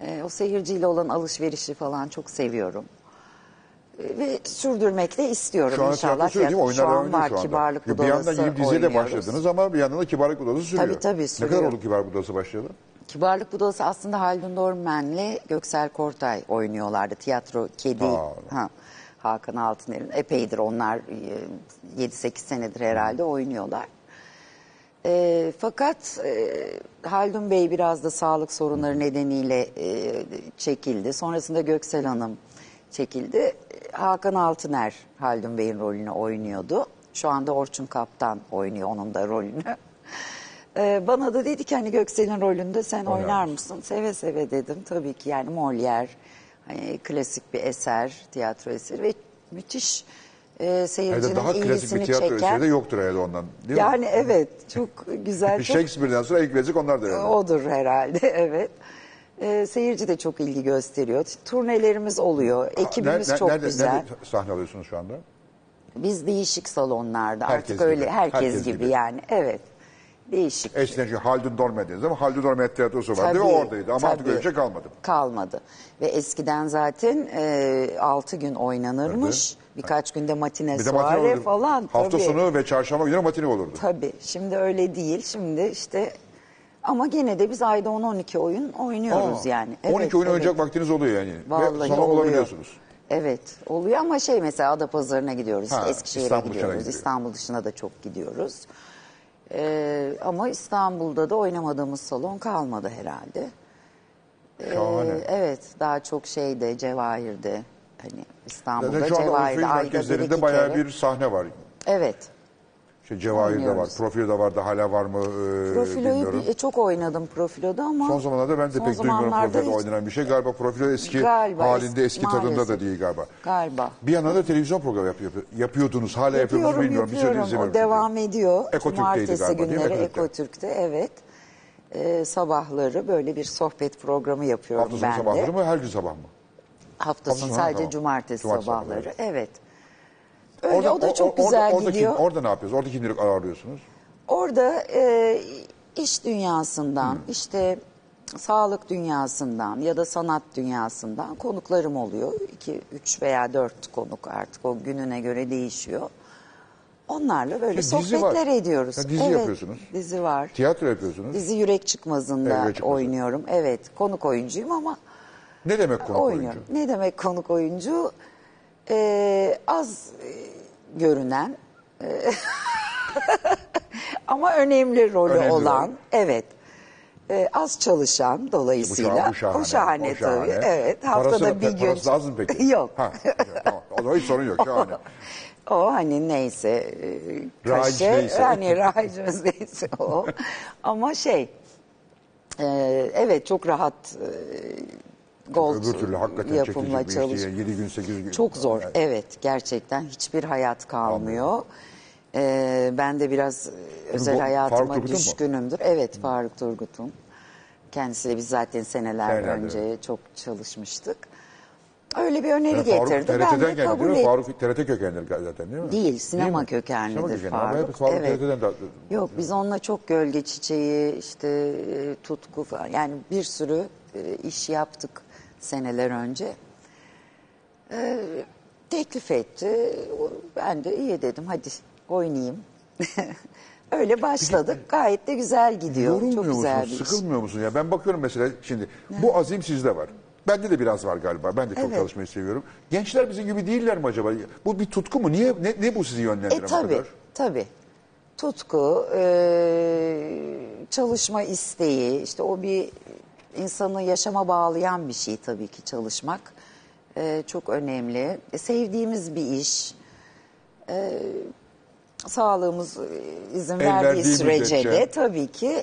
S7: Ee, o seyirciyle olan alışverişi falan çok seviyorum. Ee, Ve sürdürmek de istiyorum
S2: Şu an tiyatro
S7: inşallah.
S2: sürüyor değil mi? Oyunlar
S7: şu
S2: devam
S7: an
S2: ediyor
S7: var
S2: şu anda.
S7: kibarlık
S2: Ya
S7: budalası
S2: bir yandan gidip diziye de
S7: oynuyoruz.
S2: başladınız ama bir yandan da kibarlık budalası sürüyor.
S7: Tabii, tabii,
S2: Ne
S7: sürüyor.
S2: kadar oldu kibarlık budalası başlayalı?
S7: Kibarlık Budalası aslında Haldun Dormen'le Göksel Kortay oynuyorlardı. Tiyatro Kedi.
S2: Aa.
S7: Ha, Hakan Altıner'in epeydir onlar e, 7-8 senedir herhalde oynuyorlar. E, fakat e, Haldun Bey biraz da sağlık sorunları nedeniyle e, çekildi. Sonrasında Göksel Hanım çekildi. E, Hakan Altıner Haldun Bey'in rolünü oynuyordu. Şu anda Orçun Kaptan oynuyor onun da rolünü. E, bana da dedi ki hani Göksel'in rolünde sen oynar mısın? Seve seve dedim. Tabii ki yani Molière hani klasik bir eser, tiyatro eseri ve müthiş e, seyircinin
S2: Herhalde daha klasik bir
S7: ilgisini
S2: tiyatro
S7: çeken.
S2: eseri de yoktur herhalde ondan. Değil mi? şey
S7: Yani evet çok
S2: [LAUGHS]
S7: güzel. çok
S2: Shakespeare'den sonra ilk klasik onlar da herhalde.
S7: Odur herhalde [LAUGHS] evet. Ee, seyirci de çok ilgi gösteriyor. Turnelerimiz oluyor. Ekibimiz
S2: Ner- ner-
S7: çok
S2: nerede,
S7: güzel.
S2: Nerede sahne alıyorsunuz şu anda?
S7: Biz değişik salonlarda
S2: Herkes
S7: artık öyle
S2: gibi,
S7: herkes,
S2: herkes
S7: gibi.
S2: gibi.
S7: yani evet. Değişik.
S2: Eskiden şu Haldun Dorme dediniz ama Haldun Dorme tiyatrosu vardı ve
S7: Tabii,
S2: oradaydı. Ama artık
S7: tabii.
S2: öyle bir şey kalmadı.
S7: Kalmadı. Ve eskiden zaten e, 6 gün oynanırmış. Birkaç günde matine
S2: Bir de matine
S7: soiree
S2: olurdu.
S7: falan.
S2: Hafta
S7: tabii.
S2: sonu ve çarşamba günü matine olurdu.
S7: Tabii. Şimdi öyle değil. Şimdi işte ama gene de biz ayda 10-12 oyun oynuyoruz
S2: Aa,
S7: yani.
S2: 12
S7: Evet,
S2: oyun
S7: evet.
S2: oynayacak vaktiniz oluyor yani. ve
S7: Vallahi
S2: salon
S7: oluyor.
S2: bulabiliyorsunuz.
S7: Evet oluyor ama şey mesela Adapazarı'na gidiyoruz,
S2: Ha,
S7: Eskişehir'e
S2: İstanbul dışına
S7: gidiyoruz,
S2: gidiyor.
S7: İstanbul dışına da çok gidiyoruz. Ee, ama İstanbul'da da oynamadığımız salon kalmadı herhalde.
S2: Şahane.
S7: Ee, evet daha çok şeyde Cevahir'de hani İstanbul'da
S2: Zaten şu anda oyun
S7: Cevahir'de ayda bir
S2: merkezlerinde
S7: iki
S2: bayağı
S7: kere.
S2: bir sahne var.
S7: Evet.
S2: İşte Cevahir'de var,
S7: Oynuyoruz.
S2: Profilo'da vardı, hala var mı e,
S7: Profiloyu
S2: bilmiyorum.
S7: bir, e, çok oynadım profiloda ama
S2: Son zamanlarda ben de
S7: son
S2: pek duymuyorum
S7: zamanlarda
S2: Profilo'da
S7: hiç-
S2: oynanan bir şey. Galiba Profilo eski
S7: Galiba
S2: halinde,
S7: eski-
S2: eski tadında da
S7: maalesef.
S2: değil galiba.
S7: Galiba.
S2: Bir yandan da televizyon programı yapıyor, yapıyordunuz, hala yapıyor musunuz
S7: Yapıyorum
S2: bilmiyorum. Bir şey süre
S7: yapıyorum.
S2: izlemiyorum
S7: O
S2: çünkü.
S7: devam ediyor.
S2: Ekotürk'teydi
S7: Cumartesi
S2: galiba, değil mi?
S7: günleri
S2: Ekotürk'te.
S7: Ekotürk'te evet. e, sabahları böyle bir sohbet programı yapıyorum
S2: Hafta
S7: ben
S2: sonu
S7: de.
S2: sabahları mı her gün sabah mı?
S7: Hafta sonu
S2: Hafta sonu,
S7: sadece
S2: tamam.
S7: cumartesi,
S2: Cumartesi
S7: sabahları.
S2: sabahları.
S7: Evet. Öyle
S2: Orada-
S7: o da çok
S2: orada-
S7: güzel
S2: orada
S7: gidiyor.
S2: Kim, orada ne yapıyorsunuz? Orada kimleri arıyorsunuz?
S7: Orada e, iş dünyasından, işte sağlık dünyasından ya da sanat dünyasından konuklarım oluyor. 2, 3 veya 4 konuk artık o gününe göre değişiyor. Onlarla böyle
S2: Ya dizi var.
S7: sohbetler ediyoruz.
S2: Ya dizi
S7: evet,
S2: yapıyorsunuz.
S7: Dizi var.
S2: Tiyatro yapıyorsunuz.
S7: Dizi Yürek Çıkmazı'nda
S2: Evet, Yürek Çıkmazı.
S7: oynuyorum. Evet, konuk oyuncuyum ama
S2: Ne demek konuk oyuncu?
S7: oynuyorum. Ne demek konuk oyuncu? Ee, az e, görünen e, [LAUGHS] ama önemli rolü
S2: Önemli
S7: olan.
S2: rol.
S7: Evet. Ee, az çalışan dolayısıyla.
S2: Bu şahane.
S7: O
S2: bu
S7: şahane tabii. Evet.
S2: Parası-
S7: Haftada bir
S2: pe-
S7: gün.
S2: Parası lazım peki?
S7: [LAUGHS] Yok.
S2: Ha, tamam. O zaman hiç sorun yok.
S7: [LAUGHS]
S2: Şahane.
S7: O hani neyse e,
S2: Rayiç
S7: kaşe,
S2: neyse.
S7: hani rayicimiz neyse
S2: [LAUGHS]
S7: o. Ama şey e, evet çok rahat e, gold
S2: Öbür türlü hakikaten
S7: yapımla
S2: çekilecek bir iş
S7: çalış.
S2: değil. 7 gün 8 gün.
S7: Çok zor.
S2: Yani
S7: Evet gerçekten hiçbir hayat kalmıyor. E, ben de biraz e, özel
S2: bu Faruk
S7: hayatıma
S2: Turgut'un mu?
S7: düşkünümdür. Evet Faruk Turgut'un. Kendisiyle biz zaten seneler
S2: Senelerdir,
S7: önce çok çalışmıştık. Öyle bir öneri
S2: Ee, Faruk
S7: getirdi. ben de
S2: TRT'den geldi
S7: kabul
S2: değil mi?
S7: ettim.
S2: Faruk TRT kökenli zaten değil mi?
S7: Değil, sinema
S2: mi?
S7: kökenlidir
S2: Sinema ama
S7: Faruk.
S2: hep Faruk
S7: Evet.
S2: TRT'den de...
S7: Yok biz onunla çok gölge çiçeği işte e, tutku falan yani bir sürü e, iş yaptık seneler önce. Ee, teklif etti. O- Ben de iyi dedim hadi oynayayım. [LAUGHS] Öyle başladık. Gayet de güzel gidiyor.
S2: e, Yorulmuyor
S7: çok güzel
S2: musun?
S7: bir iş.
S2: Sıkılmıyor musun? Ya ben bakıyorum mesela şimdi bu azim sizde var. Bende de biraz var galiba. Ben de çok
S7: Evet.
S2: çalışmayı seviyorum. Gençler bizim gibi değiller mi acaba? Bu bir tutku mu? Niye ne, ne bu sizi yönlendiren
S7: E tabi
S2: kadar?
S7: tabi. Tutku, e, çalışma isteği, işte o bir insanı yaşama bağlayan bir şey tabii ki çalışmak. E, çok önemli. E, sevdiğimiz bir iş. E, sağlığımız e, izin
S2: El
S7: verdiği
S2: verdiği
S7: sürece
S2: müddetçe.
S7: de tabii ki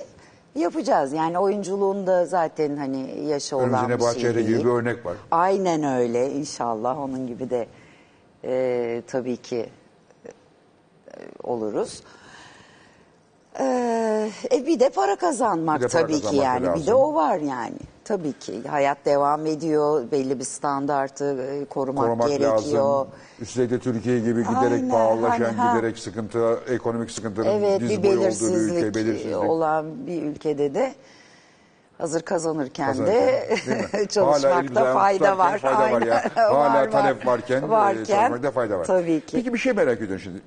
S7: yapacağız. Yani oyunculuğun da zaten hani yaşı olan
S2: Önümüzde
S7: bir şey
S2: Bahçeli
S7: değil.
S2: gibi bir örnek var.
S7: Aynen öyle inşallah onun gibi de e, tabii ki e, oluruz. Ee, E, bir de para kazanmak
S2: Bir de para
S7: tabii ki
S2: kazanmak
S7: yani
S2: lazım.
S7: bir de o var yani tabii ki hayat devam ediyor belli bir standartı e, korumak,
S2: Korumak
S7: gerekiyor.
S2: lazım. Üstelik de Türkiye gibi giderek
S7: Aynen,
S2: pahalılaşan,
S7: hani, ha.
S2: giderek sıkıntı, ekonomik sıkıntının
S7: Evet
S2: diz
S7: bir
S2: boyu olduğu bir
S7: belirsizlik,
S2: ülke, belirsizlik.
S7: olan bir ülkede de hazır kazanırken, [LAUGHS]
S2: Kazanırken, değil
S7: de
S2: mi? Hala
S7: çalışmakta
S2: elimizden
S7: fayda var.
S2: tutarken Fayda var ya.
S7: Aynen,
S2: Hala
S7: [LAUGHS] var, var.
S2: talep varken, e, çalışmakta fayda var.
S7: Tabii ki.
S2: Peki bir şey merak ediyorum şimdi.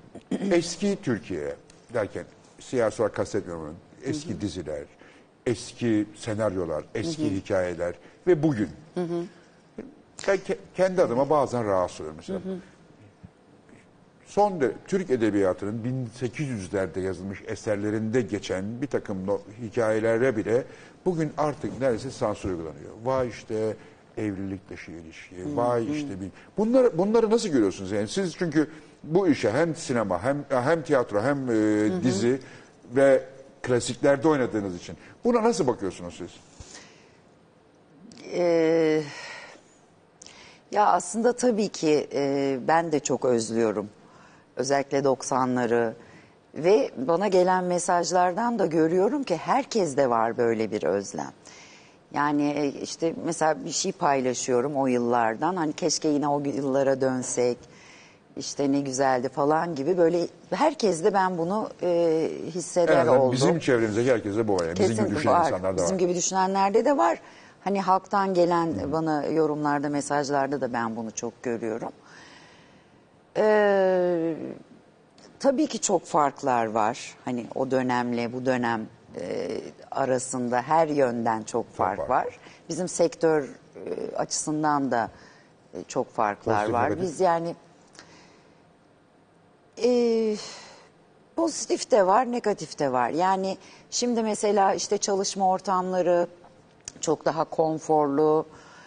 S2: [CLEARS THROAT] Eski Türkiye derken siyasi olarak kastetmiyorum onu. Eski diziler, eski senaryolar, eski hikayeler ve bugün. Ben ke- kendi adıma bazen rahatsız oluyorum mesela. Son de Türk edebiyatının 1800'lerde yazılmış eserlerinde geçen bir takım no- hikayelere bile bugün artık neredeyse sansür uygulanıyor. Vay işte evlilik dışı ilişki, vay işte bir... Bunları, bunları nasıl görüyorsunuz? Yani siz çünkü bu işe hem sinema hem hem tiyatro hem e, dizi ve klasiklerde oynadığınız için buna nasıl bakıyorsunuz siz?
S7: Ee, ya aslında tabii ki e, ben de çok özlüyorum. Özellikle 90'ları ve bana gelen mesajlardan da görüyorum ki herkes de var böyle bir özlem. Yani e, işte mesela bir şey paylaşıyorum o yıllardan hani keşke yine o yıllara dönsek işte ne güzeldi falan gibi böyle herkes de ben bunu e, hisseder
S2: En azından
S7: oldu.
S2: bizim çevremizdeki herkese bu var. Yani. Bizim gibi
S7: Kesinlikle
S2: düşünen
S7: var.
S2: insanlar da var.
S7: Bizim gibi düşünenlerde de var. Hani halktan gelen bana yorumlarda, mesajlarda da ben bunu çok görüyorum. Ee, tabii ki çok farklar var. Hani o dönemle bu dönem e, arasında her yönden çok fark
S2: var.
S7: var. Bizim sektör e, açısından da e, çok farklar
S2: Pozitif,
S7: var.
S2: negatif.
S7: Biz yani e, pozitif de var, negatif de var. Yani şimdi mesela işte çalışma ortamları çok daha konforlu.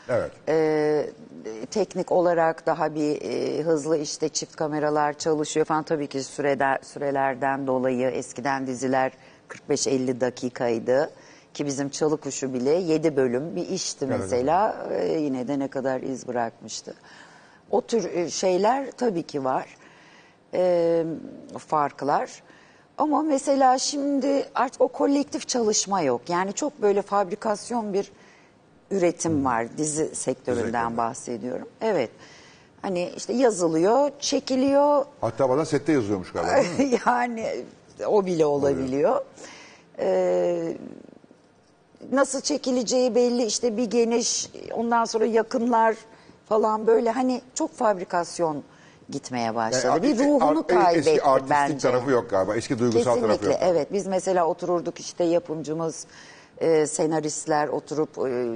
S2: Evet.
S7: Ee, teknik olarak daha bir e, hızlı işte çift kameralar çalışıyor falan tabii ki sürede, sürelerden dolayı eskiden diziler 45-50 dakikaydı ki bizim Çalıkuşu bile 7 bölüm bir işti
S2: Evet,
S7: mesela Ee, yine de ne kadar iz bırakmıştı. O tür e, şeyler tabii ki var Ee, E, farklar Ama mesela şimdi artık o kolektif çalışma yok. Yani çok böyle fabrikasyon bir üretim var dizi sektöründen bahsediyorum. Evet. Hani işte yazılıyor, çekiliyor,
S2: Hatta bazen sette yazıyormuş
S7: [LAUGHS]
S2: galiba. değil mi?
S7: yani o bile olabiliyor. Ee, nasıl çekileceği belli işte bir geniş ondan sonra yakınlar falan böyle hani çok fabrikasyon gitmeye başladı.
S2: Yani
S7: bir
S2: artistik-
S7: ruhunu
S2: ar-
S7: kaybetti
S2: Eski artistik
S7: bence.
S2: tarafı yok galiba. Eski duygusal tarafı
S7: Kesinlikle
S2: yok.
S7: evet biz mesela otururduk işte yapımcımız e, senaristler oturup e,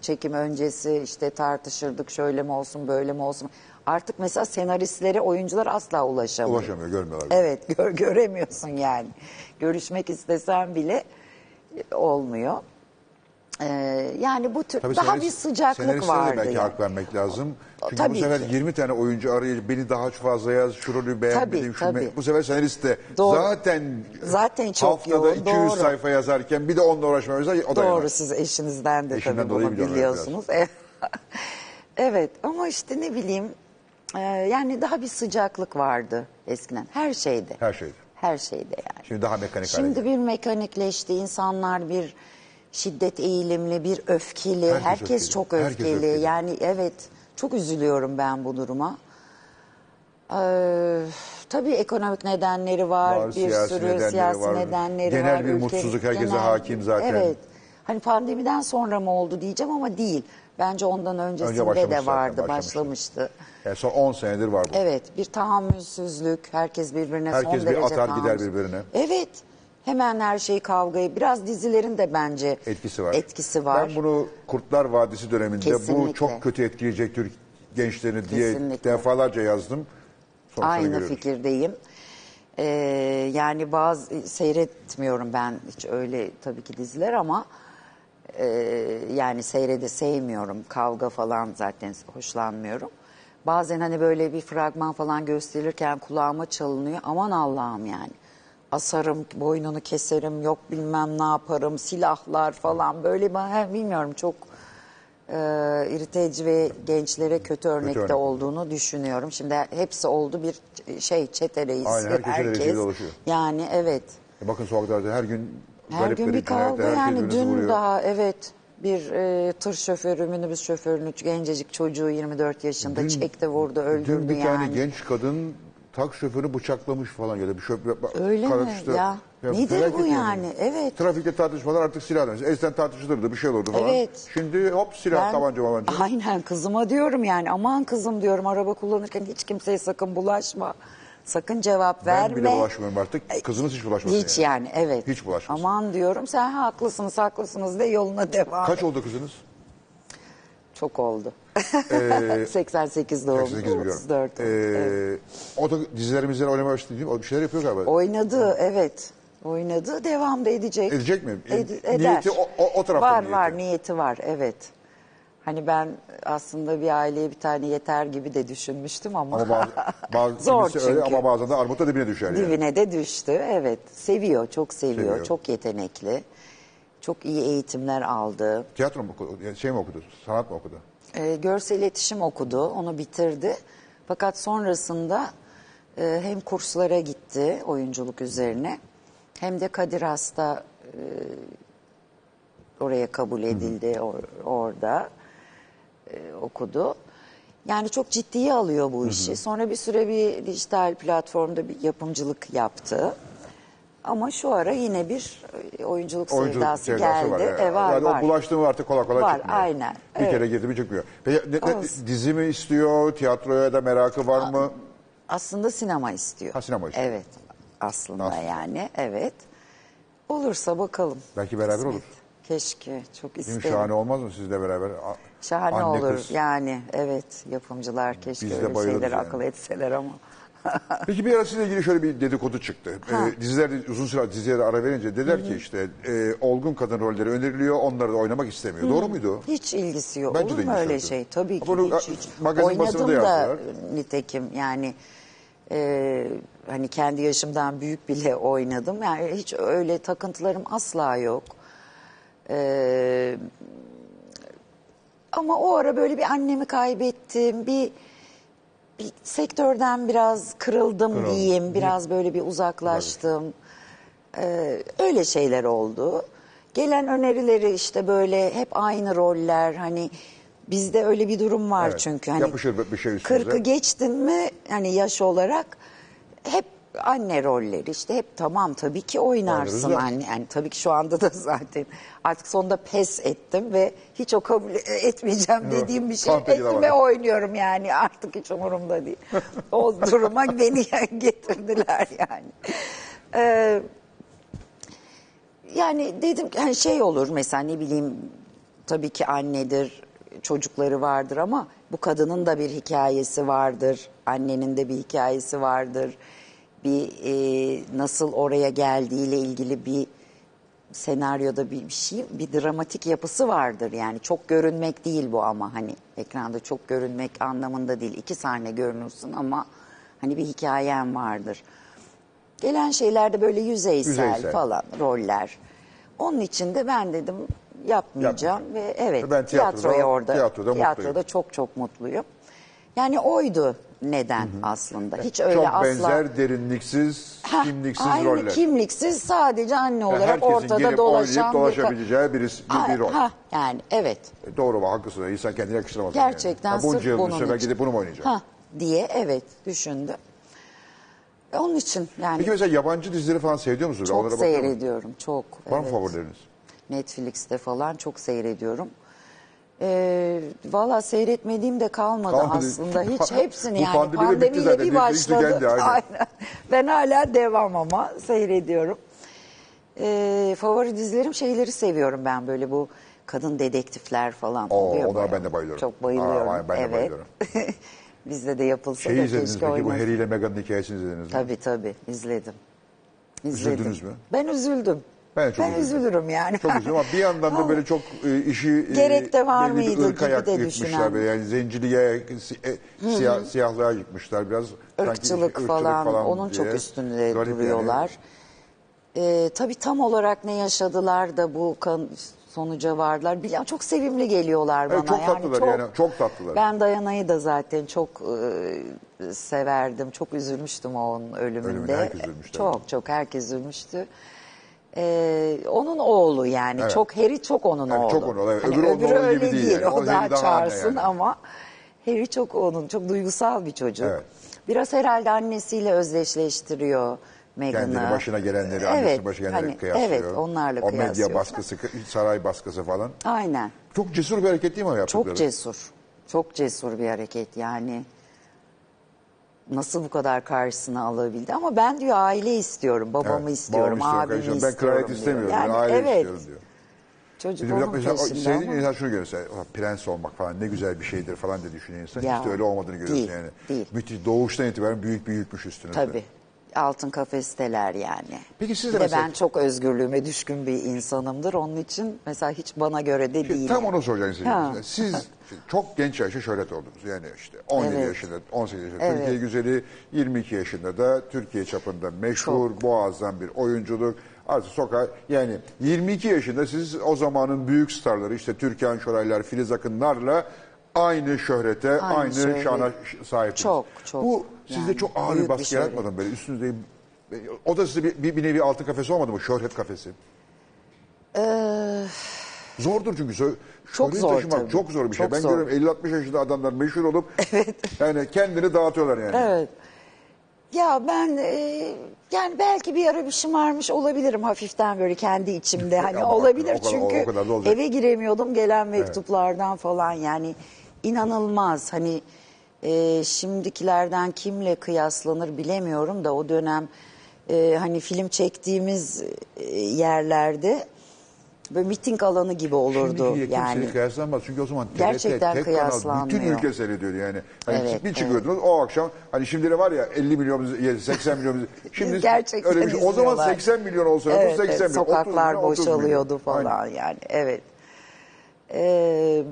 S7: çekim öncesi işte tartışırdık şöyle mi olsun böyle mi olsun. Artık mesela senaristlere oyuncular asla ulaşamıyor.
S2: Ulaşamıyor, görmüyorlar.
S7: Evet [LAUGHS] gö- göremiyorsun yani. Görüşmek istesen bile e, olmuyor. Ee, yani bu tür daha
S2: senarist-
S7: bir sıcaklık
S2: senaristlere de
S7: vardı.
S2: belki
S7: yani.
S2: hak vermek lazım. Çünkü
S7: Tabii
S2: bu sefer
S7: ki.
S2: 20 tane oyuncu arayıp beni daha fazla yaz, şu rolü beğenmedim. şu
S7: tabii.
S2: me- Bu sefer senarist de
S7: Doğru.
S2: zaten,
S7: Zaten çok
S2: haftada
S7: yoğun,
S2: 200
S7: doğru.
S2: sayfa yazarken bir de onunla uğraşmamız lazım. O da
S7: Doğru
S2: yanar.
S7: siz eşinizden de
S2: Eşimden
S7: tabii
S2: dolayı
S7: bunu
S2: biliyorum
S7: biliyorsunuz. [LAUGHS] evet ama işte ne bileyim e, yani daha bir sıcaklık vardı eskiden her şeyde.
S2: Her şey. şeyde.
S7: Her şeyde yani.
S2: Şimdi daha mekanik hale
S7: Şimdi
S2: geldi.
S7: bir mekanikleşti insanlar bir şiddet eğilimli bir öfkeli herkes,
S2: Herkes öfkeli.
S7: çok
S2: Herkes
S7: öfkeli.
S2: öfkeli.
S7: yani evet çok üzülüyorum ben bu duruma. Ee, tabii ekonomik nedenleri var,
S2: Var,
S7: bir
S2: siyasi
S7: sürü
S2: nedenleri
S7: siyasi
S2: var.
S7: nedenleri
S2: Genel
S7: var.
S2: bir
S7: ülkenin
S2: mutsuzluk herkese hakim zaten.
S7: Evet. Hani pandemiden sonra mı oldu diyeceğim ama değil. Bence ondan öncesinde
S2: başlamış
S7: de
S2: zaten,
S7: vardı,
S2: başlamıştı.
S7: başlamıştı.
S2: Yani son 10 senedir var bu.
S7: Evet, bir tahammülsüzlük, herkes birbirine son
S2: Herkes bir
S7: derece
S2: atar gider
S7: tahammülsüz.
S2: birbirine.
S7: Evet, hemen her şeyi kavgayı, biraz dizilerin de bence
S2: Etkisi var.
S7: Etkisi var.
S2: Ben bunu Kurtlar Vadisi döneminde bu
S7: Kesinlikle.
S2: çok kötü etkileyecek Türk gençlerini diye
S7: Kesinlikle.
S2: defalarca yazdım. Sonuçları
S7: Aynı
S2: görüyoruz.
S7: fikirdeyim. Ee, yani bazı seyretmiyorum ben hiç öyle tabii ki diziler ama e, yani seyrede sevmiyorum. Kavga falan zaten hoşlanmıyorum. Bazen hani böyle bir fragman falan gösterirken kulağıma çalınıyor. Aman Allah'ım yani. Asarım, boynunu keserim, yok bilmem ne yaparım, silahlar falan böyle ben he, bilmiyorum çok e, iriteci ve gençlere kötü örnekte
S2: örnek.
S7: olduğunu düşünüyorum. Şimdi hepsi oldu bir şey çeteleyiz.
S2: Aynen, herkes öyle bir
S7: herkes.
S2: şeyle uğraşıyor.
S7: Yani evet.
S2: E Bakın sokaklarda her gün
S7: Her
S2: garip
S7: gün
S2: garip
S7: bir kavga
S2: cinayetler, herkes
S7: yani
S2: birbirini
S7: dün
S2: vuruyor.
S7: daha evet bir e, tır şoförü minibüs şoförünü gencecik çocuğu 24 yaşında
S2: Dün-
S7: çekti vurdu öldürdü
S2: Dün bir
S7: yani.
S2: tane genç kadın tak şoförü bıçaklamış falan ya da bir şoför
S7: Öyle mi?
S2: karıştı.
S7: Ya, nedir
S2: felaket
S7: bu yani? Evet.
S2: Trafikte tartışmalar artık silah dönüşü. Eskiden tartışılırdı bir şey olurdu falan.
S7: Evet.
S2: Şimdi hop silah
S7: Ben-
S2: tabanca tabanca.
S7: Aynen kızıma diyorum yani aman kızım diyorum araba kullanırken hiç kimseye sakın bulaşma. Sakın cevap
S2: Ben
S7: verme.
S2: bile bulaşmıyorum artık. Kızımız hiç bulaşmasın
S7: Hiç yani, evet.
S2: Hiç bulaşmasın.
S7: Aman diyorum sen haklısınız haklısınız de yoluna devam.
S2: Kaç
S7: et.
S2: oldu kızınız?
S7: Çok oldu.
S2: Ee,
S7: 88 doğumlu.
S2: 88 biliyorum.
S7: 34
S2: Ee,
S7: oldu. evet.
S2: O da dizilerimizde oynamaya başladı değil mi? O bir şeyler yapıyor galiba.
S7: Oynadı evet. Oynadı devam da edecek.
S2: Edecek mi?
S7: Ed-
S2: E,
S7: eder.
S2: niyeti o- o- o tarafta
S7: Var
S2: mı
S7: var
S2: niyeti?
S7: niyeti var evet. Hani ben aslında bir aileye bir tane yeter gibi de düşünmüştüm ama,
S2: Ama bazı, bazı
S7: zor
S2: kimisi
S7: çünkü.
S2: öyle ama bazen de armuta dibine düşer yani.
S7: [LAUGHS] Dibine de düştü evet. Seviyor çok seviyor,
S2: Seviyor.
S7: çok yetenekli. Çok iyi eğitimler aldı.
S2: Tiyatro mu okudu? Şey mi okudu? Sanat mı okudu?
S7: E, görsel iletişim okudu, onu bitirdi. Fakat sonrasında e, hem kurslara gitti oyunculuk üzerine hem de Kadir Has'ta e, oraya kabul edildi or- orada e, okudu. Yani çok ciddiye alıyor bu işi. Sonra bir süre bir dijital platformda bir yapımcılık yaptı. Ama şu ara yine bir e, oyunculuk, sevdası, geldi.
S2: yani.
S7: E, var,
S2: yani
S7: var.
S2: O bulaştığı artık kolay kolay
S7: Var,
S2: çıkmıyor.
S7: aynen.
S2: Bir
S7: Evet.
S2: kere girdi mi çıkmıyor. Peki ne- ne-
S7: Olsun.
S2: dizi mi istiyor? Tiyatroya da merakı var mı?
S7: Aslında sinema istiyor.
S2: Ha, sinema istiyor.
S7: Evet. Aslında
S2: Aslında.
S7: yani evet. Olursa bakalım.
S2: Belki beraber olur.
S7: Keşke çok
S2: Değil mi?
S7: isterim.
S2: Şahane olmaz mı sizle beraber? A-
S7: Şahane
S2: anne
S7: olur
S2: kız.
S7: yani evet yapımcılar keşke
S2: Biz de
S7: öyle
S2: bayılırız
S7: şeyler
S2: yani.
S7: akıl etseler ama.
S2: Peki bir ara sizle ilgili şöyle bir dedikodu çıktı. Ee, diziler uzun süre dizilere ara verince dediler ki işte e, olgun kadın rolleri öneriliyor. Onları da oynamak istemiyor. Doğru muydu?
S7: Hiç ilgisi yok.
S2: Bence de
S7: Olur mu
S2: ilgisi
S7: öyle
S2: yok.
S7: şey? Tabii ki
S2: Bunu,
S7: hiç,
S2: e,
S7: hiç.
S2: magazin
S7: Oynadım
S2: basını da
S7: da
S2: yazdılar.
S7: nitekim yani e, hani kendi yaşımdan büyük bile oynadım. Yani hiç öyle takıntılarım asla yok. E, ama o ara böyle bir annemi kaybettim. Bir bir sektörden biraz kırıldım diyeyim. Biraz böyle bir uzaklaştım. Ee, öyle şeyler oldu. Gelen önerileri işte böyle hep aynı roller hani bizde öyle bir durum var
S2: Evet,
S7: çünkü hani
S2: yapışır bir- bir şey üstünüze.
S7: 40'ı geçtin mi hani yaş olarak hep anne rolleri işte hep tamam tabii ki oynarsın
S2: Oynarız da.
S7: anne yani tabii ki şu anda da [LAUGHS] zaten artık sonunda pes ettim ve hiç o kabul e, etmeyeceğim dediğim bir şey
S2: Tam peki de
S7: ettim
S2: var.
S7: ve oynuyorum yani artık hiç umurumda değil. o duruma [LAUGHS] beni getirdiler yani. Ee, yani dedim ki hani şey olur mesela ne bileyim tabii ki annedir çocukları vardır ama bu kadının da bir hikayesi vardır. Annenin de bir hikayesi vardır. Bir e, nasıl oraya geldiğiyle ilgili bir senaryoda bir, bir şey bir dramatik yapısı vardır yani çok görünmek değil bu ama hani ekranda çok görünmek anlamında değil iki sahne görünürsün ama hani bir hikayen vardır. Gelen şeyler de böyle yüzeysel,
S2: Yüzeysel.
S7: falan roller. Onun için de ben dedim yapmayacağım ve evet
S2: Ben tiyatroda-
S7: tiyatroya orada
S2: tiyatroda mutluyum.
S7: çok çok mutluyum. Yani oydu neden aslında hiç öyle
S2: Çok
S7: asla
S2: benzer, derinliksiz,
S7: Heh,
S2: kimliksiz
S7: aynı
S2: roller.
S7: kimliksiz sadece anne
S2: Yani
S7: olarak
S2: herkesin
S7: ortada
S2: gelip
S7: dolaşan
S2: oynayıp
S7: bir ka-
S2: dolaşabileceği birisi, bir, bir rol.
S7: Ha, yani evet.
S2: E, Doğru mu? Haklısın. İnsan kendine yakıştıramaz. onu
S7: Gerçekten
S2: Yani. Ha, bunca
S7: sırf
S2: yıl bu
S7: bunun
S2: sefer
S7: için.
S2: gidip bunu mu oynayacağım?
S7: Ha diye evet düşündüm. E, Onun için yani
S2: Peki mesela yabancı dizileri falan seviyor musunuz?
S7: çok
S2: Onlara bakıyor musunuz?
S7: seyrediyorum çok.
S2: Var mı
S7: evet.
S2: favorileriniz?
S7: Netflix'te falan çok seyrediyorum. Ee, Valla seyretmediğim de kalmadı
S2: Kalmadı.
S7: aslında hiç hepsini
S2: Bu
S7: yani
S2: pandemi de bitti
S7: pandemiyle
S2: zaten.
S7: bir
S2: Netflix'te
S7: başladı. [LAUGHS]
S2: geldi, aynen.
S7: Ben hala devam ama seyrediyorum. Ee, favori dizilerim şeyleri seviyorum ben böyle bu kadın dedektifler falan.
S2: Oo,
S7: oluyor
S2: ona
S7: bayağı.
S2: ben de bayılıyorum.
S7: Çok bayılıyorum.
S2: Aa, ben de
S7: evet.
S2: bayılıyorum.
S7: [LAUGHS] Bizde de yapılsa
S2: Şeyi
S7: da
S2: Şey izlediniz
S7: keşke
S2: peki bu
S7: oynasa.
S2: Harry ile Meghan'ın hikayesini izlediniz mi?
S7: Tabii tabii izledim.
S2: Üzüldünüz mü?
S7: Ben üzüldüm.
S2: Ben de çok üzüldüm.
S7: üzülürüm yani.
S2: Çok üzüldüm ama bir yandan
S7: [LAUGHS]
S2: da böyle çok e, işi e,
S7: Gerek de var
S2: belli bir
S7: mıydı
S2: ırka
S7: gibi
S2: yak-
S7: de
S2: yıkmışlar
S7: düşünen.
S2: böyle. Yani zenciliğe, si- e, siyah, siyahlığa yıkmışlar biraz. Sanki
S7: ırkçılık
S2: ırkçılık
S7: falan, onun çok
S2: diye.
S7: üstünde
S2: Garip yani.
S7: duruyorlar. Ee, tabii tam olarak ne yaşadılar da bu kan sonuca vardılar. Bila çok sevimli geliyorlar bana.
S2: Evet, çok tatlılar yani, çok tatlılar.
S7: Ben Dayana'yı da zaten çok e, severdim. Çok üzülmüştüm onun ölümünde.
S2: Ölümüne herkes üzülmüş tabii.
S7: Çok çok herkes üzülmüştü. Ee, onun oğlu yani
S2: Evet.
S7: çok Harry çok onun
S2: Yani
S7: oğlu.
S2: çok onun oğlu, evet.
S7: Hani
S2: Öbürü onun oğlu
S7: öyle
S2: gibi değil yani.
S7: O
S2: O
S7: daha
S2: Harry daha anne
S7: çağırsın
S2: yani.
S7: ama Harry çok onun çok duygusal bir çocuk.
S2: Evet.
S7: Biraz herhalde annesiyle özdeşleştiriyor Meghan'ı.
S2: Kendini başına gelenleri,
S7: evet,
S2: annesinin başına gelenleri
S7: hani,
S2: kıyaslıyor.
S7: Evet onlarla
S2: O
S7: kıyaslıyor.
S2: medya baskısı, saray baskısı falan.
S7: Aynen.
S2: Çok cesur bir hareket değil mi o yaptıkları?
S7: Çok cesur. Çok cesur bir hareket yani. Nasıl bu kadar karşısına alabildi ama ben diyor aile istiyorum, babamı
S2: Evet,
S7: istiyorum,
S2: babamı
S7: abimi
S2: kardeşim.
S7: istiyorum.
S2: Ben kraliyet
S7: diyor.
S2: istemiyorum,
S7: Yani,
S2: ben aile
S7: evet,
S2: istiyorum diyor. şey
S7: Çocuk
S2: Şimdi bir
S7: onun
S2: dakika, insan,
S7: peşinde
S2: sevdiğin
S7: ama.
S2: insan şunu görürse, prens olmak falan ne güzel bir şeydir falan diye düşünüyor insan.
S7: Ya,
S2: Hiç de öyle olmadığını görüyorsun
S7: değil,
S2: yani.
S7: değil.
S2: Müthiş, doğuştan itibaren büyük büyükmüş üstünüzde.
S7: Tabii. Altın kafesteler yani.
S2: Peki siz de
S7: bir de
S2: mesela-
S7: ben çok özgürlüğüme düşkün bir insanımdır. Onun için mesela hiç bana göre de
S2: Şimdi
S7: değil.
S2: tam
S7: yani.
S2: onu soracaksın.
S7: Ha.
S2: Siz çok genç yaşta şöhret oldunuz. Yani işte 17
S7: Evet.
S2: yaşında, 18 yaşında
S7: Evet.
S2: Türkiye güzeli, 22 yaşında da Türkiye çapında meşhur, boğazdan bir oyunculuk. Artık sokağa yani 22 yaşında siz o zamanın büyük starları işte Türkan Şoraylar, Filiz Akınlarla aynı şöhrete, aynı,
S7: Aynı şöhret.
S2: şana ş- sahipsiniz.
S7: Çok, çok.
S2: Bu sizde
S7: Yani
S2: çok ağır bir
S7: büyük bir
S2: baskı
S7: şöhret.
S2: yaratmadı mı böyle üstünüzde? O da size bir, bir, bir nevi altın kafesi olmadı mı? Şöhret kafesi. Zordur çünkü. sö-
S7: Çok
S2: şöhret
S7: zor
S2: taşımak
S7: tabii.
S2: çok zor bir şey.
S7: Çok
S2: ben
S7: zor.
S2: görüyorum 50-60 yaşında adamlar meşhur olup
S7: [LAUGHS]
S2: yani kendini dağıtıyorlar yani.
S7: Evet. Ya ben e, yani belki bir ara bir şımarmış olabilirim hafiften böyle kendi içimde hani
S2: Ama
S7: olabilir
S2: o kadar-
S7: çünkü
S2: o kadar da olacak.
S7: eve giremiyordum gelen mektuplardan falan yani inanılmaz hani e, şimdikilerden kimle kıyaslanır bilemiyorum da o dönem e, hani film çektiğimiz e, yerlerde böyle miting alanı gibi olurdu
S2: Şimdikiyle kimseyle
S7: yani.
S2: kıyaslanmaz. Çünkü o zaman TRT,
S7: Gerçekten
S2: tek kanal, bütün
S7: kıyaslanmıyor.
S2: ülke seyrediyor yani. Hani
S7: Evet,
S2: bir
S7: evet.
S2: çıkıyordunuz o akşam hani şimdi de var ya 50 milyon, ya 80
S7: [LAUGHS]
S2: milyon. Şimdi
S7: Gerçekten
S2: öyle bir şey. O zaman
S7: izliyorlar.
S2: 80 milyon olsa
S7: Evet,
S2: evet, 80 milyon.
S7: evet,
S2: 30 milyon,
S7: sokaklar
S2: 30 milyon.
S7: boşalıyordu falan
S2: Aynen.
S7: yani evet. Ee,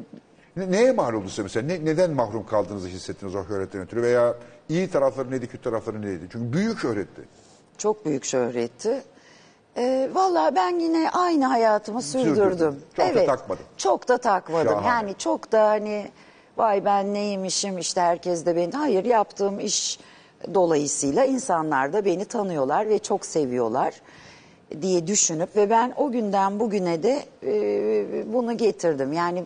S2: Ne- Neye mahrum oldunuz mesela? Ne- neden mahrum kaldığınızı hissettiniz o şöhretten ötürü? Veya iyi tarafları neydi, kötü tarafları neydi? Çünkü büyük şöhretti.
S7: çok büyük şöhretti. Ee, Valla ben yine aynı hayatımı sürdürdüm.
S2: Sürdürdün. Çok da
S7: evet,
S2: takmadın.
S7: Çok da takmadım.
S2: Şahane.
S7: Yani çok da hani vay ben neymişim işte herkes de beni. Hayır yaptığım iş dolayısıyla insanlar da beni tanıyorlar ve çok seviyorlar diye düşünüp ve ben o günden bugüne de e, bunu getirdim. Yani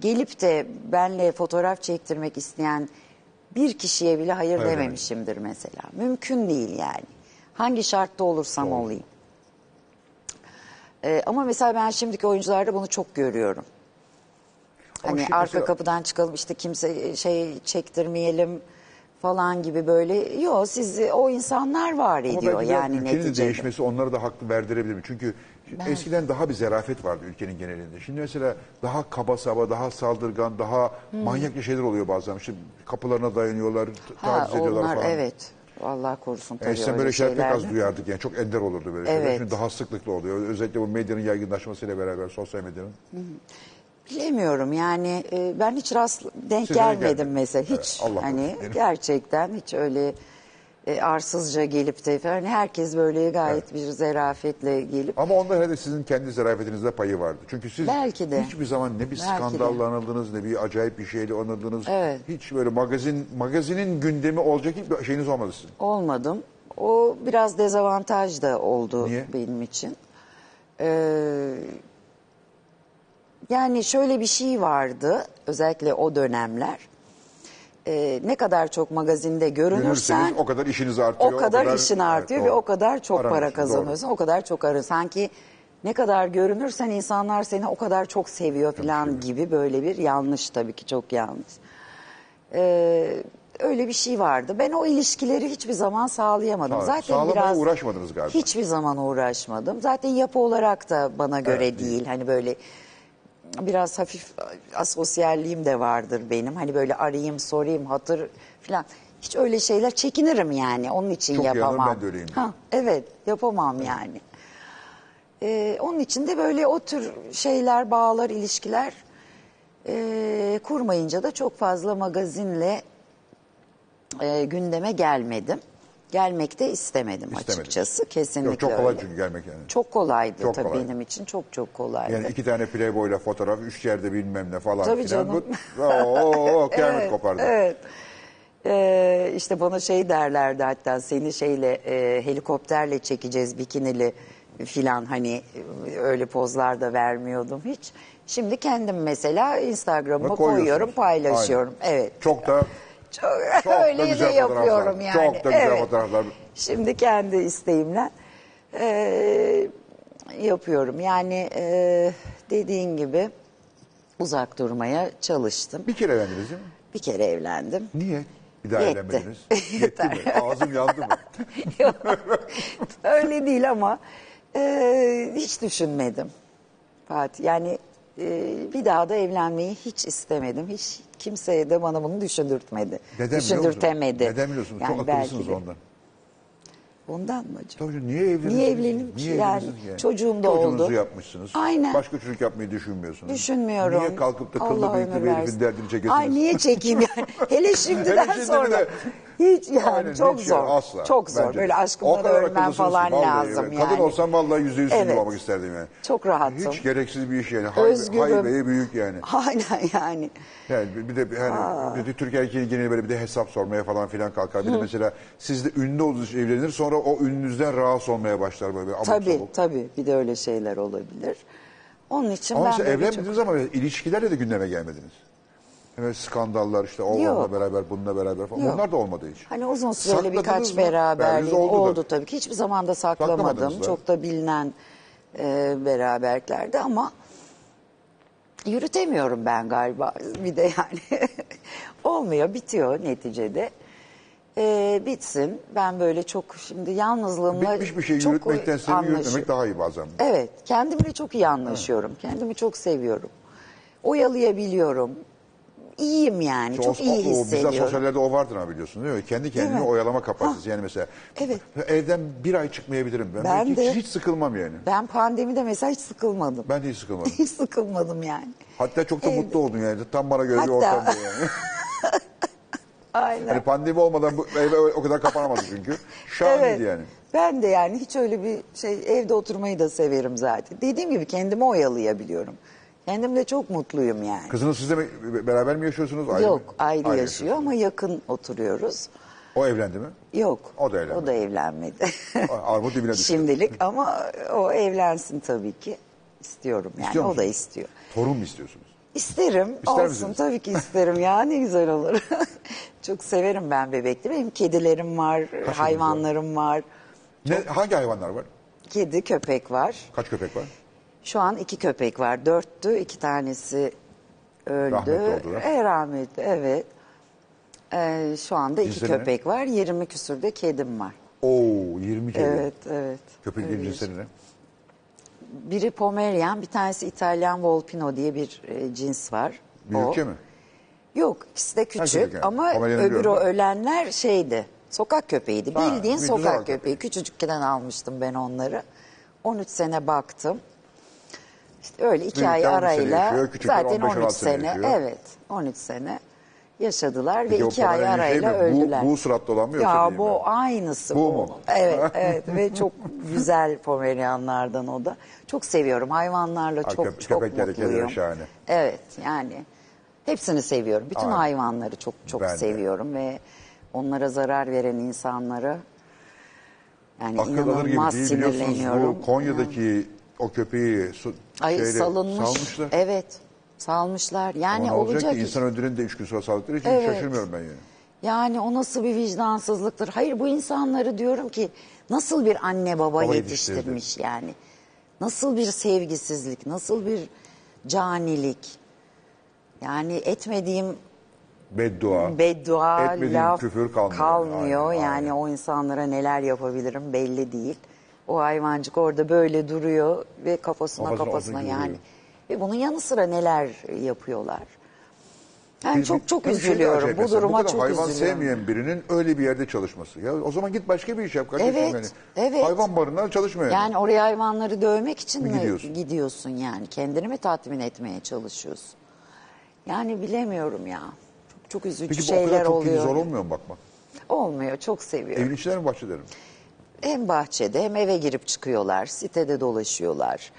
S7: gelip de benle fotoğraf çektirmek isteyen bir kişiye bile hayır dememişimdir mesela. Mümkün değil yani. Hangi şartta olursam olayım. Ee, ama mesela ben şimdiki oyuncularda bunu çok görüyorum.
S2: Ama
S7: hani
S2: şimdi
S7: arka
S2: mesela-
S7: kapıdan çıkalım işte kimse şey çektirmeyelim falan gibi böyle. Yok siz e, o insanlar var
S2: Ama
S7: ediyor
S2: belki biraz
S7: yani
S2: ülkenin
S7: neticede.
S2: değişmesi onlara da haklı verdirebilir mi? Çünkü eskiden daha bir zerafet vardı ülkenin genelinde. Şimdi mesela daha kaba saba, daha saldırgan, daha
S7: Hmm.
S2: manyakça şeyler oluyor bazen. Şimdi kapılarına dayanıyorlar, t-
S7: Ha
S2: taciz ediyorlar
S7: onlar
S2: falan.
S7: evet. Allah korusun tabii
S2: Eskiden
S7: öyle
S2: böyle şeyler pek az
S7: şeylerden.
S2: duyardık yani çok ender olurdu böyle şeyler.
S7: Evet.
S2: Şimdi daha sıklıkla oluyor. Özellikle bu medyanın yaygınlaşmasıyla beraber sosyal medyanın.
S7: Bilemiyorum yani e, ben hiç rast denk
S2: Size
S7: gelmedim
S2: gelmedi.
S7: mesela
S2: Evet,
S7: hiç
S2: E, Allah
S7: hani
S2: korusun diyelim.
S7: gerçekten hiç öyle e, arsızca gelip de falan herkes böyle gayet bir zerafetle gelip
S2: Ama onda herhalde sizin kendi zarafetinizde payı vardı. Çünkü siz
S7: Belki de.
S2: hiçbir zaman ne bir
S7: Belki de.
S2: skandalla anıldınız ne bir acayip bir şeyle anıldınız.
S7: Evet.
S2: Hiç böyle magazin magazinin gündemi olacak hiçbir şeyiniz olmadı sizin.
S7: olmadım. O biraz dezavantaj da oldu
S2: Niye?
S7: benim için. Ee, yani şöyle bir şey vardı özellikle o dönemler. Ee, ne kadar çok magazinde görünürsen
S2: Görürseniz o kadar işiniz
S7: o
S2: artıyor.
S7: kadar, işin
S2: Evet,
S7: artıyor ve
S2: doğru.
S7: o kadar çok
S2: Aranıyorsun,
S7: para
S2: doğru.
S7: kazanıyorsun. O kadar çok arı. Sanki ne kadar görünürsen insanlar seni o kadar çok seviyor falan gibi böyle bir yanlış tabii ki çok yanlış. Ee, öyle bir şey vardı. Ben o ilişkileri hiçbir zaman sağlayamadım.
S2: Sağ-
S7: Zaten
S2: sağlamaya
S7: biraz
S2: uğraşmadınız galiba.
S7: Hiçbir zaman uğraşmadım. Zaten yapı olarak da bana göre
S2: Evet,
S7: değil.
S2: değil.
S7: Hani böyle biraz hafif asosyalliğim de vardır benim. Hani böyle arayayım, sorayım, hatır falan. Hiç öyle şeyler çekinirim yani. Onun için
S2: Çok yanılır,
S7: yapamam.
S2: ben de öyleyim.
S7: Ha, evet, yapamam yani. Ee, onun için de böyle o tür şeyler, bağlar, ilişkiler ee, kurmayınca da çok fazla magazinle e, gündeme gelmedim. Gelmek de istemedim
S2: İstemedim.
S7: açıkçası. Kesinlikle
S2: Yok, çok kolay
S7: öyle.
S2: çünkü gelmek yani.
S7: Çok kolaydı
S2: Çok
S7: tabii
S2: kolay.
S7: benim için. Çok çok kolaydı.
S2: Yani iki tane playboyla fotoğraf, üç yerde bilmem ne falan
S7: Tabii
S2: filan.
S7: canım.
S2: Bu-
S7: [LAUGHS]
S2: Oo, kıyamet
S7: Evet,
S2: kopardı.
S7: Evet. Ee, işte bana şey derlerdi hatta seni şeyle e, helikopterle çekeceğiz bikinili filan hani e, öyle pozlar da vermiyordum hiç. Şimdi kendim mesela Instagram'a
S2: Bak, koyuyorsunuz.
S7: koyuyorum paylaşıyorum.
S2: Aynen.
S7: Evet.
S2: Çok da
S7: Çok,
S2: Çok da
S7: [LAUGHS] öyle de
S2: güzel
S7: yapıyorum
S2: fotoğraflar.
S7: yani.
S2: Çok da güzel fotoğraflar.
S7: Şimdi kendi isteğimle eee, yapıyorum. Yani eee, dediğin gibi uzak durmaya çalıştım.
S2: bir kere evlendiniz değil mi?
S7: Bir kere evlendim.
S2: Niye? Bir daha
S7: Yetti.
S2: evlenmediniz.
S7: [LAUGHS]
S2: Yetti mi? Ağzım yandı mı?
S7: öyle değil ama eee, hiç düşünmedim Fatih. Yani eee, bir daha da evlenmeyi hiç istemedim. Hiç kimseye de bana bunu düşündürtmedi.
S2: Neden biliyor musunuz?
S7: [LAUGHS] Düşündürtemedi.
S2: Neden biliyorsunuz?
S7: Yani
S2: Çok
S7: belki
S2: akıllısınız
S7: de-
S2: ondan.
S7: Ondan mı acaba?
S2: Tabii canım, niye evleniyorsunuz?
S7: Niye evlenim ki? Yani
S2: evleniyorsunuz ki
S7: çocuğum da
S2: Çocuğunuzu
S7: oldu.
S2: yapmışsınız.
S7: Aynen.
S2: Başka çocuk yapmayı düşünmüyorsunuz.
S7: Düşünmüyorum.
S2: Niye kalkıp da kıllı
S7: Allah ömür
S2: bıyıklı bir
S7: versin.
S2: herifin derdini çekesiniz?
S7: Ay niye çekeyim
S2: [LAUGHS]
S7: yani? Hele şimdiden
S2: şimdi bir
S7: sonra.
S2: de-
S7: Hiç yani
S2: Aynen,
S7: çok
S2: hiç
S7: zor.
S2: yani asla.
S7: Çok zor.
S2: Bence de.
S7: Böyle
S2: O
S7: aşkımdan
S2: kadar
S7: ölmem
S2: akıllısınız,
S7: falan
S2: vallahi
S7: lazım
S2: öyle.
S7: yani.
S2: Kadın olsam vallahi yüzde yüz
S7: Evet.
S2: evet. olmak isterdim yani.
S7: Çok rahatım.
S2: Hiç gereksiz bir iş yani. Haybe,
S7: Özgürüm.
S2: haybeye büyük yani.
S7: [LAUGHS] Aynen yani.
S2: Yani bir- bir de bir- hani bir de Türk erkeği geneli böyle bir de hesap sormaya falan filan kalkar. Bir de mesela siz de ünlü olduğunuz için evlenir sonra o ününüzden rahatsız olmaya başlar böyle. abuk
S7: tabii
S2: sabuk.
S7: tabii bir de öyle şeyler olabilir. Onun için
S2: Ama
S7: ben
S2: siz
S7: böyle
S2: evlenmediniz ama ilişkilerle de gündeme gelmediniz. Evet skandallar işte o
S7: Yok.
S2: onunla beraber bununla beraber falan.
S7: Yok.
S2: Onlar da olmadı hiç.
S7: Hani uzun süreli
S2: Sakladınız
S7: birkaç
S2: mı?
S7: beraberlik
S2: Berlin'de
S7: oldu,
S2: da.
S7: tabii ki. Hiçbir zaman da saklamadım.
S2: Saklamadınız da.
S7: Çok da bilinen e, beraberliklerde ama yürütemiyorum ben galiba. Bir de yani [LAUGHS] olmuyor, bitiyor neticede. E, bitsin. Ben böyle çok şimdi yalnızlığımla
S2: Bitmiş bir şey
S7: çok
S2: yürütmekten seni
S7: anlaşıyorum.
S2: yürütmemek daha iyi bazen.
S7: Evet, kendimle çok iyi anlaşıyorum. Kendimi çok seviyorum. Oyalayabiliyorum. İyiyim yani,
S2: İşte
S7: çok
S2: o-
S7: iyi
S2: o- o- Bizde
S7: hissediyorum.
S2: sosyallerde o vardır ha biliyorsun değil mi? Kendi kendini
S7: mi?
S2: oyalama kapasitesi. Yani mesela
S7: evet.
S2: evden bir ay çıkmayabilirim. Ben,
S7: Ben
S2: hiç,
S7: de.
S2: hiç sıkılmam yani.
S7: Ben pandemide mesela hiç sıkılmadım.
S2: Ben de hiç
S7: [LAUGHS]
S2: sıkılmadım.
S7: Hiç sıkılmadım yani.
S2: Hatta çok da
S7: Evet.
S2: mutlu oldum yani. Tam bana göre bir
S7: Hatta-
S2: ortamdı yani.
S7: Aynen.
S2: Hani pandemi olmadan bu eve o kadar kapanamadı
S7: [LAUGHS]
S2: çünkü. Şahaneydi
S7: evet.
S2: yani.
S7: Ben de yani hiç öyle bir şey evde oturmayı da severim zaten. Dediğim gibi kendimi oyalayabiliyorum. Kendim de çok mutluyum yani.
S2: Kızınız sizle mi- beraber mi yaşıyorsunuz? Ayrı
S7: Yok
S2: mı?
S7: ayrı, yaşıyor
S2: yaşıyorsunuz.
S7: ama yakın oturuyoruz.
S2: O evlendi mi?
S7: Yok.
S2: O da evlenmedi. [LAUGHS]
S7: evlenmedi.
S2: Armut dibine düştü.
S7: Şimdilik ama o evlensin tabii ki. İstiyorum yani
S2: İstiyor
S7: o da
S2: musun?
S7: istiyor.
S2: Torun mu istiyorsunuz?
S7: İsterim.
S2: İster
S7: olsun
S2: misiniz?
S7: tabii ki isterim ya ne güzel olur. [LAUGHS] Çok severim ben bebekli. Benim kedilerim var, hayvanlarım var.
S2: Ne, hangi hayvanlar var?
S7: Kedi, köpek var.
S2: Kaç köpek var?
S7: Şu an iki köpek var. Dörttü. iki tanesi öldü.
S2: Rahmetli oldular.
S7: E, rahmetli, evet. Ee, şu anda iki
S2: Cinsleri ne?
S7: köpek var. 20 küsür de kedim var.
S2: Oo 20 kedi.
S7: Evet, evet.
S2: Köpeklerin cinsleri ne?
S7: Biri Pomerian, bir tanesi İtalyan Volpino diye bir e, cins var. O.
S2: Büyükçe mi?
S7: Yok, ikisi de küçük
S2: çocuk yani.
S7: ama
S2: Pomerian'ı
S7: öbürü
S2: biliyorum ben.
S7: ölenler şeydi. Sokak köpeğiydi.
S2: Ha,
S7: Bildiğin
S2: bildiğin
S7: sokak
S2: sokak
S7: köpeği. Küçücükken almıştım ben onları. 13 sene baktım. İşte öyle iki
S2: Büyükler
S7: ay
S2: 13 sene
S7: arayla
S2: yaşıyor, küçükler
S7: zaten
S2: 15-16
S7: 13
S2: sene
S7: sene.
S2: yaşıyor.
S7: Evet, 13 sene yaşadılar
S2: Peki
S7: ve
S2: o
S7: iki ay
S2: Pomerian şey mi?
S7: arayla
S2: Bu-
S7: öldüler.
S2: bu suratlı olan mı yoksa
S7: Ya
S2: değil mi?
S7: bu aynısı
S2: Bu
S7: bu.
S2: mu? [LAUGHS]
S7: Evet, evet ve çok güzel Pomerianlardan o da. Çok seviyorum hayvanlarla
S2: Ha,
S7: çok
S2: köp-
S7: çok
S2: köpekler de kediler
S7: mutluyum.
S2: şahane.
S7: Evet yani hepsini seviyorum. Bütün
S2: Aynen.
S7: hayvanları çok çok
S2: Ben de.
S7: seviyorum ve onlara zarar veren insanlara yani
S2: Akıl alır gibi
S7: inanılmaz
S2: değil biliyorsunuz
S7: sinirleniyorum.
S2: bu Konya'daki o köpeği su,
S7: Ay
S2: şeyle
S7: salınmış.
S2: salmışlar.
S7: Evet. Salmışlar.
S2: Ama
S7: Yani
S2: ne
S7: olacak,
S2: olacak ki
S7: iş.
S2: insan öldüren de 3 gün sonra sağlıkları için
S7: Evet.
S2: şaşırmıyorum ben yani.
S7: Yani o nasıl bir vicdansızlıktır? Hayır bu insanları diyorum ki nasıl bir anne baba
S2: Baba yetiştirdi.
S7: yetiştirmiş yani? Nasıl bir sevgisizlik, nasıl bir canilik? Yani etmediğim
S2: Beddua.
S7: beddua,
S2: Etmediğim
S7: laf
S2: küfür kalmıyor.
S7: kalmıyor.
S2: Aynen,
S7: yani
S2: aynen.
S7: o insanlara neler yapabilirim belli değil. O hayvancık orada böyle duruyor ve kafasına
S2: Kafasına
S7: kafasına,
S2: olsun ki
S7: yani.
S2: duruyor.
S7: Ve bunun yanı sıra neler yapıyorlar. Yani
S2: Bir-
S7: çok çok
S2: bir şey de
S7: üzülüyorum.
S2: acayip
S7: Bu
S2: mesela.
S7: duruma
S2: kadar
S7: çok
S2: hayvan
S7: üzülüyorum.
S2: sevmeyen birinin öyle bir yerde çalışması. Ya o zaman git başka bir iş yap kardeşim
S7: Evet,
S2: yani.
S7: evet.
S2: Hayvan barınağı çalışma yani.
S7: Yani oraya hayvanları dövmek için
S2: Mi
S7: mi
S2: gidiyorsun?
S7: gidiyorsun? yani? Kendini mi tatmin etmeye çalışıyorsun? Yani bilemiyorum ya. Çok, çok üzücü
S2: Peki bu o kadar
S7: şeyler
S2: çok
S7: oluyor.
S2: zor olmuyor mu bakmak?
S7: Olmuyor. Çok seviyorum.
S2: Evin içinden mi bahçelerim?
S7: Hem bahçede hem eve girip çıkıyorlar. Sitede dolaşıyorlar.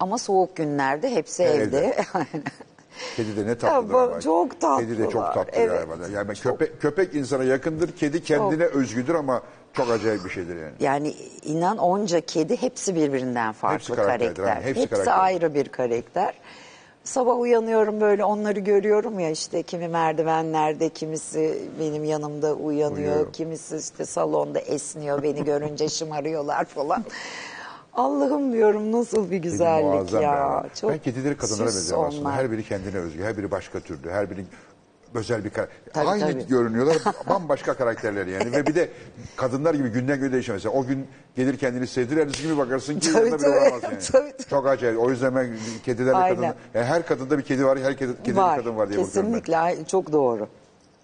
S7: Ama soğuk günlerde hepsi
S2: Evde.
S7: evde. [LAUGHS]
S2: Kedi de ne tatlıdır
S7: Ya bu-
S2: ama.
S7: çok
S2: Kedi de çok
S7: tatlılar,
S2: tatlı
S7: evet.
S2: galiba. Yani ben köpek, köpek insana yakındır, kedi kendine özgüdür ama çok acayip bir şeydir yani.
S7: yani inan onca kedi hepsi birbirinden farklı
S2: Hepsi karakterdir,
S7: karakter.
S2: aynen, hepsi
S7: Hepsi,
S2: karakter.
S7: ayrı bir karakter. Sabah uyanıyorum böyle onları görüyorum ya işte kimi merdivenlerde, kimisi benim yanımda uyanıyor,
S2: Uyuyorum.
S7: kimisi işte salonda
S2: [LAUGHS]
S7: esniyor beni görünce şımarıyorlar falan. Allah'ım diyorum nasıl bir
S2: Kedi
S7: güzellik
S2: muazzam
S7: ya.
S2: yani. ben kedileri kadınlara
S7: süs
S2: benziyorum aslında.
S7: onlar.
S2: Her biri kendine özgü, her biri başka türlü, her biri özel bir karakter.
S7: Tabii,
S2: Aynı
S7: tabii. [LAUGHS]
S2: görünüyorlar, bambaşka karakterler yani. Ve bir de kadınlar gibi günden güne değişiyor. Mesela o gün gelir kendini sevdir, ertesi gibi bakarsın ki
S7: Tabii,
S2: yanında bile
S7: tabii.
S2: olamaz yani.
S7: [LAUGHS] Tabii, tabii.
S2: Çok acayip. O yüzden ben kedilerle
S7: Aynen.
S2: kadınlar... Yani her kadında bir kedi var, her kedi, kedide bir kadın var diye bakıyorum ben.
S7: Kesinlikle ay- çok doğru.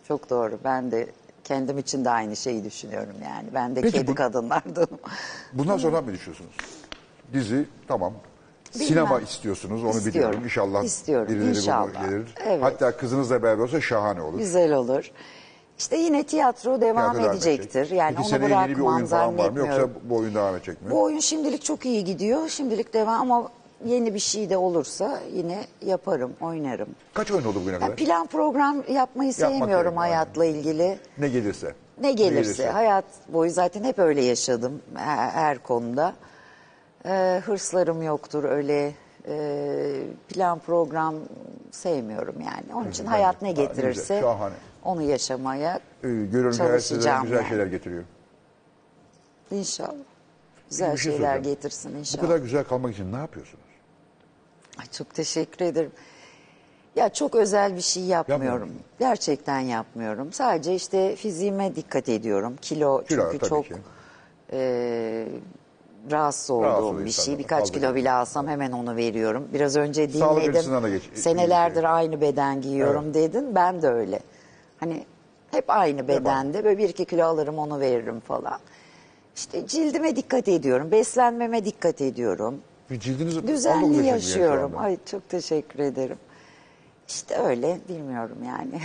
S7: Çok doğru. Ben de kendim için de aynı şeyi düşünüyorum yani. Ben de
S2: Peki
S7: kedi
S2: bu-
S7: kadınlardanım. [LAUGHS]
S2: Bundan sonra ne düşünüyorsunuz? Dizi tamam.
S7: Bilmem.
S2: Sinema istiyorsunuz onu
S7: İstiyorum.
S2: biliyorum. İnşallah
S7: İstiyorum,
S2: birileri bunu
S7: inşallah.
S2: gelir.
S7: Evet.
S2: Hatta kızınızla beraber olsa şahane olur.
S7: Güzel olur. İşte yine tiyatro devam
S2: Tiyatro devam
S7: edecektir.
S2: edecek.
S7: Yani
S2: Peki
S7: onu
S2: seneye yeni bir oyun
S7: bırakmam
S2: falan var mı yoksa
S7: zannetmiyorum.
S2: bu oyun devam edecek mi?
S7: Bu oyun şimdilik çok iyi gidiyor. Şimdilik devam ama yeni bir şey de olursa yine yaparım, oynarım.
S2: Kaç oyun oldu bugüne
S7: Yani
S2: kadar?
S7: plan program yapmayı sevmiyorum
S2: gerekiyor, aynen.
S7: hayatla ilgili.
S2: Ne gelirse.
S7: Ne gelirse. Hayat boyu zaten hep öyle yaşadım her, her konuda. Ee, hırslarım yoktur öyle e, plan program sevmiyorum yani. Onun için
S2: ben de.
S7: hayat
S2: Aa,
S7: ne
S2: ne güzel,
S7: getirirse
S2: şahane.
S7: onu yaşamaya
S2: Ee, Görüyorum ki hayat size
S7: çalışacağım
S2: güzel
S7: yani.
S2: şeyler getiriyor.
S7: İnşallah. Güzel
S2: Ee, Bir şey
S7: şeyler
S2: soracağım.
S7: getirsin
S2: Bu
S7: inşallah.
S2: kadar güzel kalmak için ne yapıyorsunuz?
S7: Ay, çok teşekkür ederim. Ya çok özel bir şey yapmıyorum.
S2: Yapmıyor musun?
S7: Gerçekten yapmıyorum. Sadece işte fiziğime dikkat ediyorum. Kilo,
S2: Kilo,
S7: çünkü
S2: tabii
S7: çok
S2: ki.
S7: e, rahatsız olduğum
S2: Rahatsız oluyor
S7: bir
S2: insan,
S7: şey.
S2: değil mi?
S7: Birkaç
S2: Fazla
S7: kilo
S2: kilo.
S7: bile alsam hemen onu veriyorum. Biraz önce
S2: Sağlık
S7: dinledim.
S2: açısından da geç- iyi
S7: Senelerdir
S2: şey.
S7: aynı beden giyiyorum
S2: Evet.
S7: dedin. Ben de öyle. Hani hep aynı bedende. Böyle bir iki kilo alırım onu veririm falan. İşte cildime dikkat ediyorum. Beslenmeme dikkat ediyorum.
S2: Bir cildiniz
S7: Düzenli
S2: 19 yaşında yani şu
S7: yaşıyorum.
S2: anda.
S7: Ay çok teşekkür ederim. İşte öyle bilmiyorum yani.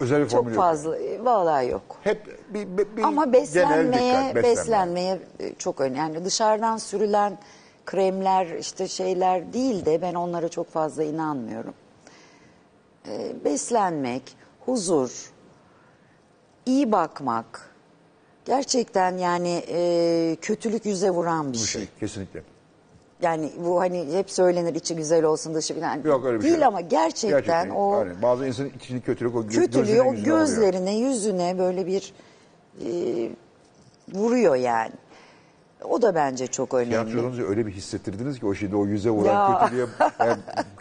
S2: Özel bir
S7: [LAUGHS] çok
S2: formülü yok
S7: fazla vallahi yok.
S2: Hep bir, bir, bir
S7: Ama
S2: genel
S7: beslenmeye
S2: dikkat, beslenme.
S7: beslenmeye e, çok önemli. Yani dışarıdan sürülen kremler işte şeyler değil de ben onlara çok fazla inanmıyorum. Ee, beslenmek, huzur, iyi bakmak gerçekten yani e, kötülük yüze vuran bir şey.
S2: Kesinlikle.
S7: Yani bu hani hep söylenir içi güzel olsun dışı falan.
S2: Yok öyle bir
S7: değil
S2: şey. yok.
S7: ama gerçekten, o
S2: Aynen. Bazı insanın içini kötülük o gö-
S7: kötülüğü
S2: gözlerine,
S7: o
S2: yüzüne vuruyor.
S7: gözlerine yüzüne böyle bir e, vuruyor yani. O da bence çok önemli.
S2: Tiyatrolarınızı öyle bir hissettirdiniz ki o şeyde o yüze
S7: Ya.
S2: vuran kötülüğe yani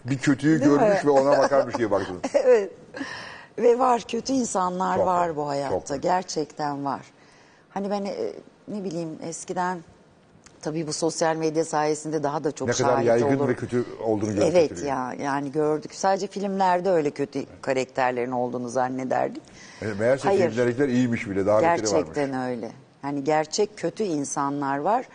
S2: bir kötüyü
S7: Değil mi?
S2: görmüş ve ona bakarmış gibi
S7: [LAUGHS]
S2: baktınız.
S7: evet. Ve var kötü insanlar
S2: Çok
S7: var
S2: var,
S7: bu hayatta.
S2: çok.
S7: Gerçekten var. Hani ben e, ne bileyim eskiden tabii bu sosyal medya sayesinde daha da çok
S2: Ne kadar
S7: şahit
S2: yaygın
S7: olurum.
S2: ve kötü olduğunu gördük.
S7: Evet
S2: kötülüğün.
S7: ya yani gördük. Sadece filmlerde öyle kötü karakterlerin olduğunu zannederdik.
S2: E, Meğerse
S7: Hayır.
S2: filmlerdekiler iyiymiş bile daha beteri varmış.
S7: Gerçekten öyle. Yani gerçek kötü insanlar var.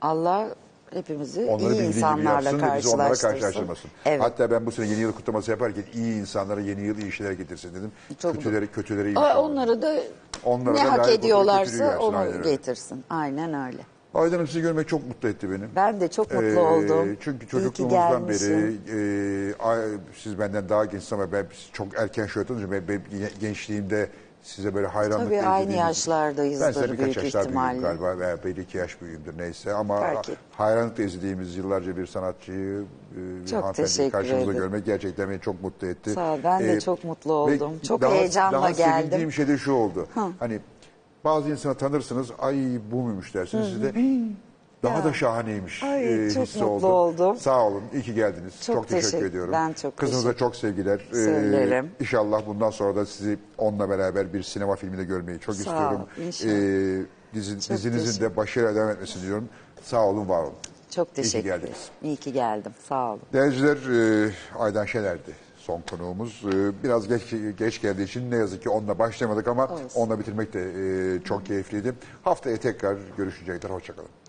S7: Allah hepimizi
S2: Onları
S7: iyi
S2: bildiği gibi
S7: insanlarla
S2: yapsın da bizi onlara
S7: karşılaştırsın.
S2: karşılaştırmasın.
S7: Evet.
S2: Hatta ben bu sene yeni yıl kutlaması yaparken iyi insanlara yeni yıl iyi şeyler getirsin dedim.
S7: Çok-
S2: kötüleri, kötüleri iyi şey
S7: Aa,
S2: şeyler.
S7: onları da
S2: Onlara da
S7: ne hak
S2: layık olduğu kötülüğü
S7: ediyorlarsa
S2: versin,
S7: onu
S2: aynen öyle.
S7: getirsin. Aynen öyle.
S2: Aydan Hanım sizi görmek çok mutlu etti beni.
S7: Ben de çok mutlu
S2: Ee,
S7: oldum. İyi
S2: Çünkü
S7: ki
S2: çocukluğumuzdan beri
S7: gelmişsin.
S2: e, ay- siz benden daha gençsiniz ama ben sizi çok erken şöyle tanıdım. Ben, ben gençliğimde size böyle hayranlıkla
S7: Tabii
S2: izlediğim-
S7: aynı yaşlardayızdır
S2: Ben size birkaç
S7: büyük
S2: yaşlar
S7: ihtimalle.
S2: büyüğüm galiba veya bir iki yaş büyüğümdür neyse ama
S7: Fark et-
S2: hayranlıkla izlediğimiz yıllarca bir sanatçıyı e, bir
S7: Çok
S2: hanımefendiyi
S7: teşekkür
S2: karşımızda
S7: ederim.
S2: görmek gerçekten beni çok mutlu etti. E,
S7: Sağ ol, ben de çok mutlu
S2: ve
S7: oldum. Çok
S2: daha-
S7: heyecanla
S2: daha
S7: geldim.
S2: sevindiğim şey de şu oldu. Hani bazı insanı tanırsınız ay bu muymuş dersiniz. Siz de "Hii, daha da şahaneymiş
S7: Ay,
S2: e,
S7: çok
S2: hissi
S7: mutlu
S2: oldu.
S7: oldum.
S2: Sağ olun iyi ki geldiniz.
S7: Çok
S2: Çok, teşekkür,
S7: teşekkür-
S2: ediyorum.
S7: ben çok
S2: Kızınıza
S7: teşekkür-
S2: çok sevgiler. Ee,
S7: Söylerim.
S2: inşallah bundan sonra da sizi onunla beraber bir sinema filminde görmeyi çok
S7: Sağ
S2: istiyorum.
S7: ol, inşallah.
S2: Ee, dizi-
S7: Çok
S2: dizinizin
S7: teşekkür-
S2: de başarıyla devam etmesini diliyorum. Sağ olun var olun. İyi
S7: Çok
S2: ki
S7: teşekkür ederim.
S2: geldiniz.
S7: İyi ki geldim. Sağ olun.
S2: Değerciler e, Aydan Şener'di son konuğumuz. E, biraz geç, geç geldiği için ne yazık ki onunla başlamadık ama
S7: Olsun.
S2: onunla bitirmek de e, çok keyifliydi. Haftaya tekrar görüşecekler. Hoşçakalın.